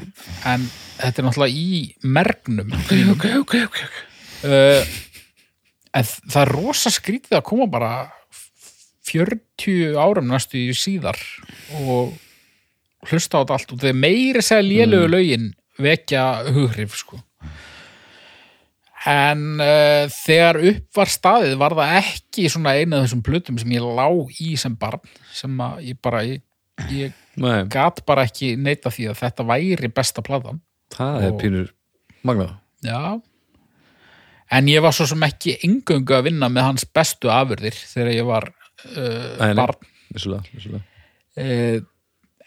en þetta er náttúrulega í mergnum Ok, ok, ok uh, en það er rosa skrítið að koma bara f- 40 árum næstu í síðar og hlusta á þetta allt og þegar meiri segja lélögu lögin vekja hughrif sko en uh, þegar upp var staðið var það ekki svona eina af þessum plötum sem ég lá í sem barn sem að ég bara ég, ég Nei, gat bara ekki neita því að þetta væri besta platan það er pínur Magna Já En ég var svo sem ekki engöngu að vinna með hans bestu afurðir þegar ég var uh, Nei, nei. barn Vissulega, vissulega uh,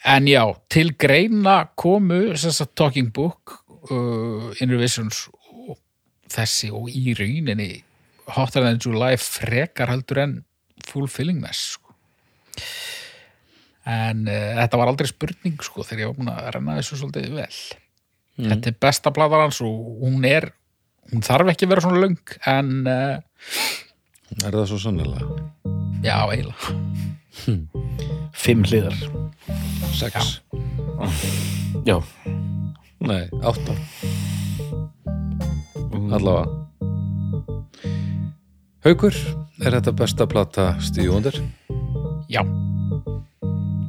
En já, til greina komu sem sagt, Talking Book uh, Inner Visions og þessi og í rauninni Hotter Than July frekar heldur en Fulfilling Mess sko. En uh, þetta var aldrei spurning sko, þegar ég var búin að renna þessu svolítið vel Mm. Þetta er besta bladar hans og hún er hún þarf ekki að vera svona löng en uh, Er það svo sannlega? já, eiginlega Hm. Fimm hliðar. Sex? Já. Nei, átta Allavega Haukur, er þetta besta plata Stevie Wonder? Já,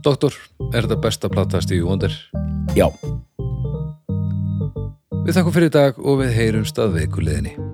Doktor, er þetta besta plata Stevie Wonder? Já. Við þakkum fyrir í dag og við heyrumst að veikuleginni